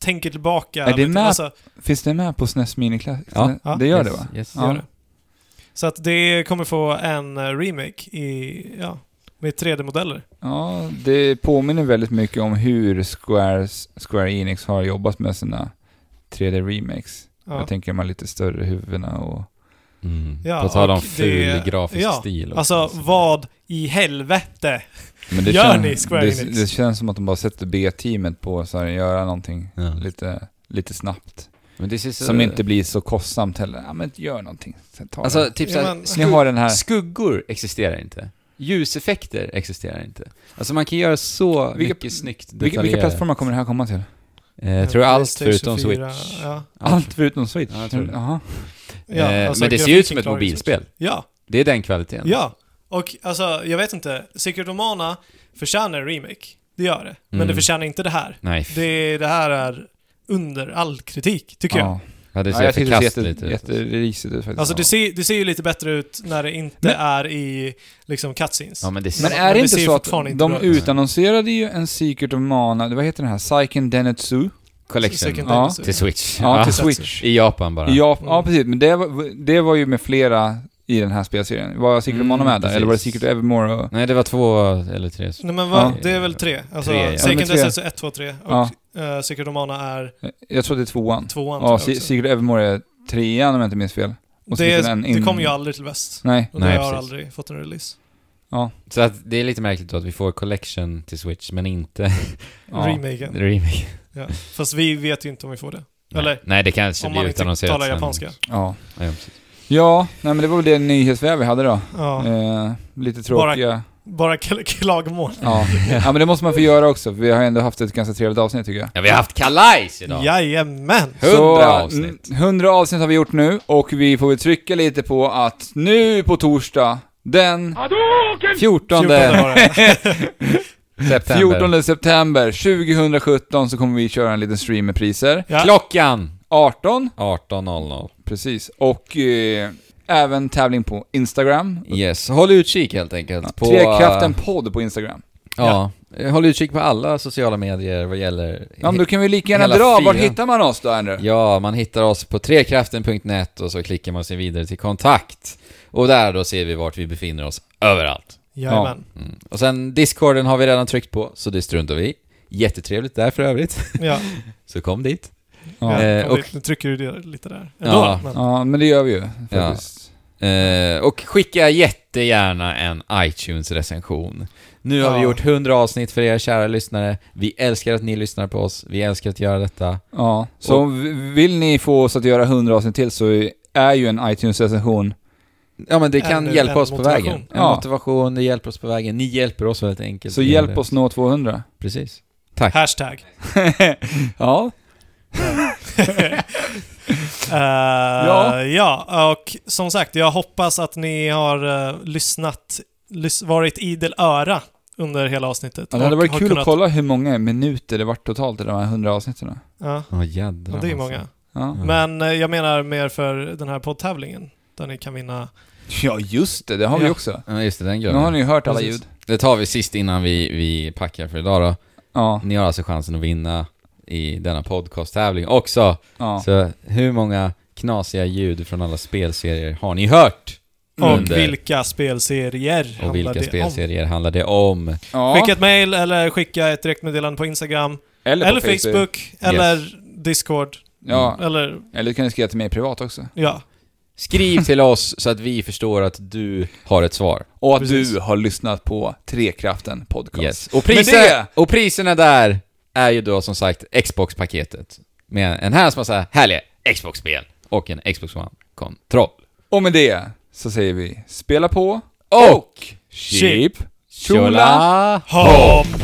[SPEAKER 1] tänker tillbaka.
[SPEAKER 3] Är det
[SPEAKER 1] lite.
[SPEAKER 3] med?
[SPEAKER 1] Alltså,
[SPEAKER 3] Finns det med på SNES Mini Classic?
[SPEAKER 2] Ja.
[SPEAKER 1] Ja.
[SPEAKER 3] Det gör
[SPEAKER 2] yes,
[SPEAKER 3] det va?
[SPEAKER 2] Yes.
[SPEAKER 1] det gör det. Så att det kommer få en eh, remake i, ja, med 3D-modeller.
[SPEAKER 3] Ja, det påminner väldigt mycket om hur Squares, Square Enix har jobbat med sina 3D-remakes.
[SPEAKER 1] Ja.
[SPEAKER 3] Jag tänker man lite större huvudena och...
[SPEAKER 2] Mm.
[SPEAKER 1] Ja,
[SPEAKER 2] På tal om
[SPEAKER 1] och
[SPEAKER 2] ful
[SPEAKER 1] det-
[SPEAKER 2] grafisk
[SPEAKER 1] ja,
[SPEAKER 2] stil. också.
[SPEAKER 1] Alltså, vad i helvete?
[SPEAKER 3] Men
[SPEAKER 1] Gör ni Square
[SPEAKER 3] det,
[SPEAKER 1] Enix?
[SPEAKER 3] det känns som att de bara sätter B-teamet på så här, göra någonting
[SPEAKER 2] Ja.
[SPEAKER 3] lite, lite snabbt.
[SPEAKER 2] Men det ser så...
[SPEAKER 3] Som inte blir så kostsamt heller. Ja men gör någonting. Sen tar
[SPEAKER 2] Alltså,
[SPEAKER 3] det.
[SPEAKER 2] typ
[SPEAKER 1] Ja,
[SPEAKER 2] såhär...
[SPEAKER 1] men-
[SPEAKER 3] Ni har den här.
[SPEAKER 2] Skuggor existerar inte. Ljuseffekter existerar inte. Alltså man kan göra så
[SPEAKER 3] Vilka-
[SPEAKER 2] mycket snyggt
[SPEAKER 3] Vilka, vilka
[SPEAKER 2] detaljerat.
[SPEAKER 3] plattformar kommer det här komma till?
[SPEAKER 2] Eh, jag tror allt
[SPEAKER 1] PlayStation
[SPEAKER 2] förutom
[SPEAKER 1] 4,
[SPEAKER 2] Switch.
[SPEAKER 1] Ja.
[SPEAKER 3] Allt förutom Switch?
[SPEAKER 2] Ja, jag tror det.
[SPEAKER 3] Jaha.
[SPEAKER 1] Ja,
[SPEAKER 2] eh,
[SPEAKER 1] alltså
[SPEAKER 2] men det ser ju ut som ett
[SPEAKER 1] grafiken klarar ju Switch.
[SPEAKER 2] mobilspel.
[SPEAKER 1] Ja,
[SPEAKER 2] Det är den kvaliteten.
[SPEAKER 1] ja. Och alltså, jag vet inte. Secret of Mana förtjänar en remake. Det gör det. Men
[SPEAKER 2] Mm.
[SPEAKER 1] det förtjänar inte det här.
[SPEAKER 2] Nej,
[SPEAKER 1] Det, det här är under all kritik, tycker jag.
[SPEAKER 3] Ja.
[SPEAKER 2] ja, det
[SPEAKER 3] Ja,
[SPEAKER 2] ser
[SPEAKER 3] jag tycker det ser
[SPEAKER 2] förkastligt
[SPEAKER 3] jätte,
[SPEAKER 2] ut.
[SPEAKER 3] jätterisigt ut faktiskt.
[SPEAKER 2] typ
[SPEAKER 1] Alltså det
[SPEAKER 3] Ja.
[SPEAKER 1] ser, det ser ju lite bättre ut när det inte
[SPEAKER 3] Men-
[SPEAKER 1] är i liksom cutscenes.
[SPEAKER 2] Ja, men det ser...
[SPEAKER 3] Men
[SPEAKER 1] Men
[SPEAKER 3] är det
[SPEAKER 1] det
[SPEAKER 3] inte
[SPEAKER 1] ser ju
[SPEAKER 3] så att
[SPEAKER 1] fortfarande inte
[SPEAKER 3] de
[SPEAKER 1] bra ut.
[SPEAKER 3] utannonserade ju en Secret of Mana, vad heter den här? Saiken Denetsu?
[SPEAKER 2] Collection.
[SPEAKER 1] Second
[SPEAKER 3] Ja,
[SPEAKER 1] Dynasty.
[SPEAKER 2] Till Switch.
[SPEAKER 3] Ja,
[SPEAKER 2] Ja,
[SPEAKER 3] till
[SPEAKER 1] precis.
[SPEAKER 3] Switch.
[SPEAKER 2] I Japan bara.
[SPEAKER 3] Ja,
[SPEAKER 1] Mm.
[SPEAKER 3] ja, precis. Men det var, det var ju med flera i den här spelserien. Var Secret of
[SPEAKER 2] Mm,
[SPEAKER 3] Mana med där? Eller var det
[SPEAKER 2] precis.
[SPEAKER 3] Secret of Evermore? Och,
[SPEAKER 2] Nej, det var två eller tre.
[SPEAKER 1] Nej men vad,
[SPEAKER 2] Ja.
[SPEAKER 1] det är väl tre? Alltså,
[SPEAKER 2] Tre, ja.
[SPEAKER 3] Ja,
[SPEAKER 1] Second
[SPEAKER 3] men tre.
[SPEAKER 1] Destiny är 1, 2, 3 och
[SPEAKER 3] Ja.
[SPEAKER 1] eh, Secret of Mana är
[SPEAKER 3] jag tror det är tvåan.
[SPEAKER 1] tvåan.
[SPEAKER 3] Ja,
[SPEAKER 1] tror
[SPEAKER 3] Se-
[SPEAKER 1] jag
[SPEAKER 3] Secret of Evermore är trean om jag inte minns fel.
[SPEAKER 1] också.
[SPEAKER 3] och så finns det
[SPEAKER 1] det,
[SPEAKER 3] en
[SPEAKER 1] det
[SPEAKER 3] in-
[SPEAKER 1] kommer ju aldrig till väst.
[SPEAKER 3] Nej.
[SPEAKER 1] Och
[SPEAKER 2] Nej,
[SPEAKER 1] det har
[SPEAKER 2] precis.
[SPEAKER 1] aldrig fått en release.
[SPEAKER 2] Så att det är lite märkligt då att vi får collection till Switch, men inte
[SPEAKER 3] Ja.
[SPEAKER 1] Remaken.
[SPEAKER 2] remake.
[SPEAKER 1] Ja. Fast vi vet ju inte om vi får det.
[SPEAKER 2] Nej.
[SPEAKER 1] Eller,
[SPEAKER 2] Nej, det kanske
[SPEAKER 1] om
[SPEAKER 2] blir
[SPEAKER 1] man inte
[SPEAKER 2] utannonserat
[SPEAKER 1] talar
[SPEAKER 2] sen.
[SPEAKER 1] japanska.
[SPEAKER 3] Ja.
[SPEAKER 2] Ja, ja, precis.
[SPEAKER 3] Ja, nej men det var väl det nyhetsväv vi hade då.
[SPEAKER 1] Ja.
[SPEAKER 3] Eh, lite
[SPEAKER 1] Bara-
[SPEAKER 3] tråkiga.
[SPEAKER 1] Bara kl- klagomål.
[SPEAKER 3] Ja. ja, men det måste man få göra också, för vi har ändå haft ett ganska trevligt avsnitt tycker jag.
[SPEAKER 2] ja, vi har haft kalajs idag!
[SPEAKER 1] Jajamän!
[SPEAKER 2] Hundra
[SPEAKER 3] Så,
[SPEAKER 2] avsnitt.
[SPEAKER 3] n- 100 avsnitt har vi gjort nu och vi får väl trycka lite på att nu på torsdag den
[SPEAKER 2] 14
[SPEAKER 1] 14 var det.
[SPEAKER 2] september.
[SPEAKER 3] 14 september 2017 så kommer vi köra en liten stream med priser.
[SPEAKER 1] Ja.
[SPEAKER 2] Klockan
[SPEAKER 3] 18,
[SPEAKER 2] 18.00.
[SPEAKER 3] precis. Och eh, även tävling på Instagram.
[SPEAKER 2] Yes, håll utkik helt enkelt. På,
[SPEAKER 3] Trekraften podd på Instagram.
[SPEAKER 2] Ja. Håll utkik på alla sociala medier vad gäller...
[SPEAKER 3] Ja, men då kan vi lika gärna
[SPEAKER 2] hela
[SPEAKER 3] dra. Var
[SPEAKER 2] fyra.
[SPEAKER 3] hittar man oss då, Andrew?
[SPEAKER 2] Ja, man hittar oss på trekraften.net och så klickar man sig vidare till kontakt. Och där då ser vi vart vi befinner oss överallt.
[SPEAKER 1] Jajamän.
[SPEAKER 2] Mm. Och sen Discorden har vi redan tryckt på, så det struntar vi i. Jättetrevligt där för övrigt,
[SPEAKER 1] Ja.
[SPEAKER 2] så kom dit.
[SPEAKER 1] Ja.
[SPEAKER 3] Ja.
[SPEAKER 2] Eh,
[SPEAKER 1] och
[SPEAKER 2] och-
[SPEAKER 1] nu trycker du det lite där. Ändå,
[SPEAKER 2] Ja.
[SPEAKER 1] men,
[SPEAKER 3] ja, men det gör vi ju faktiskt.
[SPEAKER 2] Eh, och skicka jättegärna en iTunes-recension. Nu har vi
[SPEAKER 1] Ja.
[SPEAKER 2] gjort 100 avsnitt för er kära lyssnare. Vi älskar att ni lyssnar på oss. Vi älskar att göra detta.
[SPEAKER 3] Ja. Så
[SPEAKER 2] Och-
[SPEAKER 3] om vi- vill ni få oss att göra 100 avsnitt till så är ju en iTunes-recension
[SPEAKER 2] Ja, men det
[SPEAKER 1] En-
[SPEAKER 2] kan
[SPEAKER 1] Äh, en
[SPEAKER 2] hjälpa oss på
[SPEAKER 1] motivation.
[SPEAKER 2] vägen. En
[SPEAKER 3] Ja.
[SPEAKER 2] motivation, det hjälper oss på vägen. Ni hjälper oss väldigt enkelt.
[SPEAKER 3] Så hjälp oss nå 200.
[SPEAKER 2] Precis.
[SPEAKER 1] Hashtag.
[SPEAKER 3] ja.
[SPEAKER 1] Eh,
[SPEAKER 3] Ja.
[SPEAKER 1] ja, och som sagt, jag hoppas att ni har eh, lyssnat, lys- varit idel öra under hela avsnittet.
[SPEAKER 3] Det hade
[SPEAKER 1] Och
[SPEAKER 3] varit
[SPEAKER 1] har
[SPEAKER 3] kul
[SPEAKER 1] kunnat-
[SPEAKER 3] att kolla hur många minuter det var totalt i de här 100 avsnitten.
[SPEAKER 1] Ja,
[SPEAKER 2] Ja, jädrar.
[SPEAKER 1] det är ju
[SPEAKER 2] alltså.
[SPEAKER 1] många.
[SPEAKER 3] Ja.
[SPEAKER 2] Mm.
[SPEAKER 1] Men eh, jag menar mer för den här poddtävlingen, där ni kan vinna...
[SPEAKER 3] ja, just det. Det har vi
[SPEAKER 1] Ja.
[SPEAKER 3] också.
[SPEAKER 2] Ja, just det, den
[SPEAKER 3] Nu
[SPEAKER 2] gör
[SPEAKER 3] har
[SPEAKER 2] vi.
[SPEAKER 3] ni ju hört alla
[SPEAKER 1] Precis.
[SPEAKER 3] ljud.
[SPEAKER 2] Det tar vi sist innan vi, vi packar för idag då.
[SPEAKER 3] Ja.
[SPEAKER 2] Ni har alltså chansen att vinna i denna podcasttävling också.
[SPEAKER 3] ja.
[SPEAKER 2] Så hur många knasiga ljud från alla spelserier har ni hört?
[SPEAKER 1] Och
[SPEAKER 2] Under.
[SPEAKER 1] vilka spelserier
[SPEAKER 2] Och
[SPEAKER 1] handlar
[SPEAKER 2] vilka
[SPEAKER 1] det
[SPEAKER 2] spelserier handlar det om?
[SPEAKER 1] om?
[SPEAKER 3] ja.
[SPEAKER 1] Skicka ett mail eller skicka ett direktmeddelande på Instagram,
[SPEAKER 3] eller, på
[SPEAKER 1] eller Facebook, Mm. eller Discord,
[SPEAKER 3] Ja.
[SPEAKER 1] eller
[SPEAKER 3] Eller kan ni skriva till mig privat också.
[SPEAKER 1] ja.
[SPEAKER 2] Skriv till oss så att vi förstår att du har ett svar.
[SPEAKER 3] Och att
[SPEAKER 1] Precis.
[SPEAKER 3] du har lyssnat på Trekraften Podcast.
[SPEAKER 2] Yes. Och,
[SPEAKER 3] Men
[SPEAKER 2] priser,
[SPEAKER 3] det-
[SPEAKER 2] och priserna där är ju då som sagt Xbox-paketet. Med en här massa härliga Xbox-spel och en Xbox One-kontroll.
[SPEAKER 3] Och med det så säger vi spela på
[SPEAKER 2] Och...
[SPEAKER 3] Chip
[SPEAKER 2] Tjola!
[SPEAKER 1] Hopp!